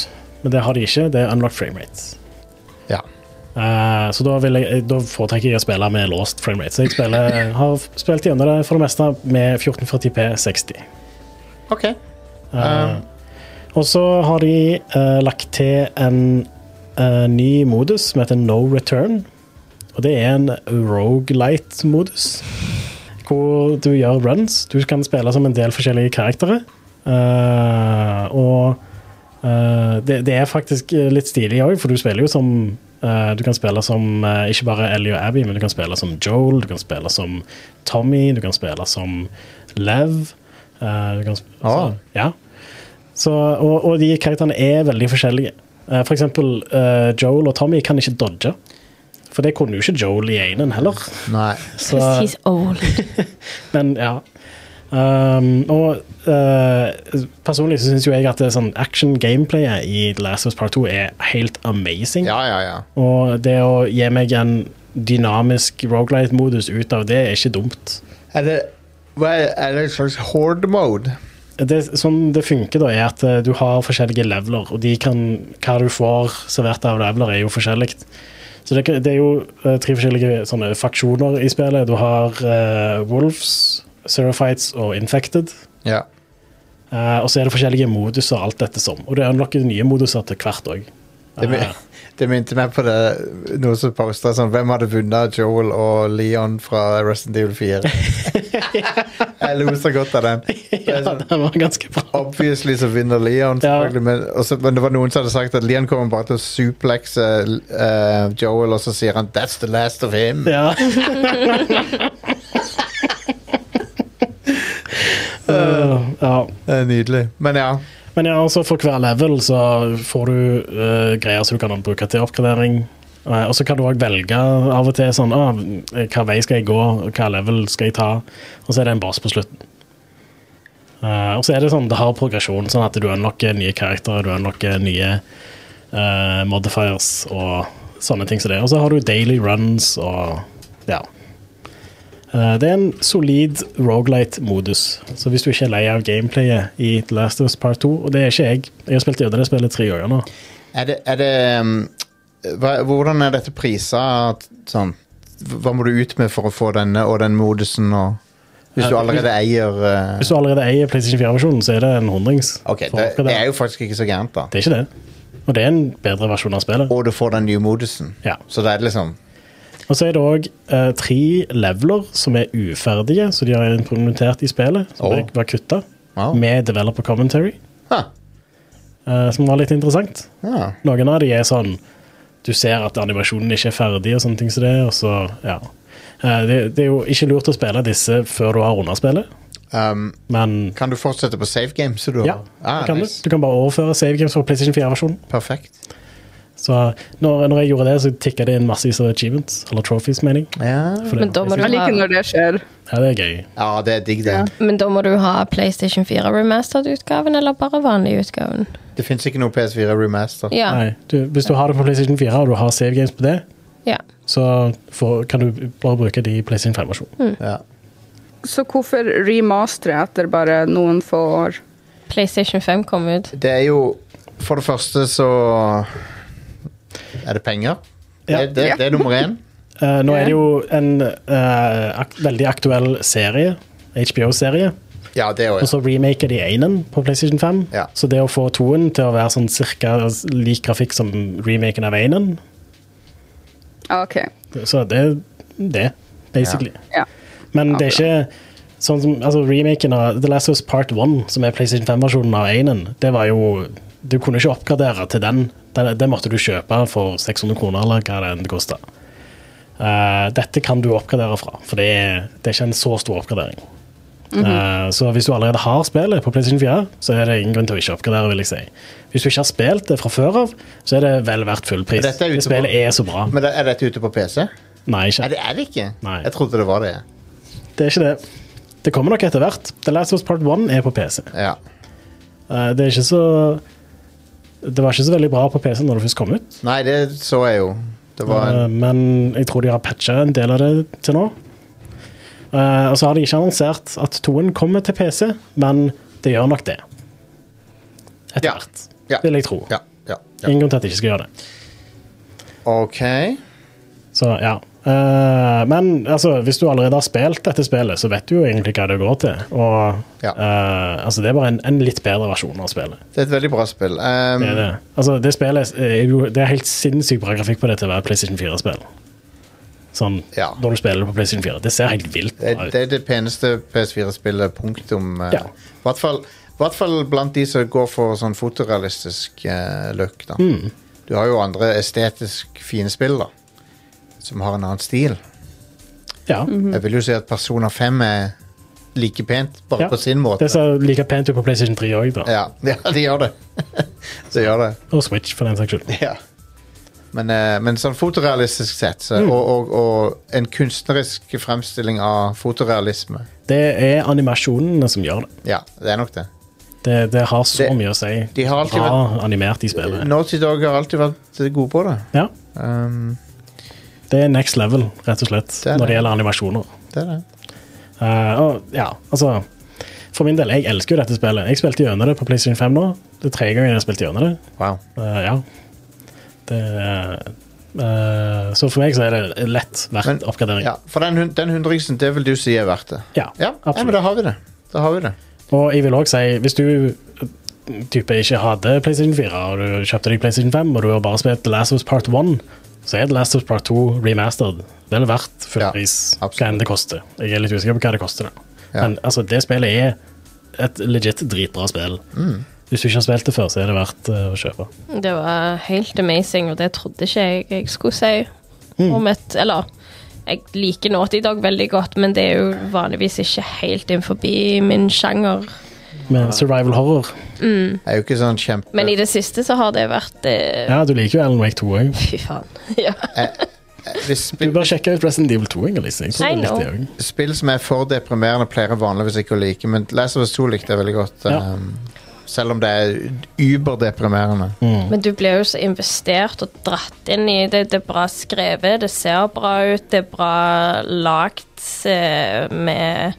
[SPEAKER 3] men det har de ikke. Det er unlocked framerate.
[SPEAKER 1] Ja.
[SPEAKER 3] Eh, så da, vil jeg, da foretrekker jeg å spille med låst framerate. Så jeg spiller, har spilt gjennom det for det meste med 1440P 60.
[SPEAKER 1] OK.
[SPEAKER 3] Eh, og så har de eh, lagt til en eh, ny modus som heter No Return. Og det er en rogelight-modus. Hvor du gjør runs. Du kan spille som en del forskjellige karakterer. Eh, og eh, det, det er faktisk eh, litt stilig òg, for du spiller jo som eh, Du kan spille som eh, ikke bare Ellie og Abby, men du kan spille som Joel, du kan spille som Tommy, du kan spille som Lev. eh, du kan, sp-
[SPEAKER 1] Ah.
[SPEAKER 3] ja. Så, og, og de karakterene er veldig forskjellige. Eh, For eksempel eh, Joel og Tommy kan ikke dodge. For det kunne jo ikke Joel i enen heller.
[SPEAKER 1] Nei.
[SPEAKER 3] Så,
[SPEAKER 6] He's old.
[SPEAKER 3] men ja. Um, og eh, personlig så syns jo jeg at det sånn action-gameplayet i The Last of Us Part 2 er helt amazing.
[SPEAKER 1] Ja, ja, ja.
[SPEAKER 3] Og det å gi meg en dynamisk rogelight-modus ut av det er ikke dumt.
[SPEAKER 1] Er det, hva er, er det en slags horde mode?
[SPEAKER 3] det, sånn det funker, da, er at eh, du har forskjellige leveler, og de kan, hva du får servert av leveler, er jo forskjellig. Så det, kan- det er jo eh, tre forskjellige sånne faksjoner i spillet. Du har eh, Wolves, Seraphites og Infected.
[SPEAKER 1] Ja.
[SPEAKER 3] Eh, og så er det forskjellige moduser, alt dette som. Og det er unlocker nye moduser til hvert Eh, òg.
[SPEAKER 1] Det, min,
[SPEAKER 3] <laughs>
[SPEAKER 1] det minte meg på det noen som posta sånn Hvem hadde vunnet Joel og Leon fra Resident Evil <laughs> 4? Jeg lo så godt av den.
[SPEAKER 3] ja, den var ganske bra.
[SPEAKER 1] Obviously så vinner Leon,
[SPEAKER 3] Ja.
[SPEAKER 1] selvfølgelig, men, også, men det var noen som hadde sagt at Leon kommer bare til å suplexe eh, Joel, og så sier han 'That's the last of him'.
[SPEAKER 3] <laughs> Ja. Eh, ja.
[SPEAKER 1] Det er nydelig. Men ja.
[SPEAKER 3] Men ja, altså for hver level så får du eh, greier som du kan bruke til oppgradering. Eh, og så kan du òg velge av og til sånn ah, hva vei skal jeg gå, hva level skal jeg ta, og så er det en boss på slutten. Eh, og så er det sånn, det har progresjon, sånn at du unlocker nye karakterer, du unlocker nye eh, modifiers og sånne ting som det. Og så har du daily runs og ja. Eh, Det er en solid rogelight-modus. Så hvis du ikke er lei av gameplayet i The Last of Us Part 2, og det er ikke jeg Jeg har spilt gjennom det spillet tre ganger nå.
[SPEAKER 1] Er det, er det um, hva, Hvordan er dette prisa? at- Sånn? Hva må du ut med for å få denne og den modusen? Og, hvis du
[SPEAKER 3] Ja,
[SPEAKER 1] allerede eier
[SPEAKER 3] Hvis
[SPEAKER 1] uh,
[SPEAKER 3] du allerede eier PlayStation 4-versjonen, så er det en hundrings.
[SPEAKER 1] Ok,
[SPEAKER 3] for
[SPEAKER 1] det, det
[SPEAKER 3] oppgradering.
[SPEAKER 1] er jo faktisk ikke så gærent, da.
[SPEAKER 3] det er ikke det. Og det er en bedre versjon av spillet.
[SPEAKER 1] Og du får den nye modusen.
[SPEAKER 3] Ja.
[SPEAKER 1] Så det er liksom
[SPEAKER 3] Og så er det òg tre leveler som er uferdige, så de har implementert i spillet. Som
[SPEAKER 1] Åh.
[SPEAKER 3] oh. var kutta.
[SPEAKER 1] Wow.
[SPEAKER 3] Med developer commentary,
[SPEAKER 1] huh,
[SPEAKER 3] eh, som var litt interessant.
[SPEAKER 1] ja.
[SPEAKER 3] Noen av de er sånn Du ser at animasjonen ikke er ferdig, og sånne ting som det. Og så, ja. Eh, det, det er jo ikke lurt å spille disse før du har rundespillet,
[SPEAKER 1] um,
[SPEAKER 3] men
[SPEAKER 1] Kan du fortsette på save game? Så du
[SPEAKER 3] ja,
[SPEAKER 1] har? Ah,
[SPEAKER 3] det kan
[SPEAKER 1] nice.
[SPEAKER 3] du. Du kan bare overføre save games fra PlayStation 4-versjonen.
[SPEAKER 1] Perfekt.
[SPEAKER 3] Så når, når jeg gjorde det, så tikka det inn massevis av achievements, eller trophies, mener jeg.
[SPEAKER 1] Ja,
[SPEAKER 3] For det-
[SPEAKER 6] Men da må du ha,
[SPEAKER 4] Jeg liker når det skjer.
[SPEAKER 3] Ja, det er gøy.
[SPEAKER 1] ja det er digg, det.
[SPEAKER 4] Ja.
[SPEAKER 6] men da må du ha PlayStation 4 remastered-utgaven, eller bare vanlig-utgaven?
[SPEAKER 1] Det fins ikke noe PS4 remaster.
[SPEAKER 6] Ja.
[SPEAKER 3] Nei, du, hvis du har det på PlayStation 4, og du har save games på det,
[SPEAKER 6] ja.
[SPEAKER 3] så får, kan du bare bruke de i PlayStation 5-versjonen.
[SPEAKER 1] Ja.
[SPEAKER 4] Så hvorfor remastere etter bare noen få år?
[SPEAKER 6] PlayStation 5 kom ut.
[SPEAKER 1] Det er jo For det første så Er det penger?
[SPEAKER 3] Ja.
[SPEAKER 1] Det, det, det er nummer én.
[SPEAKER 3] Eh, nå er det jo en eh, ak veldig aktuell serie, HBO-serie,
[SPEAKER 1] Ja, det òg.
[SPEAKER 3] Og så remaker de enen på PlayStation 5.
[SPEAKER 1] Ja.
[SPEAKER 3] Så det å få toen til å være sånn cirka lik grafikk som remaken av enen,
[SPEAKER 4] Ah, OK.
[SPEAKER 3] så det er det, basically.
[SPEAKER 4] Ja.
[SPEAKER 3] Men det er ikke sånn som altså Remaken av The Last of Us Part 1, som er PlayStation 5-versjonen av enen, det var jo Du kunne ikke oppgradere til den. Den, den måtte du kjøpe for 600 kroner, eller hva det enn det kosta. dette kan du oppgradere fra, for det er, det er ikke en så stor oppgradering.
[SPEAKER 1] Mhm.
[SPEAKER 3] Eh, Så hvis du allerede har spillet på PlayStation 4, så er det ingen grunn til å ikke oppgradere. vil jeg si. Hvis du ikke har spilt det fra før av, så er det vel verdt full pris.
[SPEAKER 1] Men dette er
[SPEAKER 3] Det
[SPEAKER 1] ute på-
[SPEAKER 3] spillet er så bra.
[SPEAKER 1] Men det- er dette ute på PC?
[SPEAKER 3] Nei,
[SPEAKER 1] Er
[SPEAKER 3] ikke.
[SPEAKER 1] det, er det ikke?
[SPEAKER 3] Nei.
[SPEAKER 1] Jeg trodde det var det.
[SPEAKER 3] det er ikke det. Det kommer nok etter hvert. The Last of Us Part 1 er på PC.
[SPEAKER 1] Ja.
[SPEAKER 3] Eh, Det er ikke så Det var ikke så veldig bra på PC når det først kom ut,
[SPEAKER 1] Nei, det så jeg jo. Det var en
[SPEAKER 3] eh, men jeg tror de har patcha en del av det til nå. Eh, og så har de ikke annonsert at toen kommer til PC, men det gjør nok det. Etter
[SPEAKER 1] Ja.
[SPEAKER 3] hvert,
[SPEAKER 1] Ja.
[SPEAKER 3] vil jeg tro.
[SPEAKER 1] Ja. ja, ja.
[SPEAKER 3] Ingen grunn til at de ikke skal gjøre det.
[SPEAKER 1] OK.
[SPEAKER 3] Så ja. Eh, men altså, hvis du allerede har spilt dette spillet, så vet du jo egentlig hva det går til. Og
[SPEAKER 1] Ja.
[SPEAKER 3] eh, altså, det er bare en, en litt bedre versjon av spillet.
[SPEAKER 1] Det er et veldig bra spill. Um,
[SPEAKER 3] Det er det. Altså, det spillet er jo Det er helt sinnssykt bra grafikk på det til å være PlayStation 4-spill. Sånn
[SPEAKER 1] Ja.
[SPEAKER 3] når du spiller det på PlayStation 4. Det ser helt vilt
[SPEAKER 1] Det,
[SPEAKER 3] bra ut.
[SPEAKER 1] det er det peneste PS4-spillet, punktum. eh,
[SPEAKER 3] Ja.
[SPEAKER 1] hvert fall- hvert fall blant de som går for sånn fotorealistisk eh, look, da.
[SPEAKER 3] Mm.
[SPEAKER 1] Du har jo andre estetisk fine spill, da. Som har en annen stil.
[SPEAKER 3] Ja.
[SPEAKER 1] Jeg vil jo si at Persona 5 er like pent, bare
[SPEAKER 3] Ja.
[SPEAKER 1] på sin måte.
[SPEAKER 3] Det ser like pent ut på PlayStation 3 òg, da.
[SPEAKER 1] Ja, <laughs> ja, de gjør det. de gjør det.
[SPEAKER 3] Og Switch, for den saks skyld.
[SPEAKER 1] Ja. Men, eh, men sånn fotorealistisk sett, så,
[SPEAKER 3] Mm.
[SPEAKER 1] og, og, og en kunstnerisk fremstilling av fotorealisme.
[SPEAKER 3] Det er animasjonene som gjør det.
[SPEAKER 1] Ja, det er nok det.
[SPEAKER 3] Det, det har så
[SPEAKER 1] Det-
[SPEAKER 3] mye å si.
[SPEAKER 1] de har alltid Mm.
[SPEAKER 3] bra animert i spillet.
[SPEAKER 1] <laughs> Naughty Dog har alltid vært gode på det.
[SPEAKER 3] Ja.
[SPEAKER 1] Um,
[SPEAKER 3] Det er next level, rett og slett,
[SPEAKER 1] Det er
[SPEAKER 3] når
[SPEAKER 1] det.
[SPEAKER 3] det gjelder animasjoner.
[SPEAKER 1] det er det.
[SPEAKER 3] Eh, og ja, altså For min del, jeg elsker jo dette spillet. Jeg spilte gjennom det på PlayStation 5 nå. Det er tredje gangen jeg har spilt gjennom det.
[SPEAKER 1] Wow.
[SPEAKER 3] Eh, ja. Det eh, Så for meg så er det lett verdt
[SPEAKER 1] Men-
[SPEAKER 3] oppgradering.
[SPEAKER 1] Ja, for den, hun- den hundringsen, det vil du si er verdt det.
[SPEAKER 3] Ja,
[SPEAKER 1] Ja, ja men
[SPEAKER 3] absolutt.
[SPEAKER 1] da har vi det. Da har vi det.
[SPEAKER 3] Og jeg vil òg si, hvis du eh, type ikke hadde PlayStation 4, og du kjøpte deg PlayStation 5, og du har bare spilt The Last of Us Part 1, så er The Last of Us Part 2 remastered vel verdt full
[SPEAKER 1] Ja,
[SPEAKER 3] pris, hva
[SPEAKER 1] absolutt.
[SPEAKER 3] enn det koster. Jeg er litt usikker på hva det koster, da.
[SPEAKER 1] Ja.
[SPEAKER 3] Men altså, det spillet er et legit dritbra spill.
[SPEAKER 1] Mm.
[SPEAKER 3] Hvis du ikke har spilt det før, så er det verdt eh, å kjøpe.
[SPEAKER 6] Det var helt amazing, og det trodde ikke jeg jeg skulle si om et Eller, jeg liker Naughty Dog veldig godt, men det er jo vanligvis ikke helt innenfor min sjanger.
[SPEAKER 3] Med survival horror.
[SPEAKER 1] Jeg er jo ikke sånn kjempe...
[SPEAKER 6] Men i det siste så har det vært eh,
[SPEAKER 3] Ja, du liker jo Alan Wake 2 òg.
[SPEAKER 6] Fy faen. <laughs> ja.
[SPEAKER 1] Hvis
[SPEAKER 3] Du
[SPEAKER 1] spill,
[SPEAKER 3] bør sjekke ut Resident Evil 2, Inger-Lise. Jeg tror
[SPEAKER 6] I
[SPEAKER 3] du likte
[SPEAKER 6] know.
[SPEAKER 3] det også.
[SPEAKER 1] spill som er for deprimerende, pleier jeg vanligvis ikke å like, men Last of Us 2 likte jeg veldig godt.
[SPEAKER 3] Ja.
[SPEAKER 1] Um, selv om det er uberdeprimerende.
[SPEAKER 6] Men du blir jo så investert og dratt inn i det. Det er bra skrevet, det ser bra ut, det er bra lagt eh, med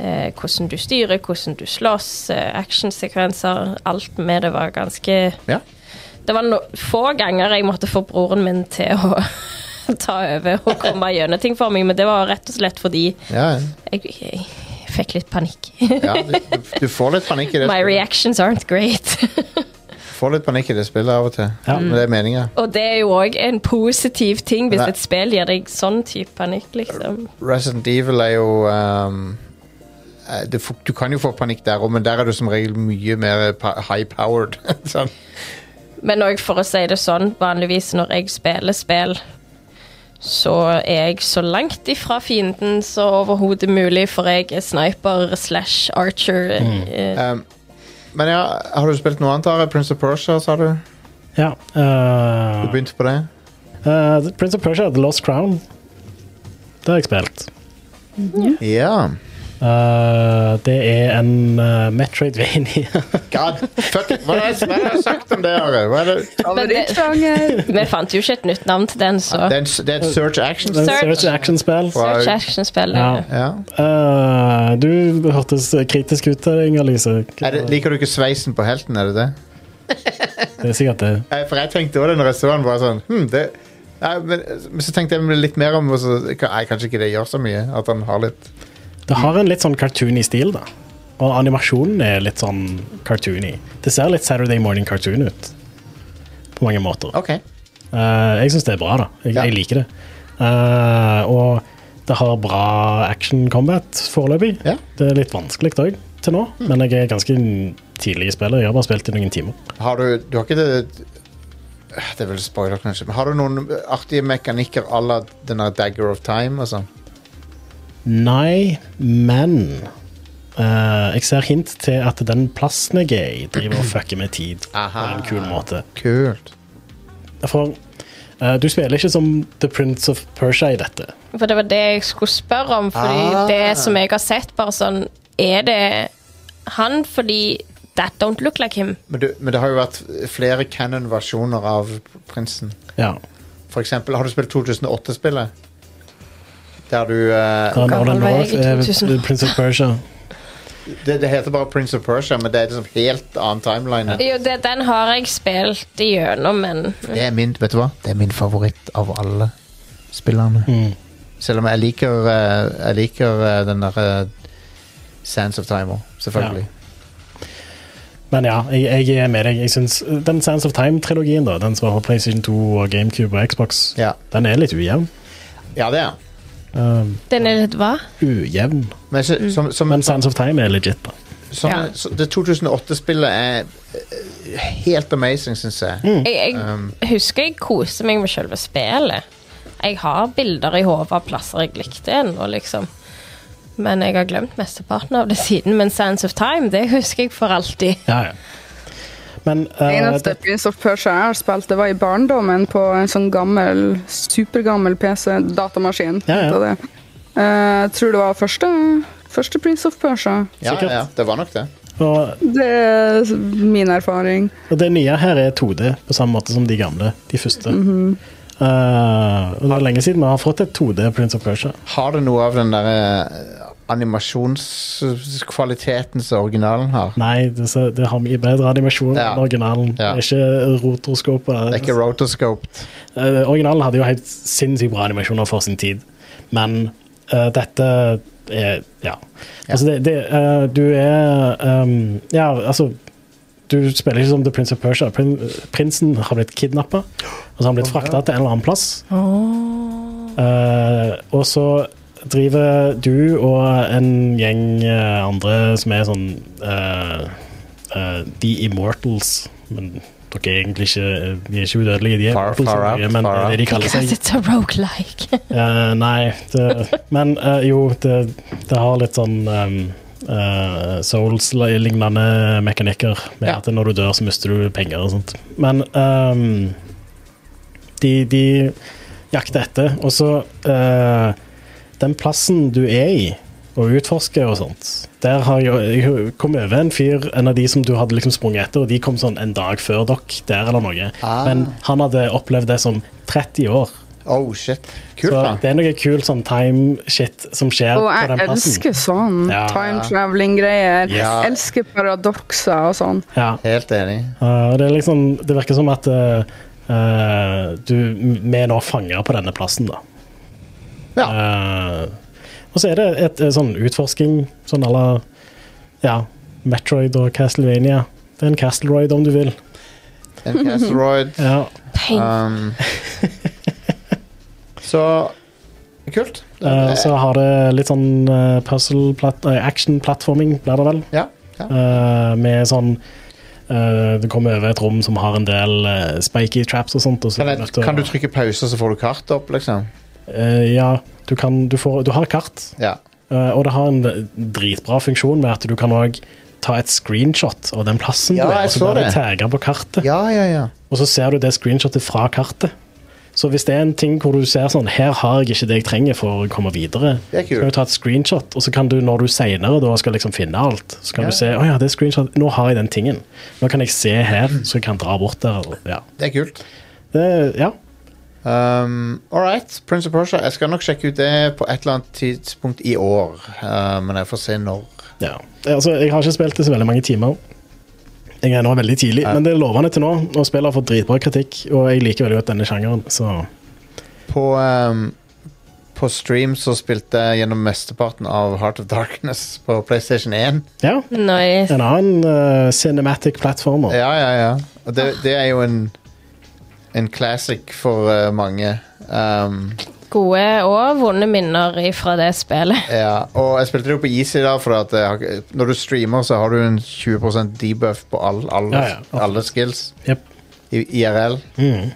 [SPEAKER 6] eh, hvordan du styrer, hvordan du slåss, eh, actionsekvenser. Alt med det var ganske
[SPEAKER 1] Ja.
[SPEAKER 6] Det var no få ganger jeg måtte få broren min til å <laughs> ta over og komme gjennom ting for meg, men det var rett og slett fordi
[SPEAKER 1] Ja, ja.
[SPEAKER 6] jeg, jeg fikk litt panikk.
[SPEAKER 1] ja du, du får litt panikk i det
[SPEAKER 6] <laughs> My
[SPEAKER 1] spillet.
[SPEAKER 6] reactions aren't great.
[SPEAKER 1] Får litt panikk i det spillet av og til.
[SPEAKER 3] Ja.
[SPEAKER 1] Men det er meninga.
[SPEAKER 6] Og det er jo òg en positiv ting hvis
[SPEAKER 1] Nei.
[SPEAKER 6] et spill gir deg sånn type panikk, liksom.
[SPEAKER 1] Resident Evil er jo um, eh, det, f- Du kan jo få panikk der òg, men der er du som regel mye mer pa- high-powered. <laughs> sånn.
[SPEAKER 6] Men òg for å si det sånn, vanligvis når jeg spiller spill, så er jeg så langt ifra fienden som overhodet mulig, for jeg er sniper slash archer. eh,
[SPEAKER 1] Um, men ja, har du spilt noe annet? Are? Prince of Persia, sa du?
[SPEAKER 3] Ja.
[SPEAKER 1] Du
[SPEAKER 3] eh,
[SPEAKER 1] begynte på det?
[SPEAKER 3] eh, Prince of Persia, The Lost Crown. Det har jeg spilt.
[SPEAKER 1] Ja.
[SPEAKER 3] Eh, det er en uh, Metroidvania. <laughs>
[SPEAKER 1] God, fuck it. Hva er det hva er det jeg har sagt om det, Are? Hva er det?
[SPEAKER 3] <laughs>
[SPEAKER 4] Favorittsjanger.
[SPEAKER 6] <laughs> Vi fant jo ikke et nytt navn til den, så
[SPEAKER 1] Det er, en, s- det er et search action.
[SPEAKER 3] Det er
[SPEAKER 6] Search.
[SPEAKER 3] et Search action-spill.
[SPEAKER 1] Wow.
[SPEAKER 6] Search Action-spill.
[SPEAKER 3] Ja.
[SPEAKER 1] Ja.
[SPEAKER 3] Eh, du hørtes kritisk ut der, Inger-Lise.
[SPEAKER 1] Er det, liker du ikke sveisen på helten, er det det?
[SPEAKER 3] Det er sikkert det.
[SPEAKER 1] Eh, For jeg tenkte også det når jeg så den, bare sånn hm, det, nei, men, eh, men så tenkte jeg litt mer om og så, Nei, kanskje ikke det gjør så mye, at han har litt
[SPEAKER 3] Det har en litt sånn cartoony stil, da. Og animasjonen er litt sånn cartoony. Det ser litt Saturday Morning Cartoon ut. På mange måter.
[SPEAKER 1] OK.
[SPEAKER 3] Eh, jeg syns det er bra, da. Jeg,
[SPEAKER 1] Ja.
[SPEAKER 3] jeg liker det. Eh, og det har bra action combat foreløpig.
[SPEAKER 1] Ja. Mm.
[SPEAKER 3] Det er litt vanskelig òg, til nå, men jeg er ganske tidlig i spillet. Jeg har bare spilt i noen timer.
[SPEAKER 1] Har du Du har ikke det Det er vel spoiler, kanskje. Men har du noen artige mekanikker à la den der Dagger of Time og sånn?
[SPEAKER 3] Nei, men eh, jeg ser hint til at den plassen jeg er i, driver og fucker med tid på
[SPEAKER 1] Aha.
[SPEAKER 3] en kul måte.
[SPEAKER 1] Kult.
[SPEAKER 3] For eh, du spiller ikke som The Prince of Persia i dette.
[SPEAKER 6] For det var det jeg skulle spørre om. Fordi
[SPEAKER 1] Ah.
[SPEAKER 6] det som jeg har sett, bare sånn Er det han fordi that don't look like him.
[SPEAKER 1] Men, du, men det har jo vært flere canon-versjoner av Prinsen.
[SPEAKER 3] Ja.
[SPEAKER 1] For eksempel, har du spilt 2008-spillet? Der du eh,
[SPEAKER 3] Den
[SPEAKER 6] Gammel
[SPEAKER 3] Northern
[SPEAKER 6] vei
[SPEAKER 3] North,
[SPEAKER 6] i
[SPEAKER 3] eh,
[SPEAKER 6] 2000.
[SPEAKER 3] Prince of Persia.
[SPEAKER 1] det, det heter bare Prince of Persia, men det er liksom helt annen timeline.
[SPEAKER 6] Jo, det, den har jeg spilt igjennom, men
[SPEAKER 1] Det er min, vet du hva? Det er min favoritt av alle spillerne. Selv om jeg liker, eh, jeg liker eh, den derre Sands of Time òg, selvfølgelig.
[SPEAKER 3] Men ja, jeg, jeg er med deg. Jeg synes, Den Sands of Time-trilogien, da, den som var på PlayStation 2 og GameCube og Xbox,
[SPEAKER 1] Ja.
[SPEAKER 3] den er litt ujevn.
[SPEAKER 1] Ja, det er han.
[SPEAKER 3] Um,
[SPEAKER 6] den er litt hva?
[SPEAKER 3] ujevn.
[SPEAKER 1] Men så, som, som,
[SPEAKER 3] Men Sands of Time er legit, da.
[SPEAKER 1] som,
[SPEAKER 6] Ja.
[SPEAKER 1] så det 2008-spillet er eh, helt amazing, syns jeg.
[SPEAKER 6] Jeg, jeg
[SPEAKER 1] Um.
[SPEAKER 6] husker jeg koste meg med selve spillet. Jeg har bilder i hodet av plasser jeg likte ennå, liksom. Men jeg har glemt mesteparten av det siden. Men Sands of Time, det husker jeg for alltid.
[SPEAKER 3] Ja, ja. Men eh,
[SPEAKER 4] eneste
[SPEAKER 3] det,
[SPEAKER 4] Prince of Persia jeg har spilt, det var i barndommen på en sånn gammel, supergammel PC, datamaskin.
[SPEAKER 3] Ja, ja.
[SPEAKER 4] heter Det. Eh, jeg tror det var første, første Prince of Persia.
[SPEAKER 1] Ja,
[SPEAKER 3] Sikkert.
[SPEAKER 1] ja, det var nok det.
[SPEAKER 3] og,
[SPEAKER 4] Det er s- min erfaring.
[SPEAKER 3] og det nye her er 2D, på samme måte som de gamle. De første. Eh, og det er lenge siden vi har fått et 2D Prince of Persia.
[SPEAKER 1] Har det noe av den der eh, animasjonskvaliteten som originalen har?
[SPEAKER 3] Nei, det, så- det har mye bedre animasjon
[SPEAKER 1] Ja.
[SPEAKER 3] enn originalen.
[SPEAKER 1] Ja.
[SPEAKER 3] Det er ikke rotorskopet.
[SPEAKER 1] Det er ikke rotoscoped.
[SPEAKER 3] Eh, originalen hadde jo helt sinnssykt bra animasjoner for sin tid, men eh, dette er Ja. Altså, det, det eh, Du er ehm, Ja, altså Du spiller ikke som The Prince of Persia. Prin prinsen har blitt kidnappa, og så har han blitt frakta til en eller annen plass. Eh, og så driver du og en gjeng eh, andre som er sånn eh, eh, The Immortals. Men dere er egentlig ikke De er ikke udødelige, de er
[SPEAKER 1] Far-
[SPEAKER 3] immortals,
[SPEAKER 1] far out,
[SPEAKER 3] men det
[SPEAKER 1] far
[SPEAKER 3] er det de kaller seg.
[SPEAKER 6] Because it's a roguelike. <laughs>
[SPEAKER 3] Eh, nei, det, men eh, jo, det, det har litt sånn ehm, eh, Souls-lignende mekanikker. Med
[SPEAKER 1] Ja.
[SPEAKER 3] at når du dør, så mister du penger og sånt. Men ehm, de, de jakter etter. Og så eh, Den plassen du er i og utforsker og sånt Der har jeg, jeg kom over en fyr, en av de som du hadde liksom sprunget etter, og de kom sånn en dag før dere der eller noe.
[SPEAKER 1] Ah.
[SPEAKER 3] Men han hadde opplevd det som 30 år.
[SPEAKER 1] Oh, shit. Kult,
[SPEAKER 3] Så
[SPEAKER 1] da.
[SPEAKER 3] det er noe kul sånn time-shit som skjer
[SPEAKER 4] Og
[SPEAKER 3] på
[SPEAKER 4] jeg
[SPEAKER 3] den plassen.
[SPEAKER 4] elsker sånn
[SPEAKER 3] Ja.
[SPEAKER 4] time traveling-greier.
[SPEAKER 1] Ja.
[SPEAKER 4] Elsker paradokser og sånn.
[SPEAKER 3] Ja.
[SPEAKER 1] Helt enig.
[SPEAKER 3] Uh, og det, er liksom, det virker som at uh, uh, du, vi er nå fanger på denne plassen, da.
[SPEAKER 1] Ja.
[SPEAKER 3] Uh, og så er det et, eh, sånn utforsking, sånn à la ja, Metroid og Castlevania. Det er en Castleroid, om du vil.
[SPEAKER 1] En Castroid.
[SPEAKER 3] Ja.
[SPEAKER 6] Pain.
[SPEAKER 3] Ah.
[SPEAKER 1] Um, så Kult. Eh,
[SPEAKER 3] Uh, så har det litt sånn uh, puzzle, plat- eh, action-plattforming, blir det vel.
[SPEAKER 1] Ja. ja.
[SPEAKER 3] Eh, med sånn eh, Du kommer over et rom som har en del eh, spiky traps og sånt. Og så
[SPEAKER 1] Kan,
[SPEAKER 3] er
[SPEAKER 1] jeg,
[SPEAKER 3] nødt til å-
[SPEAKER 1] kan du trykke pause, så får du kartet opp, liksom?
[SPEAKER 3] Eh, ja, du, kan, du, får, du har kart,
[SPEAKER 1] Ja.
[SPEAKER 3] eh, og det har en dritbra funksjon med at du kan òg ta et screenshot av den plassen
[SPEAKER 1] Ja,
[SPEAKER 3] du er,
[SPEAKER 1] jeg
[SPEAKER 3] og så
[SPEAKER 1] så
[SPEAKER 3] blir det
[SPEAKER 1] det.
[SPEAKER 3] tagga på kartet.
[SPEAKER 1] Ja, ja, ja.
[SPEAKER 3] Og så ser du det screenshotet fra kartet. Så hvis det er en ting hvor du ser sånn Her har jeg ikke det jeg trenger for å komme videre.
[SPEAKER 1] Det er
[SPEAKER 3] Så
[SPEAKER 1] kult.
[SPEAKER 3] kan du ta et screenshot, og så kan du når du senere da skal liksom finne alt, så kan
[SPEAKER 1] Ja.
[SPEAKER 3] du se å ja, det er screenshot, nå har jeg den tingen. Nå kan jeg se her, så jeg kan dra bort der. Eller, ja.
[SPEAKER 1] Det er kult.
[SPEAKER 3] Det, ja.
[SPEAKER 1] Um, All right. Prince of Persia. Jeg skal nok sjekke ut det på et eller annet tidspunkt i år. Uh, men jeg får se når.
[SPEAKER 3] ja. Det- Altså, jeg har ikke spilt det så veldig mange timer. Jeg er nå veldig tidlig, men det er lovende til nå. Og spillet har fått dritbra kritikk, og jeg liker veldig godt denne sjangeren, så
[SPEAKER 1] På, ehm, på stream så spilte jeg gjennom mesteparten av Heart of Darkness på PlayStation 1.
[SPEAKER 3] ja.
[SPEAKER 6] Nice.
[SPEAKER 3] En annen eh, cinematic platformer.
[SPEAKER 1] Ja, ja, ja. Og det, det er jo en, en classic for eh, mange. Ehm,
[SPEAKER 6] Gode og vonde minner ifra det spillet.
[SPEAKER 1] ja. Og jeg spilte det jo på easy, da, for at jeg, har ikke- når du streamer, så har du en 20 debuff på all, alle,
[SPEAKER 3] Ja, ja.
[SPEAKER 1] alle skills
[SPEAKER 3] Jep.
[SPEAKER 1] i IRL.
[SPEAKER 3] Mm.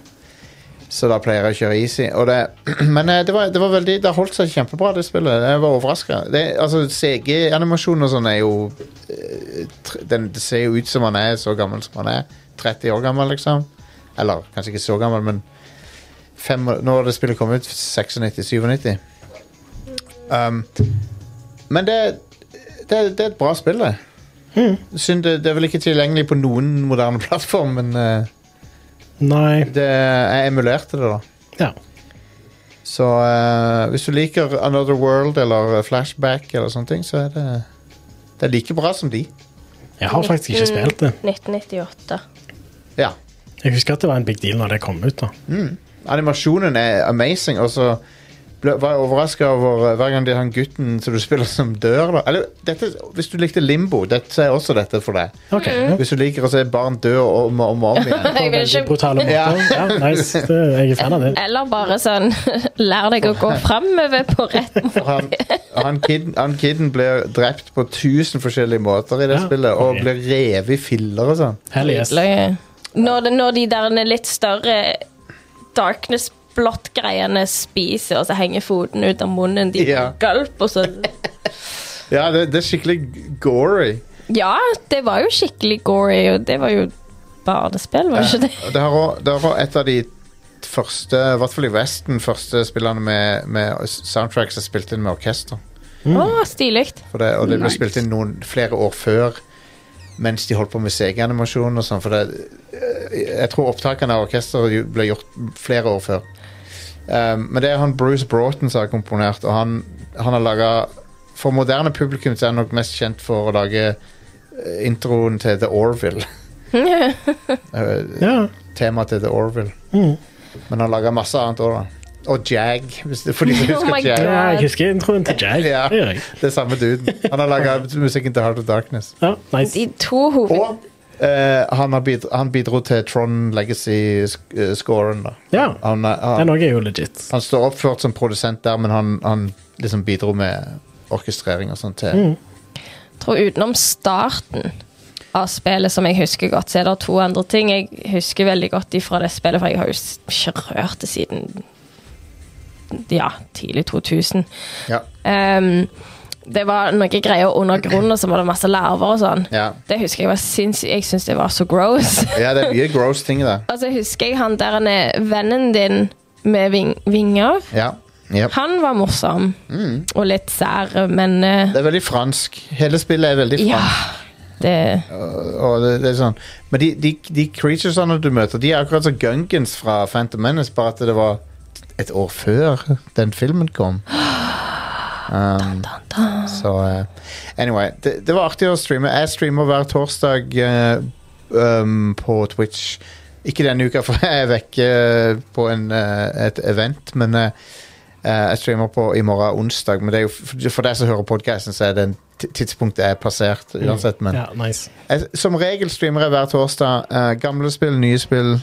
[SPEAKER 1] Så da pleier jeg å kjøre easy. Og det, <clears throat> men eh, det var, det var veldig Det holdt seg kjempebra, det spillet. Jeg var overraska. Altså, CG-animasjon og sånn er jo eh, tr- den, Det ser jo ut som han er så gammel som han er. 30 år gammel, liksom. Eller kanskje ikke så gammel, men fem, år- nå har det spillet kommet ut. 96-97. Um, men det, det, det er et bra spill, det. Synd det, det er vel ikke tilgjengelig på noen moderne <laughs> plattform, men eh,
[SPEAKER 3] Nei.
[SPEAKER 1] det, jeg emulerte det, da.
[SPEAKER 3] Ja.
[SPEAKER 1] Så eh, hvis du liker Another World eller Flashback eller sånne ting, så er det, det er like bra som de.
[SPEAKER 3] Jeg har faktisk
[SPEAKER 6] Mm.
[SPEAKER 3] ikke spilt det.
[SPEAKER 6] 1998.
[SPEAKER 1] Ja.
[SPEAKER 3] Jeg husker at det var en big deal når det kom ut. da.
[SPEAKER 1] Animasjonen er amazing, og så ble, var jeg overraska over eh, hver gang det er han gutten som du spiller som dør, da. Eller dette, hvis du likte Limbo, dette, så er også dette for deg.
[SPEAKER 3] Ok,
[SPEAKER 1] Hvis du liker å se barn dø om og om, og om
[SPEAKER 6] <laughs>
[SPEAKER 1] igjen.
[SPEAKER 6] <laughs> Mm. Jeg vil
[SPEAKER 3] Veldig
[SPEAKER 6] ikke
[SPEAKER 3] brutale måter. Ja, nice. Det, jeg er fan av det.
[SPEAKER 6] Eller bare sånn <laughs> Lær deg å gå framover på rett måte.
[SPEAKER 1] For han, han, kid, han kidden blir drept på tusen forskjellige måter i det
[SPEAKER 3] Ja.
[SPEAKER 1] spillet, og
[SPEAKER 3] Ok.
[SPEAKER 1] blir revet i filler og sånn.
[SPEAKER 3] Hell yes.
[SPEAKER 6] Nydelig. Når, det, når de der litt større darkness blått-greiene spiser, og så henger foten ut av munnen, de
[SPEAKER 1] Ja.
[SPEAKER 6] gulp, og så
[SPEAKER 1] Ja, det, det er skikkelig gory.
[SPEAKER 6] Ja, det var jo skikkelig gory, og det var jo barnespill, var det ikke det?
[SPEAKER 1] Det her var- det her var et av de første, i hvert fall i Vesten, første spillene med, med soundtrack som spilte inn med orkester.
[SPEAKER 6] Å, stilig. <laughs>
[SPEAKER 1] For det, og det ble
[SPEAKER 4] Nice.
[SPEAKER 1] spilt inn noen flere år før mens de holdt på med CG-animasjon og sånn. For det, eh, jeg tror opptakene av orkesteret jo ble gjort flere år før. Um, men det er han Bruce Broughton som har komponert, og han, han har laga For moderne publikum så er han nok mest kjent for å lage eh, introen til The Orville. <laughs> Eh,
[SPEAKER 3] Ja.
[SPEAKER 1] Temaet til The Orville.
[SPEAKER 3] Mhm.
[SPEAKER 1] Men han laga masse annet òg, da. Og Jag, hvis det, for
[SPEAKER 3] <laughs>
[SPEAKER 1] de som
[SPEAKER 6] Oh
[SPEAKER 1] husker
[SPEAKER 6] my
[SPEAKER 1] Jag.
[SPEAKER 3] ja, jeg husker introen til Jag.
[SPEAKER 1] Ja.
[SPEAKER 3] Det gjør jeg.
[SPEAKER 1] Det er samme duden. Han har laga musikken til Heart of Darkness.
[SPEAKER 3] Ja, nice.
[SPEAKER 6] De to hoved...
[SPEAKER 1] Og eh, han, har bidro, han bidro til Tron Legacy-scoren. da
[SPEAKER 3] Ja,
[SPEAKER 1] han, er-
[SPEAKER 3] Den
[SPEAKER 1] han,
[SPEAKER 3] òg er jo legit.
[SPEAKER 1] han står oppført som produsent der, men han, han liksom bidro med orkestrering og sånt til.
[SPEAKER 3] Mm.
[SPEAKER 6] tror utenom starten av spillet som jeg husker godt, så er det to andre ting jeg husker veldig godt ifra det spillet, for jeg har jo s- ikke rørt det siden ja, tidlig 2000.
[SPEAKER 1] Ja,
[SPEAKER 6] Ehm, det var noen greier under grunnen, og så var det masse larver og sånn.
[SPEAKER 1] ja.
[SPEAKER 6] Det husker jeg var sinnssykt. Jeg syns det var så gross. <laughs>
[SPEAKER 1] ja, det er mye gross ting der.
[SPEAKER 6] og så husker jeg han der han er vennen din med ving vinger.
[SPEAKER 1] Ja. Yep.
[SPEAKER 6] Han var morsom og litt sær, men eh,
[SPEAKER 1] Mm. Det er veldig fransk. Hele spillet er veldig
[SPEAKER 6] ja
[SPEAKER 1] fransk.
[SPEAKER 6] det,
[SPEAKER 1] Og det, det er sånn. Men de, de, de creaturesene du møter, de er akkurat som Gungans fra Phantom Menace, bare at det var et år før den filmen kom. Um, så eh, anyway. Det, det var artig å streame. Jeg streamer hver torsdag eh, um, på Twitch. Ikke denne uka, for <laughs> jeg er vekke på en, eh, et event, men eh, eh, jeg streamer på i morgen onsdag. Men det er jo, for- for deg som hører podkasten, så er det en ti- tidspunkt jeg er passert uansett. Men
[SPEAKER 3] Mm. Ja, nice.
[SPEAKER 1] jeg, som regel streamer jeg hver torsdag eh, gamle spill, nye spill.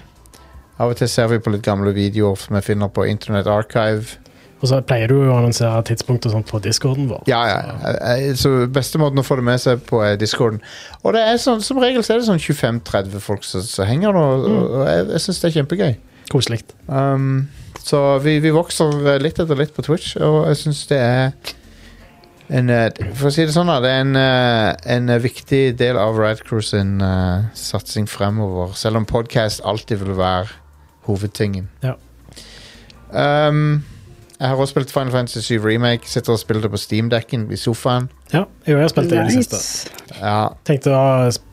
[SPEAKER 1] Av og til ser vi på litt gamle videoer som jeg finner på Internet Archive.
[SPEAKER 3] Og så pleier du jo å annonsere tidspunkt og sånt på discorden vår.
[SPEAKER 1] Ja, ja, eh, eh, Så beste måten å få det med seg på er Discorden. Og det er sånn, som regel så er det sånn 25-30 folk som som henger nå, og, og jeg, jeg syns det er kjempegøy.
[SPEAKER 3] Koselig.
[SPEAKER 1] Um, så vi, vi vokser eh, litt etter litt på Twitch, og jeg syns det er en, eh, for å si det sånn, da, det er en, eh, en eh, viktig del av Radcrew sin eh, satsing fremover. Selv om podcast alltid vil være hovedtingen.
[SPEAKER 3] Ja.
[SPEAKER 1] Um, jeg har også spilt Final Fantasy 7 Remake. Sitter og spiller det på Steamdekken i sofaen.
[SPEAKER 3] Ja, jo, jeg har spilt det i det siste.
[SPEAKER 4] Nice.
[SPEAKER 1] Ja,
[SPEAKER 3] Tenkte å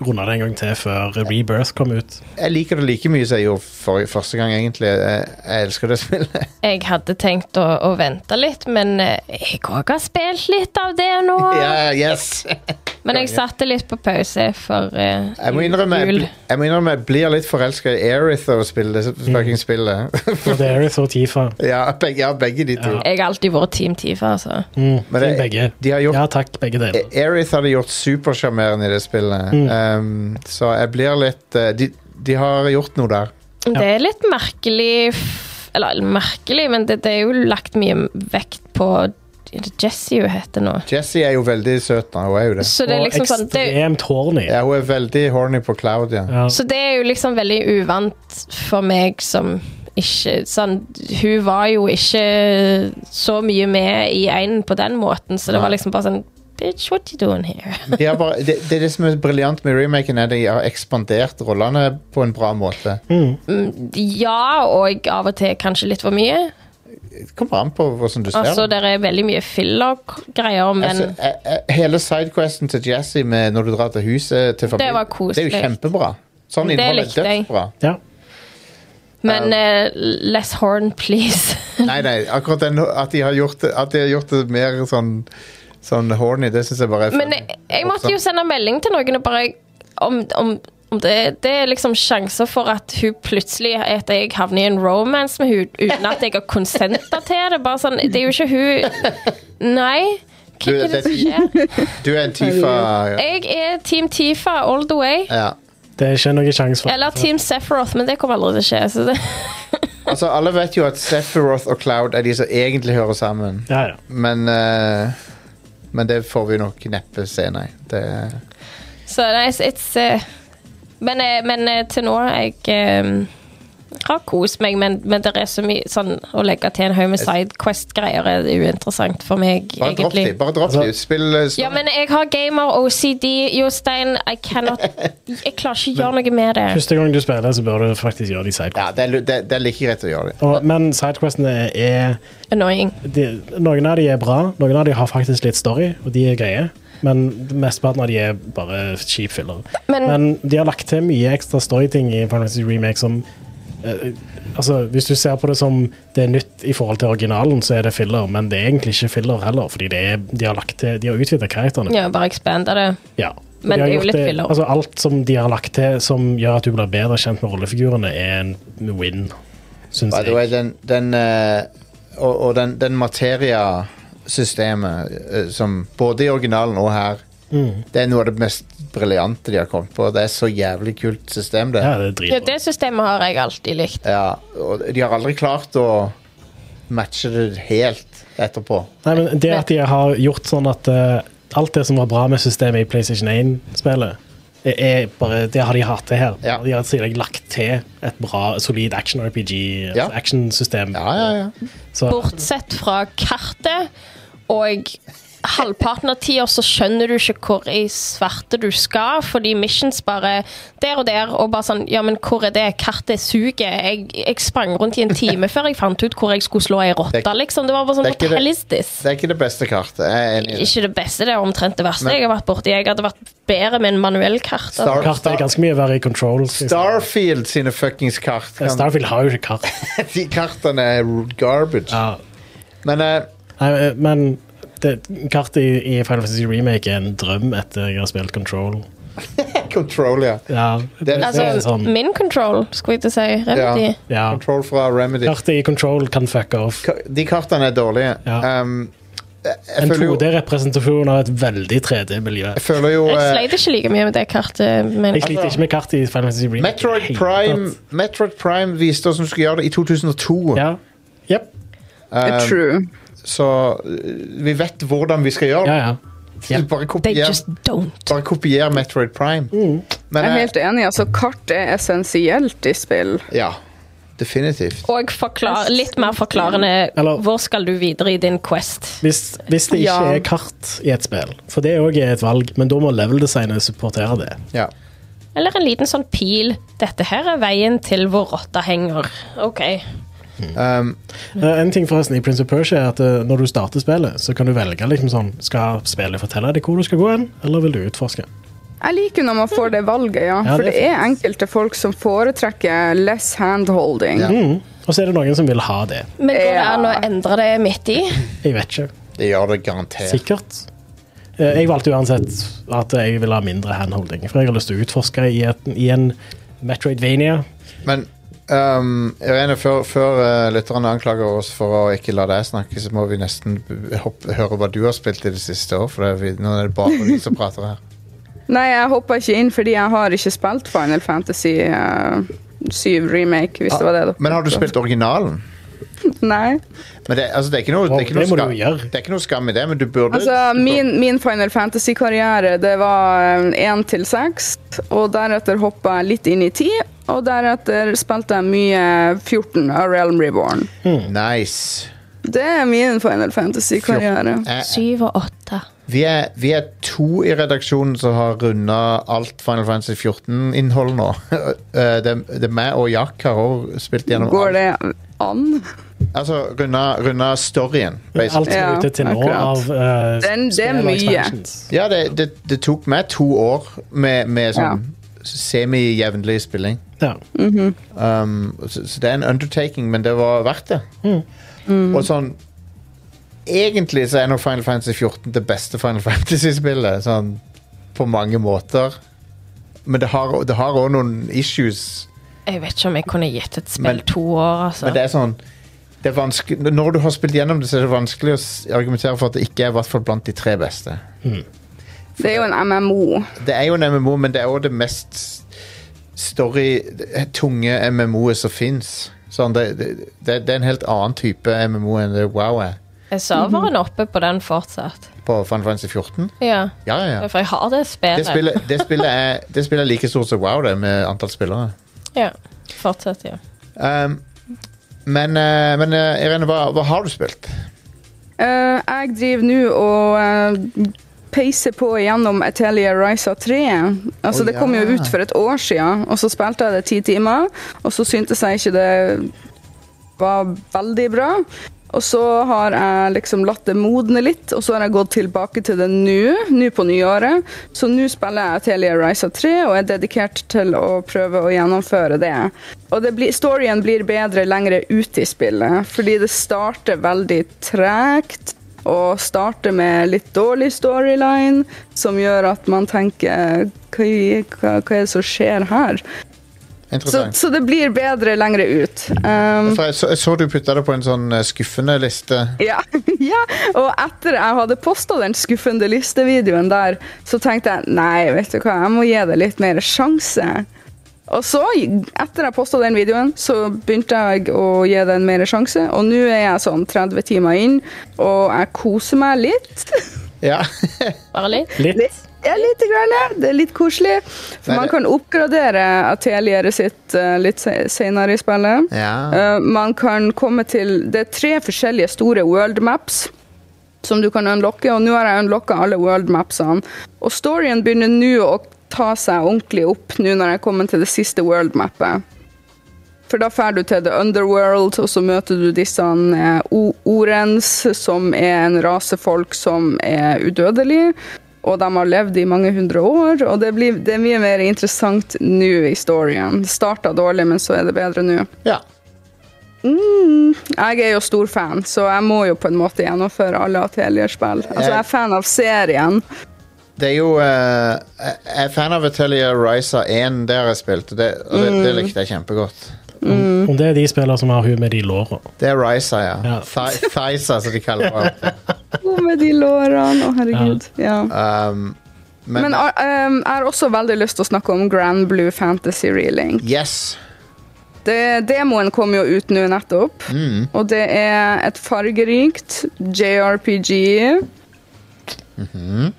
[SPEAKER 3] runde det en gang til før Rebirth kom ut.
[SPEAKER 1] jeg liker det like mye som jeg gjorde for, første gang, egentlig. Jeg, jeg elsker det spillet. <laughs>
[SPEAKER 6] Jeg hadde tenkt å, å vente litt, men eh, jeg òg har spilt litt av det nå.
[SPEAKER 1] <laughs> Ja, yes!
[SPEAKER 6] <laughs> men jeg satte litt på pause for eh,
[SPEAKER 1] Jeg må innrømme jeg,
[SPEAKER 6] jul.
[SPEAKER 1] bl- jeg, må innrømme, jeg blir litt forelska i Aerith av å spille det
[SPEAKER 3] Mm.
[SPEAKER 1] fucking spillet. <laughs>
[SPEAKER 3] Og det er jo så Tifa.
[SPEAKER 1] ja, begge, ja, begge de to.
[SPEAKER 3] Ja.
[SPEAKER 6] Jeg har alltid vært Team Tifa, altså.
[SPEAKER 3] Mm,
[SPEAKER 1] Men
[SPEAKER 3] til
[SPEAKER 1] det-
[SPEAKER 3] begge.
[SPEAKER 1] De har gjort
[SPEAKER 3] Ja Mm. takk, begge deler.
[SPEAKER 1] Aerith hadde gjort supersjarmerende i det spillet. Um, så jeg blir litt eh, de, de har gjort noe der.
[SPEAKER 6] Det er litt merkelig f- Eller merkelig, men det, det er jo lagt mye vekt på er det Jessie hun heter nå.
[SPEAKER 1] Jesse er jo veldig søt, da. Hun er jo det.
[SPEAKER 6] Så det er liksom sånn det,
[SPEAKER 3] Og ekstremt horny.
[SPEAKER 1] Ja, hun er veldig horny på Claudia.
[SPEAKER 3] Ja.
[SPEAKER 6] Så det er jo liksom veldig uvant for meg som ikke sånn, Hun var jo ikke så mye med i einen på den måten, så det var liksom bare sånn Bitch, what you doing here? <laughs>
[SPEAKER 1] De har bare, det, det er det som er briljant med remaken, er at de har ekspandert rollene
[SPEAKER 3] Mm.
[SPEAKER 1] på en bra måte.
[SPEAKER 6] Ja, og av og til kanskje litt for mye.
[SPEAKER 1] Det kommer an på hvordan du ser
[SPEAKER 6] Altså,
[SPEAKER 1] den.
[SPEAKER 6] det er veldig mye filler-greier, men
[SPEAKER 1] Altså, eh, eh, hele sidequesten til Jesse med når du drar til huset til familien,
[SPEAKER 6] var
[SPEAKER 1] det er jo
[SPEAKER 6] koselig.
[SPEAKER 1] kjempebra. Sånn
[SPEAKER 6] Det
[SPEAKER 1] innhold er
[SPEAKER 6] likte jeg.
[SPEAKER 1] dødsbra.
[SPEAKER 3] Ja.
[SPEAKER 6] Men eh, less horn, please. <laughs>
[SPEAKER 1] Nei, nei, akkurat den, at, de har gjort det, at de har gjort det mer sånn, sånn horny, det syns jeg bare er
[SPEAKER 6] Men
[SPEAKER 1] funny.
[SPEAKER 6] jeg, jeg måtte jo sende melding til noen og bare om, om, om det, det er liksom sjanser for at hun plutselig at jeg havner i en romance med hun uten at jeg har konsenta til det. Bare sånn, det er jo ikke hun Nei. Hva
[SPEAKER 1] Du,
[SPEAKER 6] er det
[SPEAKER 1] det-
[SPEAKER 6] som skjer?
[SPEAKER 1] Du er en Tifa ja.
[SPEAKER 6] Jeg er Team Tifa all the way.
[SPEAKER 1] ja.
[SPEAKER 3] Det er ikke noen sjanse for
[SPEAKER 6] Eller Team Sephiroth, men det kommer aldri til å skje. Så det,
[SPEAKER 1] Altså, alle vet jo at Sephiroth og Cloud er de som egentlig hører sammen.
[SPEAKER 3] Ja, ja.
[SPEAKER 1] Men eh, Men det får vi nok neppe se, nei. Det,
[SPEAKER 6] så nei, it's, it's eh, men, eh, men eh, til nå jeg eh, har kost meg, men, men det er så mye sånn å legge til en haug med sidequest-greier er uinteressant for meg,
[SPEAKER 1] bare dropp
[SPEAKER 6] egentlig. Altså-
[SPEAKER 1] de, bare dropp de. Spill eh, story.
[SPEAKER 6] Ja, men jeg har gamer OCD, Jostein. I
[SPEAKER 1] <laughs>
[SPEAKER 6] cannot Jeg klarer ikke å gjøre noe med det.
[SPEAKER 3] Første gang du spiller, så bør du faktisk gjøre de sidequestene.
[SPEAKER 1] ja, det, er, lu- det, det er like greit å gjøre det.
[SPEAKER 3] Og, men sidequestene er
[SPEAKER 6] Annoying.
[SPEAKER 3] de, Noen av de er bra, noen av de har faktisk litt story, og de er greie. Men mesteparten av de er bare cheap filler.
[SPEAKER 6] Men-
[SPEAKER 3] de har lagt til mye ekstra storyting i Final Fantasy Remake som eh, Altså, Hvis du ser på det som det er nytt i forhold til originalen, så er det filler, men det er egentlig ikke filler heller, fordi det er, de har lagt til, de har utvida karakterene.
[SPEAKER 6] Ja, bare expanda det.
[SPEAKER 3] Ja.
[SPEAKER 6] Men
[SPEAKER 3] De har
[SPEAKER 6] det er jo
[SPEAKER 3] gjort
[SPEAKER 6] litt filler.
[SPEAKER 3] Altså, alt som de har lagt til som gjør at du blir bedre kjent med rollefigurene, er en win, syns
[SPEAKER 1] By the way,
[SPEAKER 3] jeg.
[SPEAKER 1] den, den eh, Og, og den, den materiasystemet eh, som Både i originalen og her,
[SPEAKER 3] Mm.
[SPEAKER 1] det er noe av det mest briljante de har kommet på. Det er så jævlig kult system, det.
[SPEAKER 3] Ja, det er
[SPEAKER 6] Ja,
[SPEAKER 3] dritbra.
[SPEAKER 6] det systemet har jeg alltid likt.
[SPEAKER 1] Ja, og de har aldri klart å matche det helt etterpå.
[SPEAKER 3] Nei, men det at de har gjort sånn at eh, alt det som var bra med systemet i PlayStation 1-spillet, er- er bare, det har de hatt til her.
[SPEAKER 1] Ja.
[SPEAKER 3] De har i tillegg lagt til et bra, solid action-RPG,
[SPEAKER 1] Ja.
[SPEAKER 3] altså actionsystem.
[SPEAKER 1] Ja, ja, ja.
[SPEAKER 3] Så
[SPEAKER 6] Bortsett fra kartet og halvparten av tida så skjønner du ikke hvor i svarte du skal, fordi missions bare der og der, og bare sånn Ja, men hvor er det? Kartet suger. Jeg, jeg sprang rundt i en
[SPEAKER 1] <laughs>
[SPEAKER 6] time før jeg fant ut hvor jeg skulle slå ei
[SPEAKER 1] Det er-
[SPEAKER 6] rotte, liksom. Det var bare sånn
[SPEAKER 1] det er ikke det-
[SPEAKER 6] fatalistisk.
[SPEAKER 1] Det er ikke det beste kartet. Jeg er enig i det.
[SPEAKER 6] Ikke det beste, det er omtrent det verste
[SPEAKER 1] Men-
[SPEAKER 6] jeg har vært borti. Jeg hadde vært bedre med en manuell kart. altså.
[SPEAKER 1] Star-
[SPEAKER 3] kartet er ganske mye verre i control. skal jeg si.
[SPEAKER 1] Starfield sine fuckings kart.
[SPEAKER 3] Ja,
[SPEAKER 1] Kan,
[SPEAKER 3] Starfield har jo ikke kart.
[SPEAKER 1] <laughs> de kartene er garbage.
[SPEAKER 3] Ja.
[SPEAKER 1] Men eh,
[SPEAKER 3] Nei, eh, men det, kartet i, i Final Fantasy Remake er en drøm etter jeg har spilt control.
[SPEAKER 1] Control, ja.
[SPEAKER 3] Ja,
[SPEAKER 1] Altså,
[SPEAKER 3] det, det er
[SPEAKER 6] Altså,
[SPEAKER 3] sånn,
[SPEAKER 6] min control, skulle jeg til å si. Remedy.
[SPEAKER 1] Ja.
[SPEAKER 3] ja.
[SPEAKER 1] Control fra Remedy.
[SPEAKER 3] Kartet i control kan fuck off.
[SPEAKER 1] Ka- De kartene er dårlige.
[SPEAKER 3] Ja.
[SPEAKER 1] Um, jeg, jeg
[SPEAKER 3] En
[SPEAKER 1] føler jo,
[SPEAKER 3] 2D-representasjon av et veldig 3D-miljø.
[SPEAKER 1] jeg føler jo
[SPEAKER 6] Jeg
[SPEAKER 1] eh,
[SPEAKER 6] sleit ikke like mye med det kartet. Men
[SPEAKER 3] Jeg sliter ikke med kartet i Final Fantasy Remake.
[SPEAKER 1] Metroid
[SPEAKER 3] Helt
[SPEAKER 1] Prime,
[SPEAKER 3] tatt.
[SPEAKER 1] Metroid Prime viste oss hvordan du skulle gjøre det i 2002.
[SPEAKER 3] Ja. Jep.
[SPEAKER 1] Um,
[SPEAKER 4] True.
[SPEAKER 1] Så eh, vi vet hvordan vi skal gjøre
[SPEAKER 3] Ja,
[SPEAKER 1] det.
[SPEAKER 3] ja. ja.
[SPEAKER 1] <laughs> Bare
[SPEAKER 6] they
[SPEAKER 1] kopier,
[SPEAKER 6] just don't.
[SPEAKER 1] bare kopier Metroid Prime.
[SPEAKER 3] Mm.
[SPEAKER 1] Men
[SPEAKER 4] Jeg er
[SPEAKER 1] eh,
[SPEAKER 4] helt enig. altså Kart er essensielt i spill.
[SPEAKER 1] ja, definitivt.
[SPEAKER 6] Og forklar, litt mer forklarende.
[SPEAKER 3] Eller-
[SPEAKER 6] Hvor skal du videre i din quest?
[SPEAKER 3] Hvis, hvis det ikke
[SPEAKER 4] Ja.
[SPEAKER 3] er kart i et spill, for det òg er et valg, men da må level-designet supportere det.
[SPEAKER 1] Ja.
[SPEAKER 6] Eller en liten sånn pil. Dette her er veien til hvor rotta henger. OK.
[SPEAKER 1] Um,
[SPEAKER 3] Eh, En ting forresten i Prince of Persia er at eh, når du starter spillet, så kan du velge liksom sånn Skal spillet fortelle deg hvor du skal gå hen, eller vil du utforske?
[SPEAKER 4] Jeg liker når man får det valget, ja.
[SPEAKER 3] Ja,
[SPEAKER 4] For
[SPEAKER 3] det er
[SPEAKER 4] det er enkelte folk som foretrekker less handholding.
[SPEAKER 1] Ja.
[SPEAKER 3] Mm. Og så er det noen som vil ha det.
[SPEAKER 6] Men går det an å
[SPEAKER 4] Ja.
[SPEAKER 6] endre det midt i?
[SPEAKER 3] Jeg vet ikke.
[SPEAKER 1] det gjør det garantert.
[SPEAKER 3] Sikkert. Eh, Jeg valgte uansett at jeg vil ha mindre handholding, for jeg har lyst til å utforske i, et, i en Metroidvania.
[SPEAKER 1] Men um, Irene, før, før eh, lytterne anklager oss for å ikke la deg snakke, så må vi nesten b- hoppe, høre hva du har spilt i det siste år, for det er vi, nå er det bare vi som prater her.
[SPEAKER 4] Nei, jeg hoppa ikke inn fordi jeg har ikke spilt Final Fantasy eh, 7 Remake, hvis det var det dere
[SPEAKER 1] Ah, Men har du
[SPEAKER 4] sa.
[SPEAKER 1] spilt originalen?
[SPEAKER 4] Nei.
[SPEAKER 1] Men det, altså, det er ikke noe, det
[SPEAKER 3] Wow,
[SPEAKER 1] er ikke noe,
[SPEAKER 3] det må du
[SPEAKER 1] skam,
[SPEAKER 3] jo gjøre.
[SPEAKER 1] det er ikke noe skam i det, men du burde
[SPEAKER 4] Altså,
[SPEAKER 1] du burde-
[SPEAKER 4] min, min Final Fantasy-karriere, det var eh, 1 til 6, og deretter hoppa jeg litt inn i 10, og deretter spilte jeg mye 14 av Realm Reborn.
[SPEAKER 1] Nice.
[SPEAKER 4] Det er min Final Fantasy-karriere.
[SPEAKER 1] Eh,
[SPEAKER 6] Syv og åtte.
[SPEAKER 1] vi, er, vi er to i redaksjonen som har runda alt Final Fantasy 14-innhold <laughs> nå. Eh, det, det er meg og Jack har òg spilt gjennom
[SPEAKER 4] Går
[SPEAKER 1] alt.
[SPEAKER 4] det an?
[SPEAKER 1] Altså, runde storyen,
[SPEAKER 3] Alt
[SPEAKER 1] basically.
[SPEAKER 3] som
[SPEAKER 4] Ja,
[SPEAKER 3] er ute til nå
[SPEAKER 4] akkurat.
[SPEAKER 3] av eh,
[SPEAKER 4] Den- det er
[SPEAKER 3] spill og
[SPEAKER 4] mye.
[SPEAKER 3] expansions.
[SPEAKER 1] Ja, det, det, det tok meg to år med, med sånn semi-jevnlig spilling.
[SPEAKER 3] Ja.
[SPEAKER 4] Mm.
[SPEAKER 1] Um, så, så det er en undertaking, men det var verdt det. Og sånn Egentlig så er nå Final Fantasy 14 det beste Final <laughs> Fantasy-spillet, sånn på mange måter. Men det har det har òg noen issues.
[SPEAKER 6] Jeg vet ikke om jeg kunne gitt et spill
[SPEAKER 1] Men-
[SPEAKER 6] to år, altså.
[SPEAKER 1] Men det er sånn det er vanske- Når du har spilt gjennom det, så er det vanskelig å s- argumentere for at det ikke er i hvert fall blant de tre beste.
[SPEAKER 4] Det er jo en MMO.
[SPEAKER 1] Det er jo en MMO, men det er òg det mest story-tunge MMO-et som fins. Sånn, det, det, det det er en helt annen type MMO enn det wow er.
[SPEAKER 6] Er serveren oppe på den fortsatt?
[SPEAKER 1] På Final Fantasy 14?
[SPEAKER 6] Mhm. Ja.
[SPEAKER 1] Ja, ja, ja.
[SPEAKER 6] For jeg har det spillet.
[SPEAKER 1] Det spillet, det spillet, er, det spillet er like stort som wow, det, med antall spillere.
[SPEAKER 6] Ja. Fortsatt, ja.
[SPEAKER 1] Um, men, eh, men eh, Irene, hva, hva har du spilt?
[SPEAKER 4] Eh, jeg driver nå og eh, peiser på gjennom Atelia Risa 3. Altså,
[SPEAKER 1] Å,
[SPEAKER 4] det kom
[SPEAKER 1] ja.
[SPEAKER 4] jo ut for et år siden, og så spilte jeg det ti timer, og så syntes jeg ikke det var veldig bra. Og så har jeg liksom latt det modne litt, og så har jeg gått tilbake til det nå, nå på nyåret. Så nå spiller jeg Atelia Risa 3 og er dedikert til å prøve å gjennomføre det. Og det blir, storyen blir bedre lengre ut i spillet, fordi det starter veldig tregt og starter med litt dårlig storyline, som gjør at man tenker hva, hva, hva er det som skjer her? Så,
[SPEAKER 1] Interessant.
[SPEAKER 4] så det blir bedre lengre ut. Um,
[SPEAKER 1] For jeg så, jeg så du putta det på en sånn eh, skuffende liste.
[SPEAKER 4] ja, <laughs> ja, og etter jeg hadde posta den skuffende listevideoen der, så tenkte jeg nei, vet du hva, jeg må gi det litt mer sjanse. Og så, etter jeg posta den videoen, så begynte jeg å gi den mer sjanse, og nå er jeg sånn 30 timer inn, og jeg koser meg litt. <laughs>
[SPEAKER 1] Ja. <laughs>
[SPEAKER 6] Bare litt.
[SPEAKER 3] Litt.
[SPEAKER 4] Ja, lite grann. ja. Det er litt koselig. For
[SPEAKER 1] Nei,
[SPEAKER 4] man
[SPEAKER 1] det-
[SPEAKER 4] kan oppgradere atelieret sitt eh, litt se- senere i spillet.
[SPEAKER 1] ja.
[SPEAKER 4] Eh, man kan komme til Det er tre forskjellige store world maps som du kan unlocke, og nå har jeg unlocka alle world mapsene. Og storyen begynner nå å ta seg ordentlig opp, nå når jeg kommer til det siste world mappet. For da drar du til The Underworld, og så møter du disse eh, O- Orens, som er en rase folk som er udødelige. Og de har levd i mange hundre år, og det, blir, det er mye mer interessant nå i storyen. Det starta dårlig, men så er det bedre nå.
[SPEAKER 1] ja.
[SPEAKER 4] Jeg er jo stor fan, så jeg må jo på en måte gjennomføre alle Atelier-spill. Altså, jeg er fan av serien.
[SPEAKER 1] Det er jo eh, Jeg jeg er fan av Atelia Risa 1, det har jeg spilt, og det, og det, det
[SPEAKER 3] Mm.
[SPEAKER 1] likte jeg kjempegodt.
[SPEAKER 4] mm.
[SPEAKER 3] Om, om det er de spillere som har hun med de låra.
[SPEAKER 1] Det er Risa, ja.
[SPEAKER 3] Ja.
[SPEAKER 1] Thi- Thisa, som de kaller det.
[SPEAKER 4] Å, med de lårene, å herregud. Ja.
[SPEAKER 1] Um, men,
[SPEAKER 4] Men uh, um, jeg har også veldig lyst til å snakke om Grand Blue Fantasy Reeling.
[SPEAKER 1] yes.
[SPEAKER 4] Det, demoen kom jo ut nå nettopp, og det er et fargerikt JRPG. mm,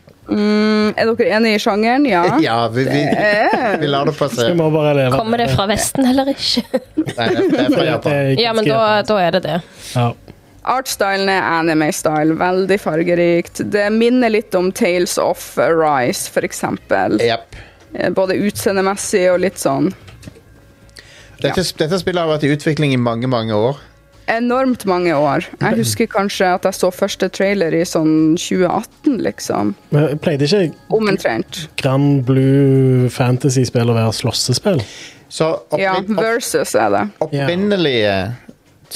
[SPEAKER 4] er dere enige i sjangeren? Mhm. <laughs> Ja. Eh.
[SPEAKER 1] Ja, vi, vi, vi lar det
[SPEAKER 3] Vi
[SPEAKER 1] passere.
[SPEAKER 3] må bare leve.
[SPEAKER 6] Kommer det fra Vesten eller ikke?
[SPEAKER 1] Nei, det det er fra
[SPEAKER 3] Det
[SPEAKER 1] Japan.
[SPEAKER 3] er
[SPEAKER 6] Ja, men
[SPEAKER 3] ganske-
[SPEAKER 6] da, da er det det.
[SPEAKER 3] ja.
[SPEAKER 4] Artstylen er anime-style, veldig fargerikt. Det minner litt om Tales of Rise, for eksempel.
[SPEAKER 1] Yep.
[SPEAKER 4] Eh, Både utseendemessig og litt sånn.
[SPEAKER 1] Dette, dette spillet har vært i utvikling i mange, mange år.
[SPEAKER 4] Enormt mange år. Jeg husker kanskje at jeg så første trailer i sånn 2018, liksom.
[SPEAKER 3] Men jeg pleide ikke
[SPEAKER 4] Omtrent.
[SPEAKER 3] Grand Blue Fantasy-spill å være slåssespill?
[SPEAKER 1] Så opprin-
[SPEAKER 4] Ja,
[SPEAKER 1] opp,
[SPEAKER 4] versus er det.
[SPEAKER 1] opprinnelige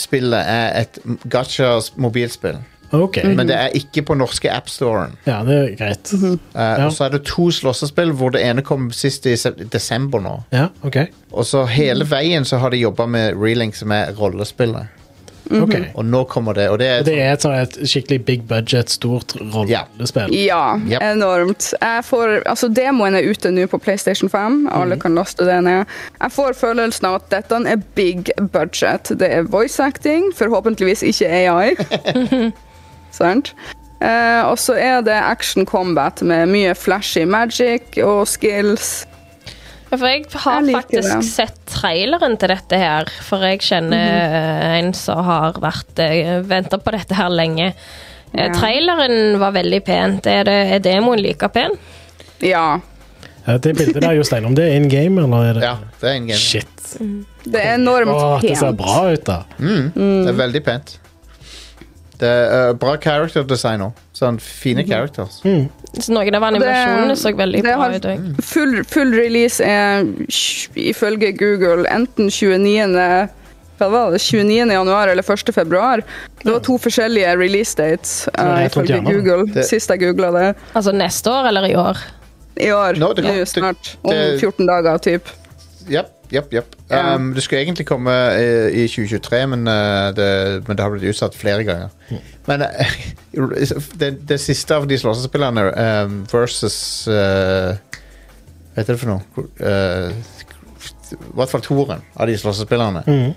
[SPEAKER 1] spillet er et gachas mobilspill.
[SPEAKER 4] Mhm.
[SPEAKER 3] OK.
[SPEAKER 1] Men det er ikke på norske appstoren.
[SPEAKER 3] Ja, det er greit.
[SPEAKER 4] Mm-hmm.
[SPEAKER 1] Uh, Og så er det to slåssespill, hvor det ene kom sist i se- desember nå.
[SPEAKER 3] Ja, OK.
[SPEAKER 1] Og så hele veien så har de jobba med Relink, som er rollespillet.
[SPEAKER 3] Ok.
[SPEAKER 4] Mm-hmm.
[SPEAKER 1] Og nå kommer det, og det er
[SPEAKER 3] Det er et, sånn et skikkelig big budget, stort rollespill.
[SPEAKER 4] Ja,
[SPEAKER 1] Yep.
[SPEAKER 4] enormt. Jeg får, altså Demoen er ute nå på PlayStation 5. Alle
[SPEAKER 3] Mhm.
[SPEAKER 4] kan laste det ned. Jeg får følelsen av at dette er big budget. Det er voice acting, forhåpentligvis ikke
[SPEAKER 3] <laughs>
[SPEAKER 4] AI. Sant? Eh, og så er det action combat med mye flashy magic og skills.
[SPEAKER 6] Ja, For jeg har
[SPEAKER 4] Jeg liker
[SPEAKER 6] faktisk
[SPEAKER 4] det.
[SPEAKER 6] sett traileren til dette her. For jeg kjenner
[SPEAKER 4] Mhm.
[SPEAKER 6] eh, en som har vært uh, venta på dette her lenge. Eh,
[SPEAKER 4] Ja.
[SPEAKER 6] traileren var veldig pen. Er, det, er demoen like pen?
[SPEAKER 4] Ja.
[SPEAKER 3] Ja, Det bildet der, Jostein, om det er in game, eller er det
[SPEAKER 1] Ja, det er en game.
[SPEAKER 3] Shit.
[SPEAKER 4] Det er enormt
[SPEAKER 3] Åh, det ser
[SPEAKER 4] pent.
[SPEAKER 3] bra ut, da.
[SPEAKER 1] Det er veldig pent. Det er eh, bra character design òg. Sånn fine characters.
[SPEAKER 6] Så noen av animasjonene så veldig
[SPEAKER 4] det
[SPEAKER 6] bra
[SPEAKER 4] har-
[SPEAKER 6] ut òg.
[SPEAKER 4] Full, full release er tj- ifølge Google enten 29. Hva var det? 29. januar eller 1. februar. Det var to forskjellige release dates uh,
[SPEAKER 3] rett rundt
[SPEAKER 4] ifølge
[SPEAKER 3] hjørnet.
[SPEAKER 4] Google.
[SPEAKER 1] Det-
[SPEAKER 4] Sist jeg googla det.
[SPEAKER 6] Altså neste år eller i år.
[SPEAKER 4] I år.
[SPEAKER 1] Nå, det-
[SPEAKER 4] Nå
[SPEAKER 1] det-
[SPEAKER 4] snart. Om
[SPEAKER 1] det-
[SPEAKER 4] 14 dager, typ.
[SPEAKER 1] Japp, japp, japp.
[SPEAKER 4] Ja.
[SPEAKER 1] Um, det skulle egentlig komme eh, i 2023, men, eh, det, men det har blitt utsatt flere ganger. Men eh, <laughs> det, det siste av de slåssespillene um, versus eh, Hva heter det for noe? Eh, I hvert fall toeren av de slåssespillerne.
[SPEAKER 3] Mhm.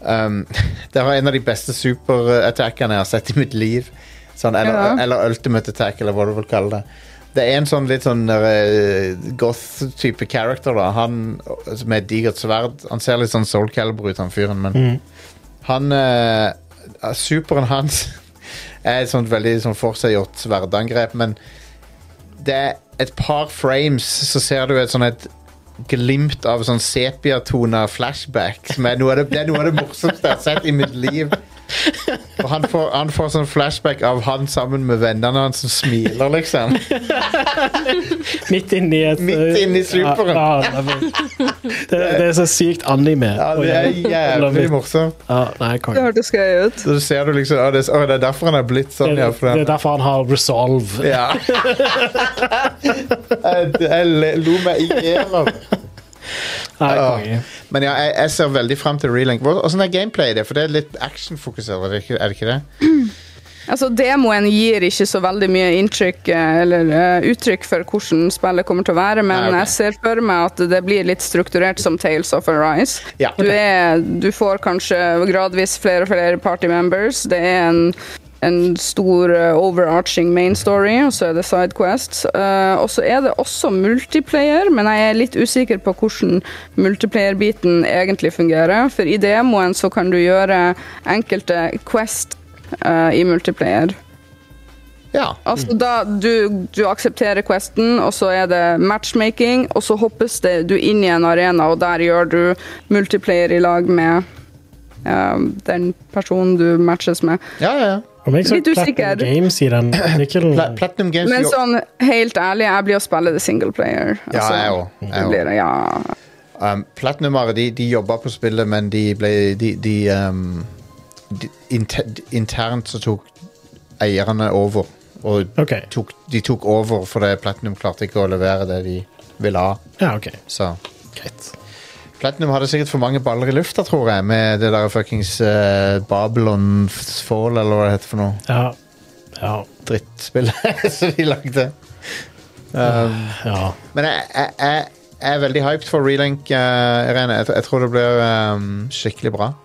[SPEAKER 1] Um, <laughs> det var en av de beste superattackene jeg har sett i mitt liv. Sånn, eller,
[SPEAKER 4] Ja.
[SPEAKER 1] eller ultimate attack, eller hva du vil kalle det. Det er en sånn litt sånn eh, goth-type character. da Han med et digert sverd. Han ser litt sånn Soul Calibur ut, han fyren, men han eh, Superen hans <laughs> er et sånt veldig sånn forseggjort sverdangrep, men det er et par frames, så ser du et sånn et glimt av sånn sepiatona flashback. Som er noe av det, det er noe av det morsomste jeg har sett i mitt liv. Og han får, han får sånn flashback av han sammen med vennene hans som smiler, liksom.
[SPEAKER 3] Midt inni et
[SPEAKER 1] Midt inni superen.
[SPEAKER 3] Ja, ja, det, er- det er så sykt anime.
[SPEAKER 1] Ja,
[SPEAKER 3] Og
[SPEAKER 1] det er
[SPEAKER 3] jeg- jeg love
[SPEAKER 1] jævlig
[SPEAKER 3] it.
[SPEAKER 1] morsomt.
[SPEAKER 3] Ja, nei,
[SPEAKER 4] Det
[SPEAKER 3] konge.
[SPEAKER 4] hørtes gøy ut.
[SPEAKER 1] Så ser du liksom Å, det, er- å, det er derfor han er blitt
[SPEAKER 3] Det,
[SPEAKER 1] sånn, ja. For
[SPEAKER 3] det er
[SPEAKER 1] han,
[SPEAKER 3] derfor han har resolve.
[SPEAKER 1] ja. Jeg, jeg le- lo meg i hjel av det.
[SPEAKER 3] Nei,
[SPEAKER 1] Ja.
[SPEAKER 3] konge.
[SPEAKER 1] Men ja, jeg, jeg ser veldig frem til relink. Hva- Åssen er gameplay i det? For det er litt actionfokusert, er det ikke- er det? ikke det?
[SPEAKER 4] Altså, Demoen gir ikke så veldig mye inntrykk eh, eller eh, uttrykk for hvordan spillet kommer til å være, men
[SPEAKER 1] Nei, ok.
[SPEAKER 4] jeg ser for meg at det blir litt strukturert som Tales of Arise.
[SPEAKER 1] Ja.
[SPEAKER 4] Du, er, du får kanskje gradvis flere og flere party members. Det er en, en stor eh, overarching main story, og så er det side quests. Eh, og så er det også multiplayer, men jeg er litt usikker på hvordan multiplayer-biten egentlig fungerer. For i demoen så kan du gjøre enkelte quest eh, i multiplayer.
[SPEAKER 1] Ja.
[SPEAKER 4] Altså da du, du aksepterer questen, og så er det matchmaking, og så hoppes det du inn i en arena, og der gjør du multiplayer i lag med um, den personen du matches med.
[SPEAKER 1] ja, ja, ja.
[SPEAKER 3] Om jeg så
[SPEAKER 4] Litt usikker.
[SPEAKER 3] Platinum Games
[SPEAKER 1] <clears throat>
[SPEAKER 3] i den artikkelen
[SPEAKER 1] Pla Platinum Games
[SPEAKER 4] Men
[SPEAKER 1] jo-
[SPEAKER 4] sånn helt ærlig, jeg blir å spille det single player.
[SPEAKER 1] Ja,
[SPEAKER 4] Altså,
[SPEAKER 1] jeg òg.
[SPEAKER 4] det
[SPEAKER 1] Jeg òg.
[SPEAKER 4] blir- Ja.
[SPEAKER 1] Um, Platinumere, de, de jobba på spillet, men de ble De, de, um, de inter, Internt så tok eierne over. Og
[SPEAKER 3] Ok.
[SPEAKER 1] tok, de tok over fordi Platinum klarte ikke å levere det de ville ha.
[SPEAKER 3] Ja, OK.
[SPEAKER 1] Så
[SPEAKER 3] Greit.
[SPEAKER 1] Platinum hadde sikkert for mange baller i lufta, tror jeg, med det der fuckings eh, Babylon Fall, eller hva det heter for noe
[SPEAKER 3] Ja. Ja.
[SPEAKER 1] drittspillet <laughs> som de lagde. Um,
[SPEAKER 3] ja.
[SPEAKER 1] Men jeg, jeg, jeg, jeg er veldig hyped for Relink, eh, Irene. Jeg, jeg tror det blir ehm, skikkelig bra. <laughs>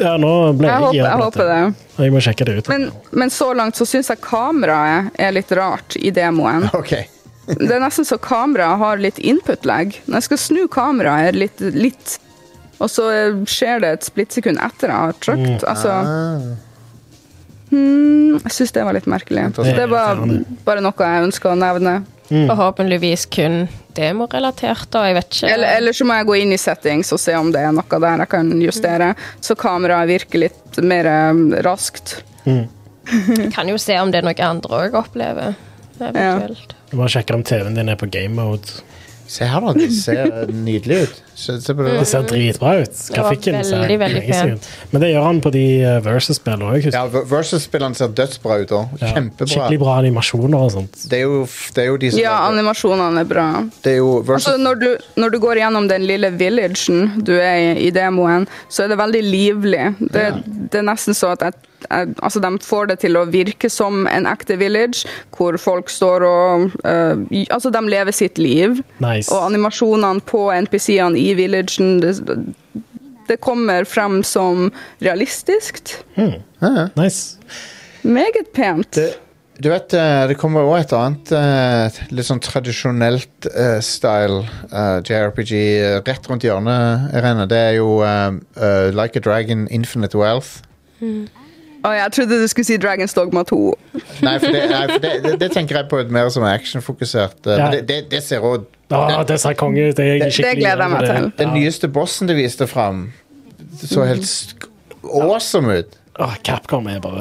[SPEAKER 3] ja nå ble
[SPEAKER 4] Jeg,
[SPEAKER 3] jeg,
[SPEAKER 4] håper,
[SPEAKER 3] gira
[SPEAKER 4] jeg
[SPEAKER 3] på
[SPEAKER 4] håper det.
[SPEAKER 3] dette. Jeg må sjekke det ut.
[SPEAKER 4] Men, men så langt så syns jeg kameraet er litt rart i demoen.
[SPEAKER 1] Ok.
[SPEAKER 4] Det er nesten så kameraet har litt input-lag. Når jeg skal snu kameraet er det litt, litt Og så eh, skjer det et splittsekund etter jeg har trykt. Altså,
[SPEAKER 1] Ah,
[SPEAKER 4] hmm, jeg syns det var litt merkelig.
[SPEAKER 1] Interessant.
[SPEAKER 4] Det var bare noe jeg ønska å nevne.
[SPEAKER 1] Mm.
[SPEAKER 6] Forhåpentligvis kun demorelatert, da. Jeg vet ikke.
[SPEAKER 4] Eller, eller så må jeg gå inn i settings og se om det er noe der jeg kan justere, så kameraet virker litt mer eh, raskt.
[SPEAKER 6] Kan jo se om det er noe andre òg opplever. Eventuelt.
[SPEAKER 3] Du må sjekke om TV-en din er på game mode.
[SPEAKER 1] se her, da. Det ser nydelig ut. Se, se på det.
[SPEAKER 3] Det
[SPEAKER 4] Mhm.
[SPEAKER 3] ser dritbra ut. Grafikken
[SPEAKER 6] veldig,
[SPEAKER 3] ser
[SPEAKER 6] veldig
[SPEAKER 3] amazing ut. Men det gjør han på de eh, Versus-spillene òg.
[SPEAKER 1] Ja, Ver- Versus-spillene ser dødsbra ut òg. Kjempebra.
[SPEAKER 3] Skikkelig bra animasjoner og sånt.
[SPEAKER 1] Det er, jo, f- det er jo de som
[SPEAKER 4] Ja,
[SPEAKER 1] lager-
[SPEAKER 4] animasjonene er bra.
[SPEAKER 1] Det er jo
[SPEAKER 4] Altså,
[SPEAKER 1] Versus
[SPEAKER 4] når, du, når du går gjennom den lille villagen du er i, i demoen, så er det veldig livlig. Det, det er nesten så at jeg, jeg, altså, de får det til å virke som en ekte village, hvor folk står og øh, i- Altså, de lever sitt liv.
[SPEAKER 3] Nice.
[SPEAKER 4] Og animasjonene på NPC-ene i villagen det, det kommer frem som realistisk.
[SPEAKER 3] Nice.
[SPEAKER 4] Meget pent.
[SPEAKER 1] det, Du vet, eh, det kommer òg et annet eh, litt sånn tradisjonelt eh, style eh, JRPG eh, rett rundt hjørnet, Irene. Det er jo eh, eh, Like a Dragon Infinite Wealth.
[SPEAKER 4] Å, jeg trodde du skulle si Dragons Dogma 2.
[SPEAKER 1] Nei, for, det, nei, for det, det, det tenker jeg på mer som er actionfokusert. eh,
[SPEAKER 3] Ja.
[SPEAKER 1] Men det, det, det ser òg
[SPEAKER 3] Å, Ah, det ser konge ut. Jeg er
[SPEAKER 4] Det- det
[SPEAKER 3] skikkelig
[SPEAKER 4] gleder jeg meg
[SPEAKER 3] glad for det.
[SPEAKER 1] Den nyeste bossen de viste fram, så helt sk- awesome ut.
[SPEAKER 3] Å, Ah, Capcom er bare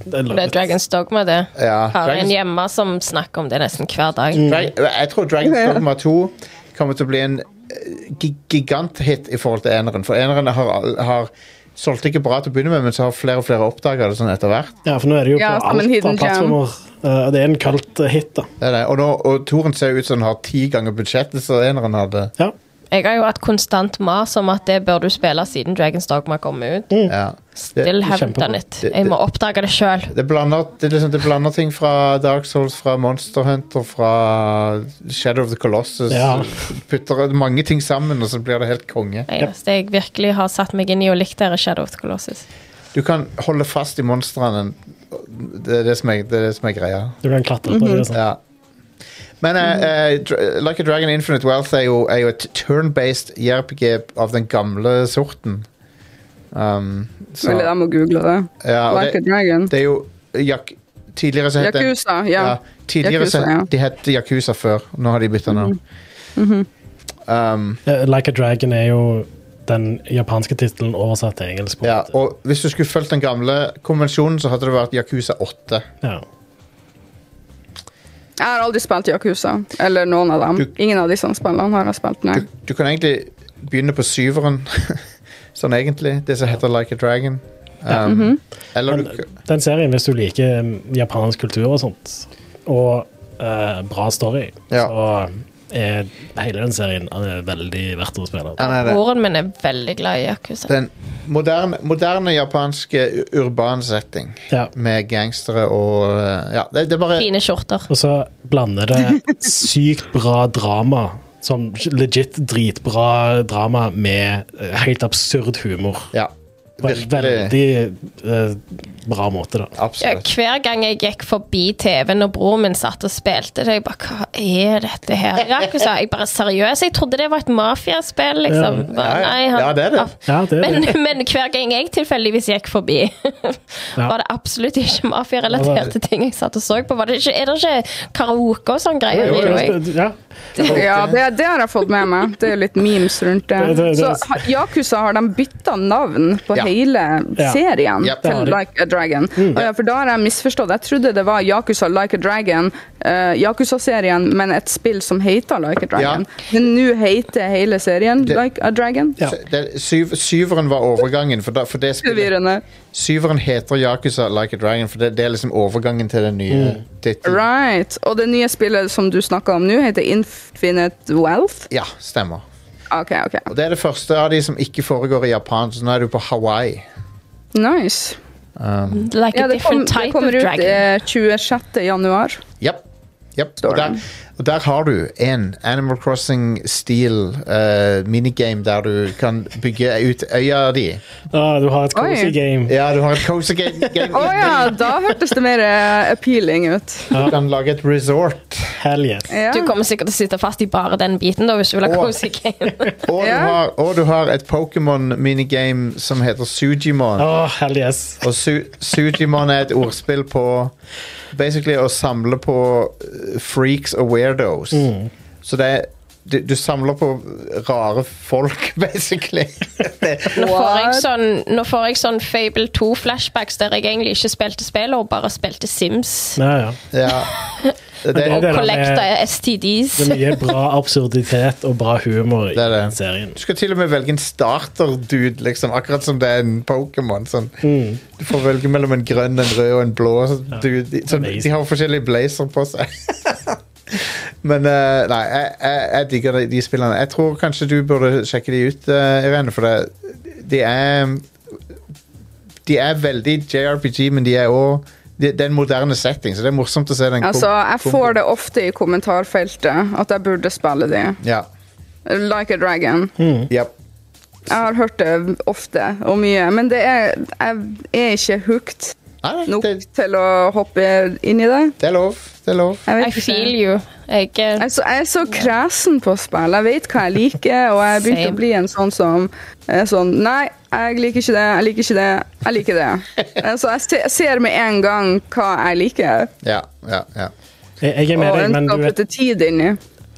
[SPEAKER 3] det er
[SPEAKER 6] Det er
[SPEAKER 3] løpet.
[SPEAKER 6] Dragons Dogma, det.
[SPEAKER 1] Ja,
[SPEAKER 6] Har en
[SPEAKER 1] Dragons-
[SPEAKER 6] hjemme som snakker om det nesten hver dag.
[SPEAKER 1] Dra- Jeg tror Dragon's Dogma 2 kommer til å bli en eh, gi- giganthit i forhold til eneren. For eneren har, al- har solgte ikke bra til å begynne med, men så har flere og flere oppdaga det sånn etter hvert.
[SPEAKER 3] Ja, for nå er det jo
[SPEAKER 4] Ja,
[SPEAKER 3] på
[SPEAKER 4] som en
[SPEAKER 3] alt
[SPEAKER 4] hidden
[SPEAKER 3] av
[SPEAKER 4] gem.
[SPEAKER 3] plattformer. Eh, og det er en kult eh, hit, da.
[SPEAKER 1] Det er det. Og, nå, og Toren ser ut som den har ti ganger budsjettet som eneren hadde.
[SPEAKER 3] Ja.
[SPEAKER 6] Jeg har jo hatt konstant mas om at det bør du spille siden Dragons Dogma kom ut.
[SPEAKER 1] Ja. Det,
[SPEAKER 6] Still haven't
[SPEAKER 3] kjempebra.
[SPEAKER 6] done it. Jeg må oppdage det sjøl.
[SPEAKER 1] det, blander, det, er liksom, det blander ting fra Dark Souls, fra Monster Hunter, fra Shadow of the Colossus.
[SPEAKER 3] Ja.
[SPEAKER 1] Putter mange ting sammen, og så blir det helt konge.
[SPEAKER 6] Det eneste jeg virkelig har satt meg inn i og likt, er Shadow of the Colossus.
[SPEAKER 1] Du kan holde fast i monstrene. Det er det som er, det er, det som er greia.
[SPEAKER 3] Du kan klatre
[SPEAKER 4] Mhm.
[SPEAKER 3] på det. og sånn.
[SPEAKER 1] Ja. Men eh, eh, Dra- Like a Dragon Infinite Wealth er jo, er jo et turn-based JRPG av den gamle sorten. Um, så,
[SPEAKER 4] Mulig de må google det.
[SPEAKER 1] ja, og
[SPEAKER 4] Like a
[SPEAKER 1] det,
[SPEAKER 4] Dragon.
[SPEAKER 1] det er jo Jak Tidligere så het den
[SPEAKER 4] Yakuza, ja.
[SPEAKER 1] ja, Tidligere så
[SPEAKER 4] Yakuza, ja. Mhm.
[SPEAKER 1] de het Yakuza før. Nå har de bytta navn. um,
[SPEAKER 3] Eh, Like a Dragon er jo den japanske tittelen oversatt til engelsk. på en
[SPEAKER 1] ja,
[SPEAKER 3] måte.
[SPEAKER 1] og hvis du skulle fulgt den gamle konvensjonen, så hadde det vært Yakuza 8.
[SPEAKER 3] Ja.
[SPEAKER 4] Jeg har aldri spilt Yakuza, eller noen av dem.
[SPEAKER 1] Du-
[SPEAKER 4] Ingen av disse spillene har jeg spilt, nei.
[SPEAKER 1] Du, du kan egentlig begynne på syveren, <laughs> sånn egentlig. Det som heter Like a Dragon. Um, Eller du
[SPEAKER 3] Men den serien, hvis du liker mm, japansk kultur og sånt, og eh, bra story,
[SPEAKER 1] Ja.
[SPEAKER 3] så er hele den serien eh, veldig verdt å spille.
[SPEAKER 1] Ja, nei, det-
[SPEAKER 6] Broren min er veldig glad i Yakuza.
[SPEAKER 1] Den moderne, moderne japanske u- urban setting
[SPEAKER 3] Ja.
[SPEAKER 1] med gangstere og eh, Ja, det, det er bare
[SPEAKER 6] Fine skjorter.
[SPEAKER 3] Og så blander det sykt bra drama, som legit dritbra drama, med eh, helt absurd humor.
[SPEAKER 1] Ja.
[SPEAKER 3] På en veldig eh, bra måte, da.
[SPEAKER 6] Ja,
[SPEAKER 1] Absolutt.
[SPEAKER 6] hver gang jeg gikk forbi TV-en og broren min satt og spilte det, jeg bare Hva er dette her? Yakuza? Jeg bare seriøst, jeg trodde det var et mafiaspill, liksom.
[SPEAKER 3] Ja.
[SPEAKER 6] Bare,
[SPEAKER 1] Ja, ja.
[SPEAKER 6] nei, han-
[SPEAKER 1] Ja, det er det.
[SPEAKER 3] Ja, det er
[SPEAKER 6] Men,
[SPEAKER 3] det.
[SPEAKER 6] <laughs> men hver gang jeg tilfeldigvis gikk forbi,
[SPEAKER 1] <laughs>
[SPEAKER 6] var det absolutt ikke mafiarelaterte ting jeg satt og så på. Var det ikke, er det ikke karaoke og sånn greier?
[SPEAKER 1] Jo, jo,
[SPEAKER 6] anyway?
[SPEAKER 3] Ja.
[SPEAKER 4] Ja, det, det har jeg fått med meg. Det er jo litt memes rundt det.
[SPEAKER 3] Det- det- det-
[SPEAKER 4] Så ha- Yakuza har de bytta navn på
[SPEAKER 1] Ja.
[SPEAKER 4] hele
[SPEAKER 3] Ja. Mm.
[SPEAKER 4] serien
[SPEAKER 1] Yep.
[SPEAKER 3] Det har
[SPEAKER 4] til
[SPEAKER 3] de.
[SPEAKER 4] Like a Dragon. Og ja, for da har jeg misforstått. Jeg trodde det var Yakuza Like a Dragon, eh, Yakuza-serien, men et spill som heter Like a Dragon. Men nå heter hele serien
[SPEAKER 1] Det-
[SPEAKER 4] Like a Dragon.
[SPEAKER 3] Ja.
[SPEAKER 1] Så Det, syv, syveren var overgangen, for, da, for det spillet
[SPEAKER 4] Forvirrende.
[SPEAKER 1] Syveren heter Yakuza Like a Dragon, for det, det er liksom overgangen til den nye
[SPEAKER 3] Mm.
[SPEAKER 1] tittelen.
[SPEAKER 4] Right. Og det nye spillet som du snakker om nå, heter Infinite Wealth. Ah,
[SPEAKER 1] Ja, stemmer.
[SPEAKER 4] OK, OK.
[SPEAKER 1] Og det er det første av de som ikke foregår i Japan, så nå er du på Hawaii.
[SPEAKER 4] Nice.
[SPEAKER 1] Um,
[SPEAKER 6] Like
[SPEAKER 4] Ja,
[SPEAKER 6] a
[SPEAKER 4] det, kom,
[SPEAKER 6] different
[SPEAKER 4] det
[SPEAKER 6] type of
[SPEAKER 4] kommer ut
[SPEAKER 6] dragon.
[SPEAKER 4] eh, 26. januar.
[SPEAKER 1] Yep. Yep.
[SPEAKER 4] Står
[SPEAKER 1] Og, der,
[SPEAKER 4] den.
[SPEAKER 1] og der har du en Animal Crossing-stil eh, minigame der du kan bygge ut øya di.
[SPEAKER 3] Ah, du har et cozy
[SPEAKER 4] Oi.
[SPEAKER 3] game.
[SPEAKER 1] Ja, du har et cozy game. game
[SPEAKER 4] Å ja, da hørtes det mer eh, appealing ut.
[SPEAKER 1] Du kan lage et resort.
[SPEAKER 3] Hell yes.
[SPEAKER 4] Ja.
[SPEAKER 6] Du kommer sikkert til å sitte fast i bare den biten da, hvis du vil ha
[SPEAKER 1] Åh.
[SPEAKER 6] cozy game.
[SPEAKER 1] Og du
[SPEAKER 4] Ja.
[SPEAKER 1] har, og du har et Pokémon-minigame som heter Sujimon.
[SPEAKER 3] Åh, hell yes.
[SPEAKER 1] Og su Sujimon er et ordspill på Basically å samle på eh, freaks og weirdos. Så det er du, du samler på rare folk, <laughs> basically. Det,
[SPEAKER 6] Nå får, jeg
[SPEAKER 4] What?
[SPEAKER 6] sånn, nå får jeg sånn Fable 2-flashbacks der jeg egentlig ikke spilte spill, og bare spilte Sims.
[SPEAKER 3] Ja, ja.
[SPEAKER 1] ja. Det,
[SPEAKER 3] er
[SPEAKER 6] Og
[SPEAKER 3] det der
[SPEAKER 6] collecta
[SPEAKER 3] med-
[SPEAKER 6] STDs.
[SPEAKER 3] Det er mye bra absurditet og bra humor i
[SPEAKER 1] Det er det.
[SPEAKER 3] den serien.
[SPEAKER 1] Du skal til og med velge en starter-dude, liksom. Akkurat som det er en Pokémon. Sånn. Du får velge mellom en grønn, en rød og en blå dude. De- Sånn,
[SPEAKER 3] amazing.
[SPEAKER 1] de har forskjellige blazer på seg. <laughs> Men eh, nei, jeg, jeg, jeg digger de, de spillene. Jeg tror kanskje du burde sjekke de ut, eh, Irene, for det, de er De er veldig JRPG, men de er òg det det er en moderne setting, så det er morsomt å se den. kom-
[SPEAKER 4] Altså, jeg
[SPEAKER 1] kom-
[SPEAKER 4] får det ofte i kommentarfeltet at jeg burde spille de.
[SPEAKER 1] Ja.
[SPEAKER 4] Like a Dragon.
[SPEAKER 1] Yep.
[SPEAKER 4] Jeg har hørt det ofte og mye, men det er, jeg er ikke hooked
[SPEAKER 1] Nei,
[SPEAKER 4] nok
[SPEAKER 1] det,
[SPEAKER 4] til å hoppe inn i det.
[SPEAKER 1] det er lov. Det er lov.
[SPEAKER 4] Jeg
[SPEAKER 6] I
[SPEAKER 4] vet ikke.
[SPEAKER 6] feel you. Jeg, eh,
[SPEAKER 4] Altså, jeg er så kresen på spill. Jeg vet hva jeg liker, og jeg begynte
[SPEAKER 6] Same.
[SPEAKER 4] å bli en sånn som er sånn Nei, jeg liker ikke det, jeg liker ikke det, jeg liker det.
[SPEAKER 1] <laughs>
[SPEAKER 4] Altså, jeg se- ser med en gang hva jeg liker,
[SPEAKER 1] Ja, ja, ja.
[SPEAKER 3] Jeg, jeg er med
[SPEAKER 4] og
[SPEAKER 3] deg, men
[SPEAKER 4] ønsker
[SPEAKER 3] du
[SPEAKER 4] å
[SPEAKER 3] vet,
[SPEAKER 4] putte tid inn i.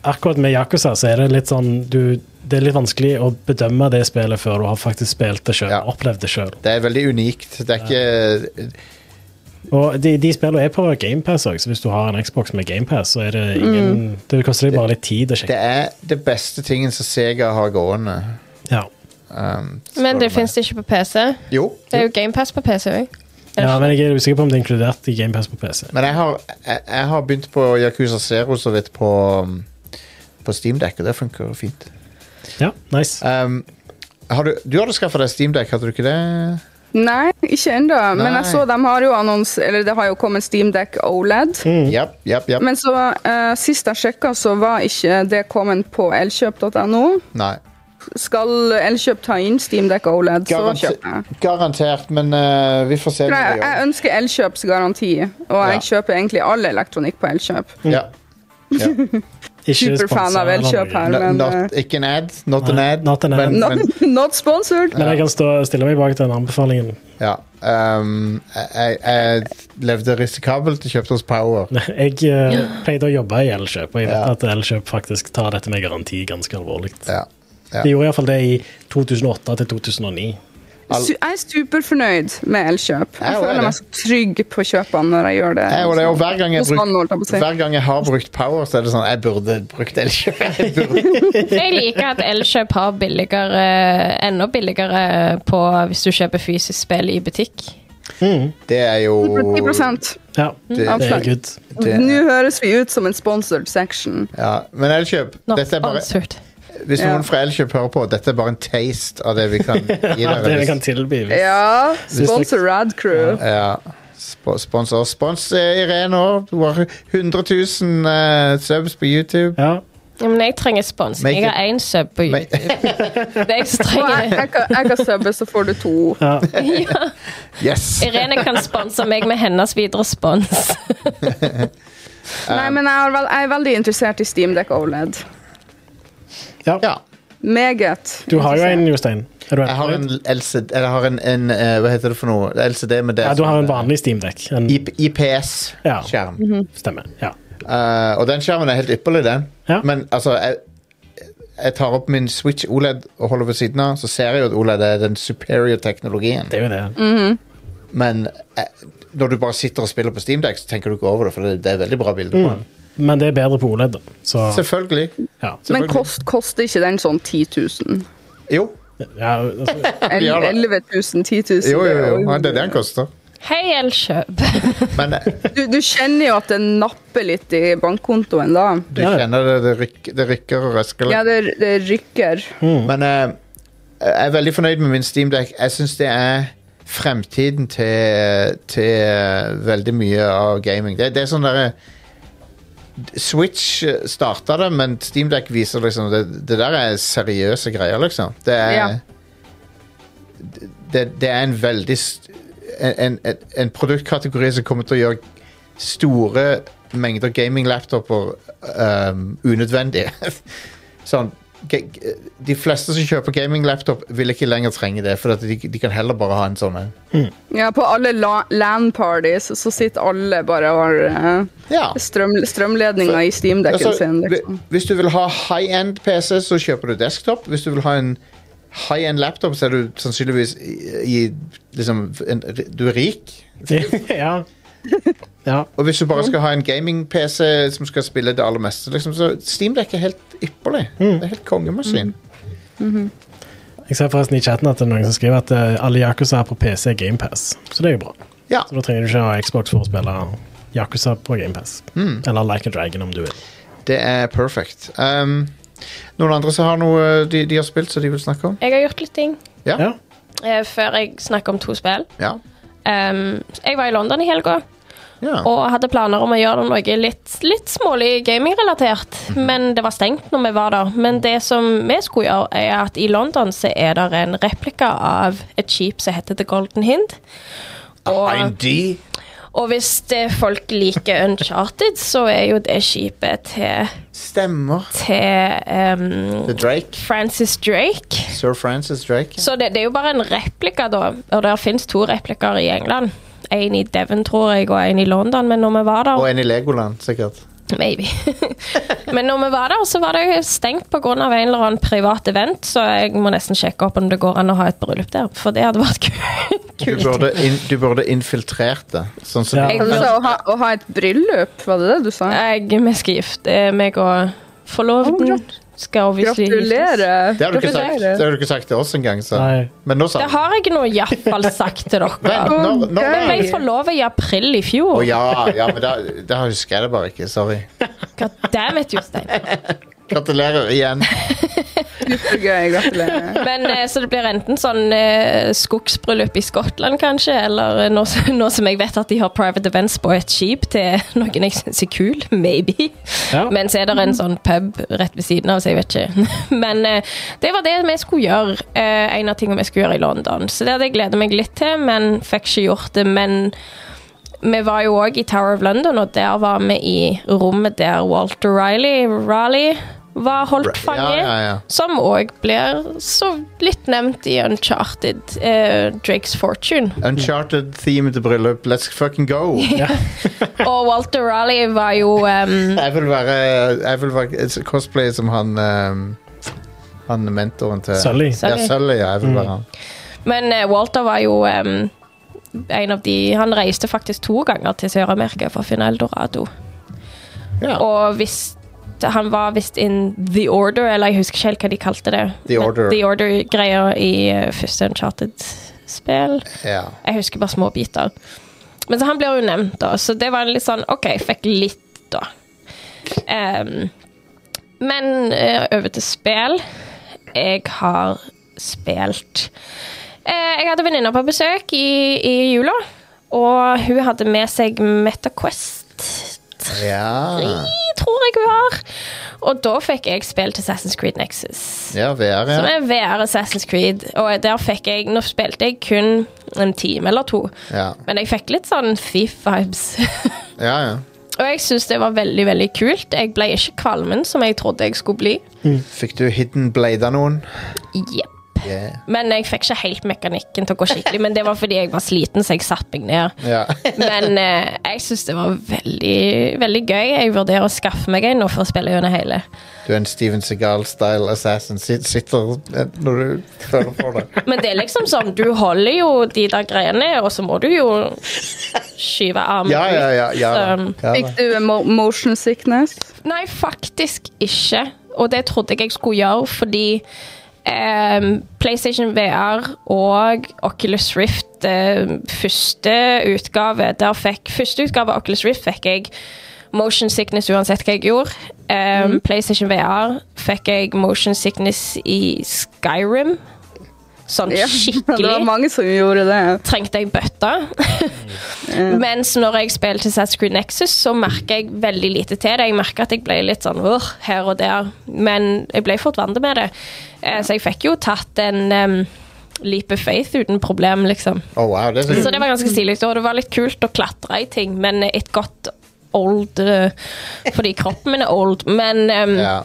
[SPEAKER 3] akkurat med Yakuza så er det litt sånn du, Det er litt vanskelig å bedømme det spillet før du har faktisk spilt det sjøl.
[SPEAKER 1] Ja.
[SPEAKER 3] Opplevd det sjøl.
[SPEAKER 1] Det er veldig unikt. Det er ikke
[SPEAKER 3] Og de, de spillene er på GamePass òg, så hvis du har en Xbox med GamePass, så er det
[SPEAKER 4] Mm.
[SPEAKER 3] ingen Det koster deg bare litt tid å
[SPEAKER 1] Det
[SPEAKER 3] sjekke.
[SPEAKER 1] er det beste tingen som Sega har gående.
[SPEAKER 3] Ja.
[SPEAKER 1] Um, spør du
[SPEAKER 6] Men det
[SPEAKER 1] meg.
[SPEAKER 6] fins ikke på PC.
[SPEAKER 1] Jo.
[SPEAKER 6] Det er jo GamePass på PC òg.
[SPEAKER 3] ja, men jeg er usikker på om det er inkludert i GamePass på PC.
[SPEAKER 1] Men jeg har, jeg, jeg har begynt på Yakuza Zero så vidt på, um, på Steamdeck, og det funker fint.
[SPEAKER 3] Ja, nice.
[SPEAKER 1] Um, har du, du hadde skaffa deg Steamdeck, hadde du ikke det?
[SPEAKER 4] Nei, ikke ennå. Men
[SPEAKER 1] Nei.
[SPEAKER 4] jeg så de har jo annons, eller det har jo kommet Steamdeck OLED.
[SPEAKER 3] Mm.
[SPEAKER 1] Japp, japp, japp.
[SPEAKER 4] E Men så eh, sist jeg sjekka, så var ikke det kommet på elkjøp.no.
[SPEAKER 1] Nei.
[SPEAKER 4] Skal Elkjøp ta inn Steamdeck OLED, E så
[SPEAKER 1] Garante-
[SPEAKER 4] kjøper jeg.
[SPEAKER 1] garantert, men uh, vi får se.
[SPEAKER 4] For
[SPEAKER 1] når
[SPEAKER 4] jeg,
[SPEAKER 1] det
[SPEAKER 4] jeg
[SPEAKER 1] gjør.
[SPEAKER 4] ønsker Elkjøps garanti, og
[SPEAKER 1] Ja.
[SPEAKER 4] jeg kjøper egentlig all elektronikk på Elkjøp.
[SPEAKER 1] Ja.
[SPEAKER 3] Ikke
[SPEAKER 4] Superfan av
[SPEAKER 3] sponset eller
[SPEAKER 4] Elkjøp
[SPEAKER 3] noe.
[SPEAKER 4] her,
[SPEAKER 1] No-
[SPEAKER 4] men eh, <laughs>
[SPEAKER 1] Not, ikke en ad. Not an
[SPEAKER 3] Nei,
[SPEAKER 1] ad.
[SPEAKER 3] not an ad.
[SPEAKER 1] Men,
[SPEAKER 4] not,
[SPEAKER 1] men,
[SPEAKER 4] not sponsored!
[SPEAKER 3] Men jeg kan stå, stille meg bak den anbefalingen.
[SPEAKER 1] ja. Um, jeg, jeg, jeg levde risikabelt og kjøpte hos Power.
[SPEAKER 3] <laughs> Jeg eh, pleide å jobbe i Elkjøp, og jeg vet
[SPEAKER 1] Ja.
[SPEAKER 3] at Elkjøp faktisk tar dette med garanti ganske alvorlig.
[SPEAKER 1] Ja. Ja.
[SPEAKER 3] De gjorde iallfall det i 2008 til 2009.
[SPEAKER 1] Al-
[SPEAKER 4] Su jeg er superfornøyd med Elkjøp.
[SPEAKER 1] Jeg
[SPEAKER 4] Jeg
[SPEAKER 1] også er
[SPEAKER 4] føler
[SPEAKER 1] det.
[SPEAKER 4] meg så trygg på kjøpene når jeg gjør det.
[SPEAKER 1] Jeg, Eh, og det, er jo hver, gang jeg
[SPEAKER 4] Hos han, holdt jeg på å
[SPEAKER 1] bruk,
[SPEAKER 4] si.
[SPEAKER 1] hver gang jeg har brukt Power, så er det sånn Jeg burde brukt Elkjøp. <laughs> Jeg burde-
[SPEAKER 6] <laughs> Jeg liker at Elkjøp har billigere, enda billigere på hvis du kjøper fysisk spill i butikk.
[SPEAKER 1] Det er jo
[SPEAKER 4] 10%.
[SPEAKER 3] Ja,
[SPEAKER 4] Mm,
[SPEAKER 1] Det-
[SPEAKER 3] det er good.
[SPEAKER 1] det-
[SPEAKER 4] Nå høres vi ut som en sponsored section.
[SPEAKER 1] ja. Men Elkjøp,
[SPEAKER 6] Not
[SPEAKER 1] dette er bare,
[SPEAKER 6] sponsored.
[SPEAKER 1] hvis
[SPEAKER 4] Ja.
[SPEAKER 1] noen fra Elkjøp hører på, dette er bare en taste av det vi
[SPEAKER 3] <laughs>
[SPEAKER 1] kan gi
[SPEAKER 3] Ja, det vi
[SPEAKER 1] dere.
[SPEAKER 3] kan tilby. hvis-
[SPEAKER 4] Ja, sponsor Rad Crew.
[SPEAKER 1] Ja. Sp- Spons oss. Spons eh, Irene òg. Du har 100 000 eh, subs på YouTube.
[SPEAKER 3] Ja.
[SPEAKER 6] Ja, Men jeg trenger spons.
[SPEAKER 1] Make
[SPEAKER 6] Jeg har
[SPEAKER 1] it-
[SPEAKER 6] én sub på
[SPEAKER 1] Men,
[SPEAKER 6] YouTube. Det er jeg som
[SPEAKER 4] Og jeg,
[SPEAKER 6] trenger.
[SPEAKER 4] jeg, kan, jeg kan subbe, så får du to.
[SPEAKER 3] Ja.
[SPEAKER 1] <laughs> yes!
[SPEAKER 6] Irene kan sponse meg med hennes videre spons. <laughs>
[SPEAKER 4] Nei, men jeg, har vel, jeg er veldig interessert i Steamdeck OLED.
[SPEAKER 3] Ja.
[SPEAKER 1] Ja.
[SPEAKER 4] Meget.
[SPEAKER 3] Du har jo en,
[SPEAKER 4] interessert.
[SPEAKER 3] Jostein. Er du
[SPEAKER 1] Jeg har en
[SPEAKER 3] en,
[SPEAKER 1] LCD Eller jeg har en, en eh, Hva heter det for noe? LCD med det
[SPEAKER 3] ja, du har en
[SPEAKER 1] som-
[SPEAKER 3] vanlig Steamdekk. En
[SPEAKER 1] IP- IPS-skjerm.
[SPEAKER 3] stemme. Ja. Mhm.
[SPEAKER 1] Eh, og den skjermen er helt ypperlig, den.
[SPEAKER 3] Ja.
[SPEAKER 1] Men altså jeg, jeg tar opp min Switch OLED og holder ved siden av, så ser jeg jo at OLED er den superior teknologien.
[SPEAKER 3] Det er jo det.
[SPEAKER 4] Mm.
[SPEAKER 1] Men eh, når du bare sitter og spiller på SteamDeck, så tenker du ikke over det, for det, det er veldig bra bilder
[SPEAKER 3] Mm.
[SPEAKER 1] på den.
[SPEAKER 3] Men det er bedre på OLED, da. Så
[SPEAKER 1] Selvfølgelig.
[SPEAKER 3] ja.
[SPEAKER 4] Men kost, koster ikke den sånn 10 000?
[SPEAKER 1] Jo,
[SPEAKER 3] ja altså, <laughs>
[SPEAKER 1] Ja da.
[SPEAKER 4] 11 000, 10 000?
[SPEAKER 1] jo, jo. jo. Ja,
[SPEAKER 4] det
[SPEAKER 1] det er det den koster.
[SPEAKER 6] Hei, Elkjøp.
[SPEAKER 1] Men eh,
[SPEAKER 3] <laughs>
[SPEAKER 4] er jo- Du, du kjenner jo at det napper litt i bankkontoen da.
[SPEAKER 1] du
[SPEAKER 3] Ja.
[SPEAKER 1] kjenner det, det, ryk, det rykker og røsker litt.
[SPEAKER 4] Ja, det, det rykker.
[SPEAKER 1] Men eh, jeg er veldig fornøyd med min SteamDeck. Jeg syns det er fremtiden til, øh, til eh, veldig mye av gaming. Det, det er sånn derre Switch starta det, men SteamDeck viser liksom det, det der er seriøse greier, liksom. Det er
[SPEAKER 4] Ja.
[SPEAKER 1] det, det er en veldig st- en, en, en- en produktkategori som kommer til å gjøre store mengder gaming-laptoper um, unødvendige. <laughs> sånn ge- ge- De fleste som kjøper gaming-laptop, vil ikke lenger trenge det, for at de, de kan heller bare ha en sånn en.
[SPEAKER 4] Ja, på alle la, LAN-parties så sitter alle bare og har eh,
[SPEAKER 1] Ja.
[SPEAKER 4] strøm, strømledninger i Steamdekken
[SPEAKER 1] Altså,
[SPEAKER 4] sin.
[SPEAKER 1] hvi-
[SPEAKER 4] Liksom.
[SPEAKER 1] hvis du vil ha high-end PC, så kjøper du desktop. Hvis du vil ha en high-end laptop, så er du sannsynligvis i, i liksom, en, Du er rik.
[SPEAKER 3] ja. ja.
[SPEAKER 1] Og hvis du bare skal ha en gaming-PC som skal spille det aller meste, liksom, så Steamdeck er helt ypperlig. Det er helt kongemaskin.
[SPEAKER 3] Jeg ser forresten i chatten at det er noen som skriver at eh, alle Yakuza er på PC er GamePass, så det er jo bra.
[SPEAKER 1] Ja.
[SPEAKER 3] Så da trenger du ikke ha Xbox for å spille Yakuza på GamePass.
[SPEAKER 6] Mm.
[SPEAKER 3] Eller Like a Dragon, om du vil.
[SPEAKER 1] Det er perfect. Um, noen andre som har noe de, de har spilt, som de vil snakke om?
[SPEAKER 6] Jeg har gjort litt ting
[SPEAKER 1] Ja.
[SPEAKER 3] Ja.
[SPEAKER 6] eh, før jeg snakker om to spill.
[SPEAKER 1] Ja.
[SPEAKER 6] Ehm, jeg var i London i helga
[SPEAKER 1] ja.
[SPEAKER 6] og hadde planer om å gjøre noe litt, litt smålig gamingrelatert. Men det var stengt når vi var der. Men det som vi skulle gjøre, er at i London så er det en replika av et skip som heter The Golden Hind. Og,
[SPEAKER 1] D.
[SPEAKER 6] og hvis det folk liker Uncharted, så er jo det skipet til,
[SPEAKER 1] Stemmer.
[SPEAKER 6] til ehm,
[SPEAKER 1] The Drake.
[SPEAKER 6] Francis Drake.
[SPEAKER 1] Sir Francis Drake.
[SPEAKER 6] Så det, det er jo bare en replika, da. Og der fins to replikker i England. En i Devon, tror jeg, og en i London, men når vi var der
[SPEAKER 1] Og en i Legoland, sikkert.
[SPEAKER 6] Maybe. <laughs> Men når vi var der, så var det stengt pga. en eller annen privat event, så jeg må nesten sjekke opp om det går an å ha et bryllup der, for det hadde vært kult.
[SPEAKER 1] Du burde, in, du burde infiltrert det. Sånn som
[SPEAKER 3] Ja.
[SPEAKER 1] de-
[SPEAKER 4] Du sa Altså, å ha, å ha et bryllup, var det det du sa?
[SPEAKER 6] Jeg, vi skal gifte eh, meg og
[SPEAKER 4] Å,
[SPEAKER 6] forloveden. Skal obviously giftes.
[SPEAKER 4] Gratulerer.
[SPEAKER 1] Det har du ikke sagt,
[SPEAKER 4] Gratulerer.
[SPEAKER 1] det har du ikke sagt til oss engang. så.
[SPEAKER 3] Nei.
[SPEAKER 1] Men nå sa
[SPEAKER 6] Det
[SPEAKER 1] du
[SPEAKER 6] har jeg nå iallfall sagt til
[SPEAKER 1] Vent,
[SPEAKER 6] dere.
[SPEAKER 1] nå, nå,
[SPEAKER 4] Ok.
[SPEAKER 6] Jeg ble forlova i april i
[SPEAKER 1] Å
[SPEAKER 6] fjor.
[SPEAKER 1] ja, ja, men da, da husker jeg det bare ikke. Sorry.
[SPEAKER 6] Goddammit, Jostein.
[SPEAKER 1] Gratulerer igjen.
[SPEAKER 4] Supergøy. Gratulerer.
[SPEAKER 6] <laughs> Men eh, Så det blir enten sånn eh, skogsbryllup i Skottland, kanskje, eller eh, nå, s- nå som <laughs> jeg vet at de har private events på et skip til <laughs> noen jeg syns er kul, maybe.
[SPEAKER 3] Ja.
[SPEAKER 6] Men så er det en sånn pub rett ved siden av, så jeg vet ikke. <laughs> Men eh, det var det vi skulle gjøre. eh, en av tingene vi skulle gjøre i London. Så det hadde jeg gledet meg litt til, men fikk ikke gjort det. Men vi var jo òg i Tower of London, og der var vi i rommet der Walter Riley Raleigh var holdt fange.
[SPEAKER 1] Ja, ja, ja.
[SPEAKER 6] Som òg blir så litt nevnt i Uncharted eh, Drake's
[SPEAKER 1] <laughs>
[SPEAKER 6] Fortune.
[SPEAKER 1] Uncharted-themed bryllup. Let's fucking go!
[SPEAKER 6] Og Walter Raleigh var jo ehm,
[SPEAKER 1] Jeg vil være, jeg vil være et cosplay som han ehm, Han mentoren til
[SPEAKER 3] Sully.
[SPEAKER 1] Ja, Sully. Ja, jeg vil være han.
[SPEAKER 6] Men eh, Walter var jo ehm, en av de Han reiste faktisk to ganger til Sør-Amerika for å finne Eldorado.
[SPEAKER 1] Ja.
[SPEAKER 6] Mm. Og hvis han var visst in The Order, eller jeg husker ikke helt hva de kalte det.
[SPEAKER 1] The
[SPEAKER 6] Men
[SPEAKER 1] Order.
[SPEAKER 6] The Order-greia i eh, første Uncharted-spill.
[SPEAKER 1] Ja.
[SPEAKER 6] Jeg husker bare små biter. Men så han blir jo nevnt, da. Så det var litt sånn OK, jeg fikk litt, da. Ehm, men eh, over til spill. Jeg har spilt Eh, Jeg hadde venninner på besøk i, i jula, og hun hadde med seg MetaQuest.
[SPEAKER 1] Ja.
[SPEAKER 6] Tror jeg hun har. Og da fikk jeg spilt Assassin's Creed Nexus.
[SPEAKER 1] ja, VR,
[SPEAKER 6] Som
[SPEAKER 1] ja.
[SPEAKER 6] er VR Assassin's Creed. Og der fikk jeg Nå spilte jeg kun en time eller to,
[SPEAKER 1] Ja,
[SPEAKER 6] men jeg fikk litt sånn Thief-vibes.
[SPEAKER 1] ja. ja.
[SPEAKER 6] <laughs> og jeg syns det var veldig, veldig kult. Jeg ble ikke kvalmen som jeg trodde jeg skulle bli.
[SPEAKER 1] Fikk du hidden blade av noen?
[SPEAKER 6] Jepp.
[SPEAKER 1] Yeah.
[SPEAKER 6] Men jeg fikk ikke helt mekanikken til å gå skikkelig, men det var fordi jeg var sliten, så jeg satte meg ned.
[SPEAKER 1] Ja.
[SPEAKER 6] Men eh, jeg syns det var veldig, veldig gøy. Jeg vurderer å skaffe meg en nå for å spille gjennom hele.
[SPEAKER 1] Du er en Steven Segal-style assassin. Sit- Sitter eh, når du føler for
[SPEAKER 6] <laughs>
[SPEAKER 1] det.
[SPEAKER 6] Men det er liksom sånn, du holder jo de der greiene, og så må du jo skyve armen
[SPEAKER 1] Ja, ja, ja. ja, da.
[SPEAKER 6] Så- um,
[SPEAKER 1] ja
[SPEAKER 4] Fikk
[SPEAKER 1] da.
[SPEAKER 4] du mo- motion sickness?
[SPEAKER 6] Nei, faktisk ikke. Og det trodde jeg jeg skulle gjøre fordi ehm, PlayStation VR og Oculus Rift eh, første utgave der fikk, Første utgave av Oculus Rift fikk jeg motion sickness uansett hva jeg gjorde. Ehm,
[SPEAKER 4] Mhm.
[SPEAKER 6] PlayStation VR fikk jeg motion sickness i Skyrim. Sånn
[SPEAKER 4] Ja, <laughs> Det
[SPEAKER 6] skikkelig
[SPEAKER 4] var mange som gjorde det.
[SPEAKER 6] trengte jeg bøtta. Mens når jeg spilte Assassin's Creed Nexus, så merka jeg veldig lite til det. Jeg merka at jeg ble litt sånn «Åh», her og der, men jeg ble fort vant med det. Eh, Så jeg fikk jo tatt en um, leap of faith uten problem, liksom.
[SPEAKER 1] Å, Oh, wow, det er
[SPEAKER 6] Så
[SPEAKER 1] så
[SPEAKER 6] det var ganske stilig, og det var litt kult å klatre i ting, men it got old eh, fordi kroppen min er old. Men um,
[SPEAKER 1] ja.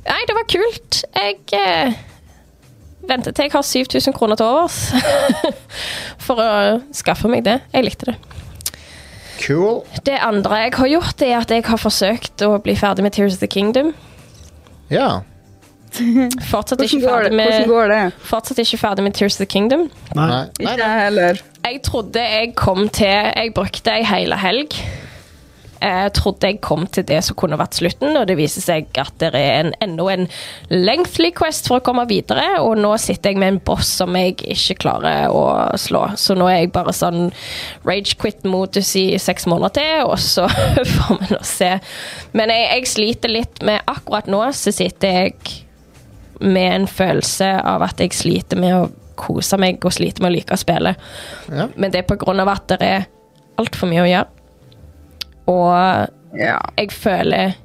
[SPEAKER 6] Nei, det var kult. Jeg eh, venter til jeg har 7000 kroner til overs <laughs> for å skaffe meg det. Jeg likte det.
[SPEAKER 1] Cool.
[SPEAKER 6] Det andre jeg har gjort, er at jeg har forsøkt å bli ferdig med Tears of the Kingdom.
[SPEAKER 1] Ja.
[SPEAKER 6] Fortsatt ikke
[SPEAKER 4] Hvordan går det?
[SPEAKER 6] ferdig
[SPEAKER 4] Hvordan
[SPEAKER 6] med,
[SPEAKER 4] går det?
[SPEAKER 6] fortsatt ikke ferdig med Tears of the Kingdom.
[SPEAKER 1] Nei. Nei,
[SPEAKER 4] Ikke jeg heller.
[SPEAKER 6] Jeg trodde jeg kom til Jeg brukte ei hele helg. Jeg trodde jeg kom til det som kunne vært slutten, og det viser seg at det er en, enda en lengthy quest for å komme videre, og nå sitter jeg med en boss som jeg ikke klarer å slå. Så nå er jeg bare sånn rage quit-modus i seks måneder til, og så <laughs> får vi nå se. Men jeg, jeg sliter litt med Akkurat nå så sitter jeg med en følelse av at jeg sliter med å kose meg og sliter med å like å spille.
[SPEAKER 1] Ja.
[SPEAKER 6] Men det er på grunn av at det er altfor mye å gjøre. Og
[SPEAKER 4] Ja.
[SPEAKER 6] jeg føler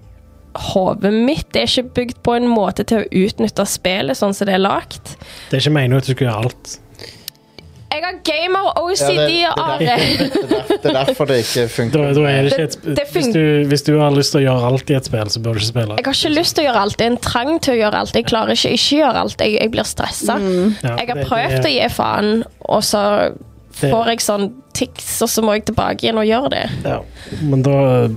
[SPEAKER 6] hodet mitt er ikke bygd på en måte til å utnytte spillet sånn som det er lagt.
[SPEAKER 3] Det er ikke meningen at du skulle gjøre alt.
[SPEAKER 6] Jeg har
[SPEAKER 1] Ja, det- det er
[SPEAKER 6] gamer-OCD-are.
[SPEAKER 1] derfor- Det er derfor det ikke
[SPEAKER 3] <laughs> Da,
[SPEAKER 1] funker.
[SPEAKER 3] da er det ikke
[SPEAKER 6] Det-
[SPEAKER 3] et, sp-
[SPEAKER 6] det
[SPEAKER 3] hvis,
[SPEAKER 6] fun-
[SPEAKER 3] du, hvis du har lyst til å gjøre alt i et spill, så bør du ikke spille.
[SPEAKER 6] Jeg har ikke lyst til å gjøre alt. Det er en trang til å gjøre alt. Jeg klarer ikke å ikke gjøre alt. Jeg, jeg blir stressa.
[SPEAKER 3] Ja,
[SPEAKER 6] Jeg
[SPEAKER 3] det-
[SPEAKER 6] har prøvd å gi faen, og så får jeg sånn tics, og så må jeg tilbake igjen og gjøre det.
[SPEAKER 3] ja. Men da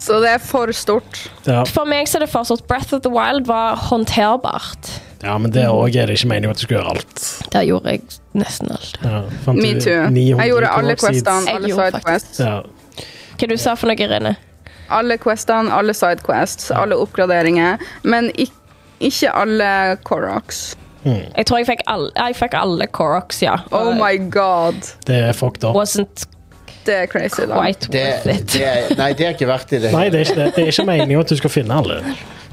[SPEAKER 4] Så det er for stort.
[SPEAKER 3] Ja,
[SPEAKER 6] For meg så er det fortsatt Breath of the Wild var håndterbart.
[SPEAKER 3] ja men det òg er det ikke meningen at du skal gjøre alt.
[SPEAKER 6] Der gjorde jeg nesten alt.
[SPEAKER 3] Ja, fant
[SPEAKER 4] Me
[SPEAKER 3] du
[SPEAKER 4] too.
[SPEAKER 3] 900
[SPEAKER 4] Jeg gjorde alle
[SPEAKER 3] overseeds?
[SPEAKER 4] questene, alle
[SPEAKER 6] Jeg gjorde
[SPEAKER 4] sidequests.
[SPEAKER 3] Ja.
[SPEAKER 6] Hva du sa for noe, Irene?
[SPEAKER 4] Alle questene, alle sidequests, alle oppgraderinger. Men ik ikke alle Koroks.
[SPEAKER 6] Jeg tror jeg fikk alle, jeg fikk alle Koroks, ja.
[SPEAKER 4] Oh my god.
[SPEAKER 3] Det er fucked up.
[SPEAKER 6] Wasn't
[SPEAKER 4] Det er crazy, da.
[SPEAKER 6] quite
[SPEAKER 1] Det,
[SPEAKER 6] worth it.
[SPEAKER 1] det er, nei, det er ikke verdt i det.
[SPEAKER 3] Nei, det er ikke det. Det er ikke meningen at du skal finne alle.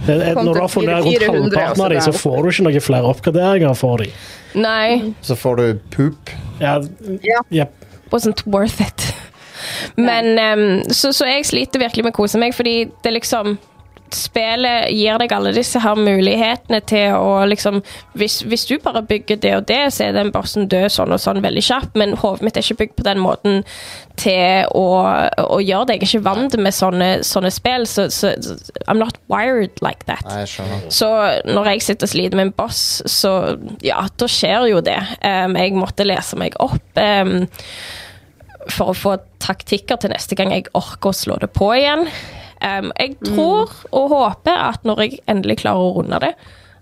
[SPEAKER 3] Det er,
[SPEAKER 4] Kom
[SPEAKER 3] når du
[SPEAKER 4] til
[SPEAKER 3] har funnet rundt
[SPEAKER 4] 400
[SPEAKER 3] halvparten av
[SPEAKER 4] og
[SPEAKER 3] dem,
[SPEAKER 4] så
[SPEAKER 3] så
[SPEAKER 4] der.
[SPEAKER 3] får du ikke noen flere oppgraderinger for dem.
[SPEAKER 6] Nei,
[SPEAKER 1] Så får du poop.
[SPEAKER 3] Ja,
[SPEAKER 4] Ja.
[SPEAKER 3] ja.
[SPEAKER 6] wasn't worth it. Men ehm, så, så jeg sliter virkelig med å kose meg, fordi det liksom Spillet gir deg alle disse her mulighetene til å liksom hvis, hvis du bare bygger det og det, så er den bossen død sånn og sånn veldig kjapt, men hodet mitt er ikke bygd på den måten til å, å gjøre det. Jeg er ikke vant med sånne, sånne spill, så, så I'm not wired like that.
[SPEAKER 1] Nei, jeg skjønner.
[SPEAKER 6] Så når jeg sitter og sliter med en boss, så ja, da skjer jo det. Em, jeg måtte lese meg opp em, for å få taktikker til neste gang jeg orker å slå det på igjen. Em, jeg tror og håper at når jeg endelig klarer å runde det,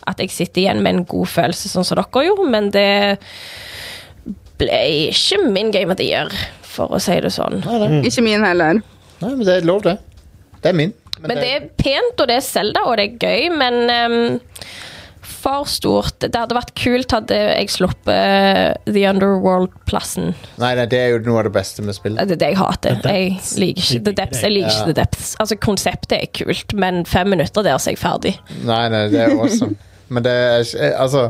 [SPEAKER 6] at jeg sitter igjen med en god følelse, sånn som dere gjorde, men det ble ikke min game of the year, for å si det sånn.
[SPEAKER 1] Nei, nei.
[SPEAKER 4] Ikke min heller.
[SPEAKER 1] nei, men det er lov, det. Det er min.
[SPEAKER 6] Men det er pent, og det er Zelda, og det er gøy, men ehm, for stort. Det hadde vært kult hadde jeg sluppet eh, The Underworld-plassen. Eh,
[SPEAKER 1] Nei, nei, det er jo noe av det beste med
[SPEAKER 6] Det
[SPEAKER 1] spillet.
[SPEAKER 6] er det jeg hater.
[SPEAKER 3] The
[SPEAKER 6] Jeg
[SPEAKER 3] Depths.
[SPEAKER 6] liker ikke The Depths. Jeg liker ikke The Depths. Altså, konseptet er kult, men fem minutter der, så er jeg ferdig.
[SPEAKER 1] Nei, nei, det er
[SPEAKER 6] <laughs>
[SPEAKER 1] awesome. Men det er eh, Altså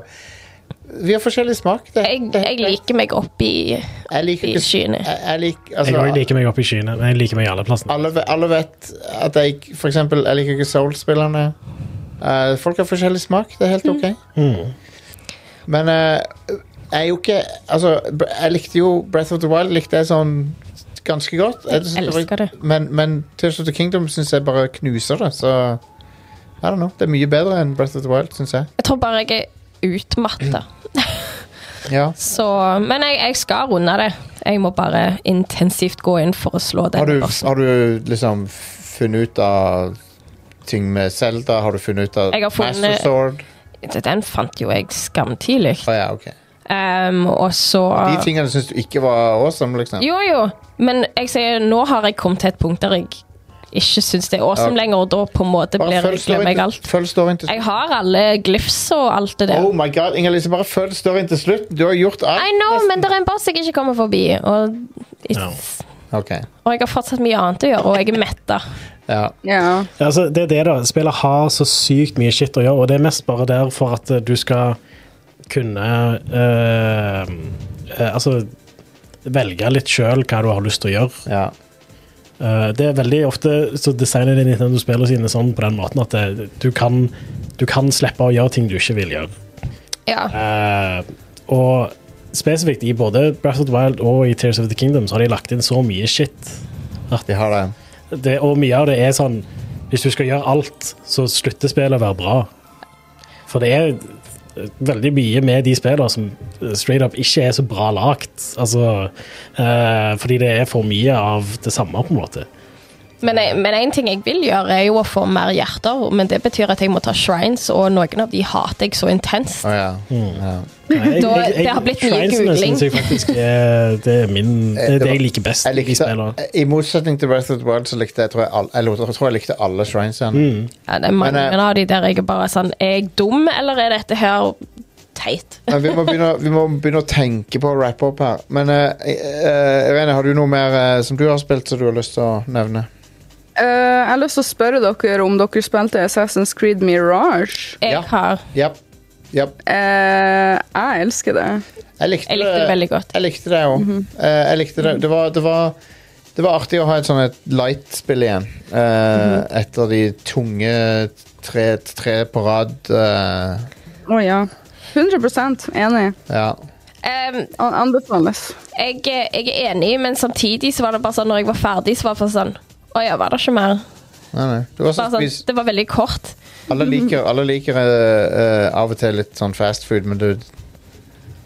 [SPEAKER 1] Vi har forskjellig smak. Det,
[SPEAKER 6] Jeg, jeg liker meg opp i
[SPEAKER 1] jeg liker
[SPEAKER 6] i
[SPEAKER 1] ikke
[SPEAKER 6] skyene.
[SPEAKER 1] Jeg, jeg liker
[SPEAKER 3] Jeg òg
[SPEAKER 1] altså,
[SPEAKER 3] liker meg opp i skyene, men jeg liker meg i alle plassene.
[SPEAKER 1] alle, ve- alle vet at jeg ikke- For eksempel, jeg liker ikke Soul-spillerne. Eh, folk har forskjellig smak. Det er
[SPEAKER 6] Mm.
[SPEAKER 1] helt OK. Men eh, jeg er jo ikke Altså, b- jeg likte jo Breath of the Wild likte jeg sånn ganske godt. Jeg synes var-
[SPEAKER 6] elsker det.
[SPEAKER 1] Men, men Tears of the Kingdom syns jeg bare knuser det, så I don't know. Det er mye bedre enn Breath of the Wild, syns jeg.
[SPEAKER 6] Jeg tror bare jeg er utmatta.
[SPEAKER 1] Ja.
[SPEAKER 6] Så Men jeg, jeg skal runde det. Jeg må bare intensivt gå inn for å slå
[SPEAKER 1] Har du,
[SPEAKER 6] den.
[SPEAKER 1] har du liksom funnet ut av ting med Zelda? Har du funnet ut av
[SPEAKER 6] Jeg har funnet-
[SPEAKER 1] Master Sword?
[SPEAKER 6] Den fant jo jeg skamtidlig.
[SPEAKER 1] Å ja, ok.
[SPEAKER 6] Ehm, og så
[SPEAKER 1] De tingene syns du ikke var awesome, liksom?
[SPEAKER 6] Jo, jo, men jeg sier nå har jeg kommet til et punkt der jeg ikke syns det er awesome
[SPEAKER 1] Ja.
[SPEAKER 6] lenger, og da på en måte
[SPEAKER 1] Bare
[SPEAKER 6] blir jeg,
[SPEAKER 1] storyen
[SPEAKER 6] glemmer jeg
[SPEAKER 1] til-
[SPEAKER 6] alt.
[SPEAKER 1] følg storyen til
[SPEAKER 6] Jeg har alle glyphs og alt det der.
[SPEAKER 1] Oh my god, Inger-Lise, bare følg storyen til slutt. Du har gjort alt.
[SPEAKER 6] I know, men det er en boss jeg ikke kommer forbi, og, it's,
[SPEAKER 1] Ok,
[SPEAKER 6] og jeg har fortsatt mye annet å gjøre, og jeg er metta.
[SPEAKER 1] ja.
[SPEAKER 4] Ja.
[SPEAKER 3] Ja, Altså, det er det da. Spillet har så sykt mye shit å gjøre, og det er mest bare der for at eh, du skal kunne eh, eh, Altså velge litt sjøl hva du har lyst til å gjøre.
[SPEAKER 1] Ja.
[SPEAKER 3] Eh, det er veldig ofte så designer de Nintendo-spillene sine sånn på den måten at eh, du kan, du kan slippe å gjøre ting du ikke vil gjøre.
[SPEAKER 6] Ja.
[SPEAKER 3] Eh, og spesifikt i både Breath of the Wild og i Tears of the Kingdom så har de lagt inn så mye shit.
[SPEAKER 1] De har det.
[SPEAKER 3] Det, og mye av det er sånn Hvis du skal gjøre alt, så slutter spillet å være bra. For det er eh, veldig mye med de spillene som eh, straight up ikke er så bra lagt. Altså, eh, fordi det er for mye av det samme, på en måte.
[SPEAKER 6] Men, jeg, men en ting jeg vil gjøre, er jo å få mer hjerter, men det betyr at jeg må ta shrines, og noen av de hater jeg så intenst.
[SPEAKER 1] Å ja.
[SPEAKER 3] Hmm.
[SPEAKER 1] ja.
[SPEAKER 3] Nei, jeg-
[SPEAKER 6] <laughs> Da-
[SPEAKER 3] jeg- jeg-
[SPEAKER 6] det har blitt mye
[SPEAKER 3] Shrinesene
[SPEAKER 6] googling.
[SPEAKER 3] synes jeg faktisk er, det er min Det er det jeg liker best
[SPEAKER 1] Jeg
[SPEAKER 3] i de spillene.
[SPEAKER 1] likte, I motsetning til Breath of the Wild så likte jeg, tror jeg, all, eller, jeg, tror jeg likte alle shrinesene.
[SPEAKER 3] Hmm.
[SPEAKER 6] Ja, det er mange
[SPEAKER 1] Men, eh,
[SPEAKER 6] av de der jeg er bare sånn Er jeg dum, eller er dette her teit?
[SPEAKER 1] Men vi, må begynne, vi må begynne å tenke på å rappe opp her. Men eh, eh, Irene, har du noe mer eh, som du har spilt som du har lyst til å nevne?
[SPEAKER 4] Eh, jeg har lyst til å spørre dere om dere spilte Assassin's Creed Mirage.
[SPEAKER 6] Jeg
[SPEAKER 1] Ja.
[SPEAKER 6] har
[SPEAKER 1] Ja. ja.
[SPEAKER 4] Eh, jeg elsker det.
[SPEAKER 1] Jeg likte,
[SPEAKER 6] Jeg likte det veldig godt.
[SPEAKER 1] Jeg likte det òg.
[SPEAKER 6] Mhm.
[SPEAKER 1] jeg likte det. Det var, det var det var artig å ha et sånn et light-spill igjen. eh,
[SPEAKER 6] Mhm.
[SPEAKER 1] Etter de tunge tre, tre på rad. eh,
[SPEAKER 4] Å ja. 100 enig.
[SPEAKER 1] ja.
[SPEAKER 6] Ehm,
[SPEAKER 4] An anbefales.
[SPEAKER 6] jeg, eh, jeg er enig, men samtidig så var det bare sånn Når jeg var ferdig, så var det bare sånn Å ja, var det ikke mer?
[SPEAKER 1] Nei, nei. Det var sånn,
[SPEAKER 6] Bare sånn, Mhm.
[SPEAKER 1] spis-
[SPEAKER 6] det var veldig kort.
[SPEAKER 1] alle liker, alle liker eh, eh, av og til litt sånn fast food, men du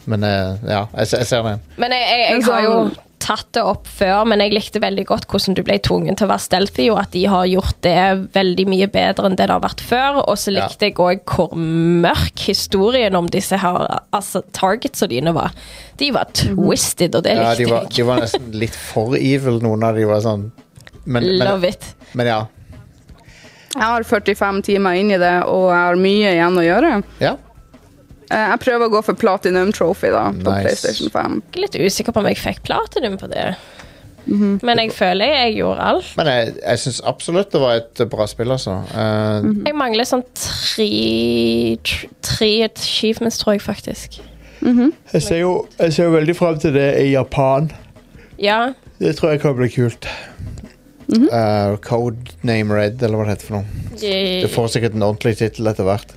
[SPEAKER 1] Men eh, ja, jeg, se- jeg ser den.
[SPEAKER 6] Men jeg, jeg, jeg
[SPEAKER 4] Men
[SPEAKER 6] har jo
[SPEAKER 4] sånn-
[SPEAKER 6] tatt det opp før, men jeg likte veldig godt hvordan du ble tvungen til å være stealthy, og at de har gjort det veldig mye bedre enn det det har vært før. Og så
[SPEAKER 1] Ja.
[SPEAKER 6] likte jeg òg hvor mørk historien om disse her, altså targetsa dine var. De var twisted, og det
[SPEAKER 1] Ja, de
[SPEAKER 6] likte
[SPEAKER 1] var, de
[SPEAKER 6] jeg.
[SPEAKER 1] var nesten litt for evil, noen av de var sånn men, men,
[SPEAKER 6] Love it.
[SPEAKER 1] men ja.
[SPEAKER 4] Jeg har 45 timer inn i det, og jeg har mye igjen å gjøre.
[SPEAKER 1] ja.
[SPEAKER 4] Eh, Jeg prøver å gå for platinum trophy da, på
[SPEAKER 1] Nice.
[SPEAKER 4] PlayStation 5.
[SPEAKER 6] Jeg er litt usikker på om jeg fikk platinum på det. Men jeg føler jeg gjorde alt.
[SPEAKER 1] Men jeg, jeg syns absolutt det var et bra spill, altså. Eh,
[SPEAKER 6] Jeg mangler sånn tre, tr- tre achievements, tror jeg faktisk.
[SPEAKER 1] jeg, ser jo, jeg ser jo veldig fram til det i Japan.
[SPEAKER 6] Ja,
[SPEAKER 1] Det tror jeg kan bli kult. Eh, Codename Red, eller hva det heter for noe.
[SPEAKER 6] de,
[SPEAKER 1] Det får sikkert en ordentlig tittel etter hvert.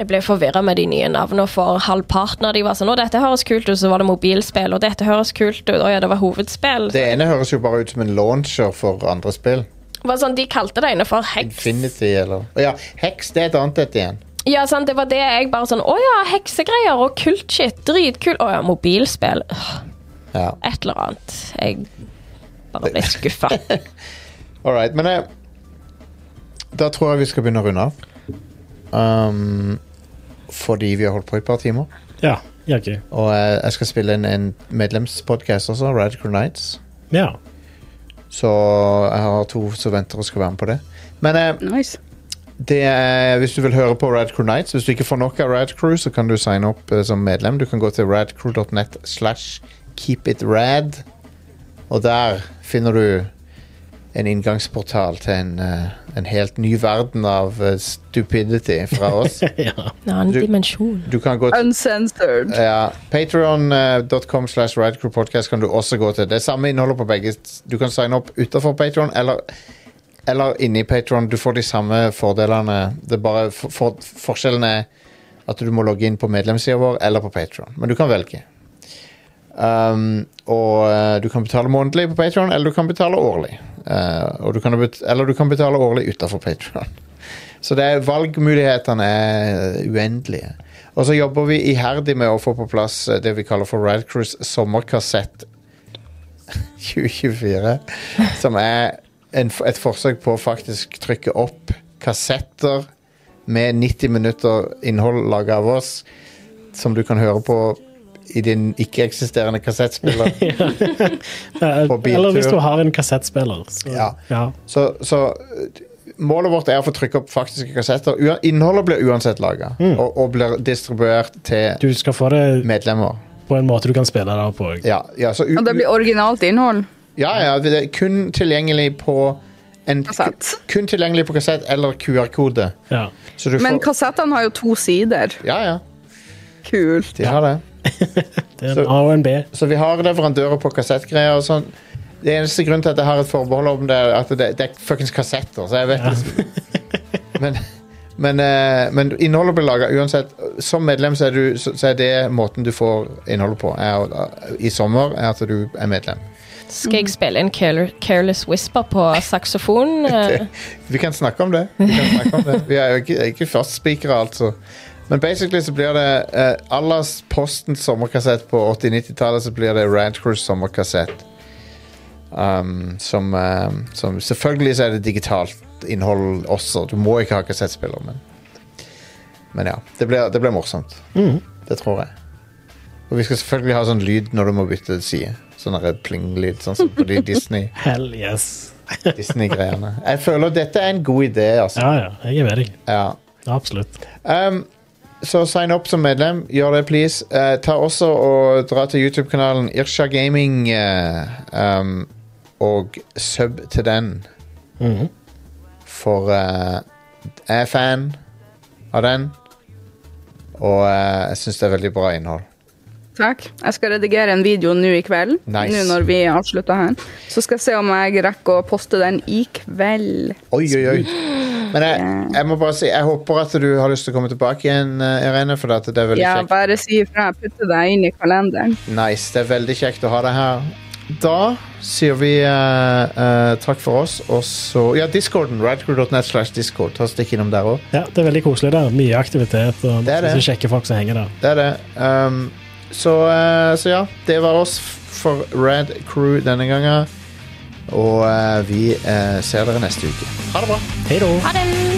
[SPEAKER 6] jeg ble forvirra med de nye navnene for halvparten av de var sånn Å, dette høres kult ut, så var det mobilspill, og dette høres kult ut, og ja, det var hovedspill.
[SPEAKER 1] Det ene høres jo bare ut som en launcher for andre spill.
[SPEAKER 6] Det var sånn, De kalte det ene for heks.
[SPEAKER 1] Infinity eller Å Ja, Hex det er et annet et igjen.
[SPEAKER 6] Ja, sant, det var det jeg bare sånn Å ja, heksegreier og kult shit. Dritkult. Å ja, mobilspill. Øh,
[SPEAKER 1] Ja.
[SPEAKER 6] Et eller annet. Jeg bare ble skuffa.
[SPEAKER 1] <laughs> All right, men eh, da tror jeg vi skal begynne å runde av. Um, fordi vi har holdt på i et par timer.
[SPEAKER 3] Ja, jaggu.
[SPEAKER 1] Og eh, jeg skal spille inn en medlemspodcast også, Radical Nights.
[SPEAKER 3] Ja.
[SPEAKER 1] Så jeg har to som venter og skal være med på det. Men eh,
[SPEAKER 4] Nice.
[SPEAKER 1] det er, hvis du vil høre på Rad Crew Nights Hvis du ikke får nok av Rad Crew Så kan du signe opp eh, som medlem Du kan gå til radcrew.net Slash keepitrad Og der finner du En inngangsportal til en, eh, en helt ny verden Av eh, stupidity fra oss
[SPEAKER 3] ja.
[SPEAKER 6] En annen
[SPEAKER 1] Du-
[SPEAKER 6] dimensjon.
[SPEAKER 1] Du kan gå til
[SPEAKER 4] Uncensored.
[SPEAKER 1] ja, Patreon.com slash radcrewpodcast kan du også gå til. Det er samme innholdet på begge. Du kan signe opp utenfor Patreon eller, eller inni Patreon. Du får de samme fordelene. Det er bare for, for, forskjellen er at du må logge inn på medlemssida vår eller på Patreon. Men du kan velge. Um, og eh, du kan betale månedlig på Patreon, eller du kan betale årlig. Eh, og du kan bet eller du kan betale årlig utenfor Patreon. Så det er valgmulighetene er uendelige. Og så jobber vi iherdig med å få på plass eh, det vi kaller for Radcruise sommerkassett <laughs> 2024. Som er en, f- et forsøk på å faktisk trykke opp kassetter med 90 minutter innhold laga av oss, som du kan høre på i din ikke-eksisterende kassettspiller.
[SPEAKER 3] Eh,
[SPEAKER 1] På biltur.
[SPEAKER 3] Eller hvis du har en kassettspiller. Så,
[SPEAKER 1] Ja.
[SPEAKER 3] ja.
[SPEAKER 1] Så, så eh, målet vårt er å få trykke opp faktiske kassetter. Ua innholdet blir uansett laga,
[SPEAKER 4] Mm.
[SPEAKER 1] og, og blir distribuert til
[SPEAKER 3] Du skal få det
[SPEAKER 1] medlemmer.
[SPEAKER 3] på en måte du kan spille det på. også.
[SPEAKER 1] Ja, ja, så u
[SPEAKER 4] Og det blir originalt innhold.
[SPEAKER 1] ja, ja, det er kun tilgjengelig på en,
[SPEAKER 4] Kassett.
[SPEAKER 1] Kun tilgjengelig på kassett eller QR-kode.
[SPEAKER 3] Ja.
[SPEAKER 1] Så du
[SPEAKER 4] Men
[SPEAKER 1] får
[SPEAKER 4] kassettene har jo to sider.
[SPEAKER 1] Ja, ja,
[SPEAKER 4] Kult.
[SPEAKER 1] de har det.
[SPEAKER 3] Det er
[SPEAKER 1] Så-
[SPEAKER 3] en A og en B.
[SPEAKER 1] Så vi har leverandører på kassettgreier og sånn. Det eneste grunnen til at jeg har et forbehold om det, er at det, det er fuckings kassetter, så jeg vet liksom <laughs> men, men, eh, men innholdet blir laga uansett. Som medlem så er, du, så, så er det måten du får innholdet på er, å- i sommer, er at du er medlem.
[SPEAKER 6] Skal jeg spille en Care- Careless Whisper på saksofon? Eh,
[SPEAKER 1] Vi kan snakke om det. Vi, kan snakke om det. vi er jo ikke, ikke fastspikere, altså. Men basically så blir det eh, Allas Postens sommerkassett på 80-90-tallet, så blir det Radcruise sommerkassett. Um, som, eh, som Selvfølgelig så er det digitalt innhold også. Du må ikke ha kassettspiller, men Men ja. Det blir, det blir morsomt. Det tror jeg. Og vi skal selvfølgelig ha sånn lyd når du må bytte side. Sånn der pling-lyd, sånn som på de Disney.
[SPEAKER 3] Hell yes.
[SPEAKER 1] Disney-greiene. Jeg føler dette er en god idé, altså.
[SPEAKER 3] Ja, ja. Jeg er med deg.
[SPEAKER 1] Ja.
[SPEAKER 3] Absolutt.
[SPEAKER 1] Um, så sign opp som medlem. Gjør det, please. Eh, ta også og Dra til YouTube-kanalen Irsha Gaming eh, um, og sub til den. Mhm. For eh, jeg er fan av den, og eh, jeg syns det er veldig bra innhold.
[SPEAKER 4] Takk. Jeg skal redigere en video nå i kveld.
[SPEAKER 1] Nice.
[SPEAKER 4] Nå når vi avslutter her. Så skal jeg se om jeg rekker å poste den i kveld.
[SPEAKER 1] Oi, oi, oi. Men jeg, jeg må bare si Jeg håper at du har lyst til å komme tilbake igjen, eh, Irene, for at det er veldig
[SPEAKER 4] Ja,
[SPEAKER 1] kjekt.
[SPEAKER 4] bare si ifra. Jeg putter deg inn i kalenderen.
[SPEAKER 1] Nice, det er veldig kjekt å ha deg her. Da sier vi eh, eh, takk for oss, og så Ja, discorden. Radcrew.net slash discord. Ta Stikk innom der òg.
[SPEAKER 3] Ja, det er veldig koselig der. Mye aktivitet og
[SPEAKER 1] Det er det.
[SPEAKER 3] masse kjekke folk som henger der.
[SPEAKER 1] Det er det. Um, Så, eh, så ja, det var oss for Red Crew denne gangen. Og eh, vi eh, ser dere neste uke.
[SPEAKER 3] Hei da.
[SPEAKER 6] Ha det!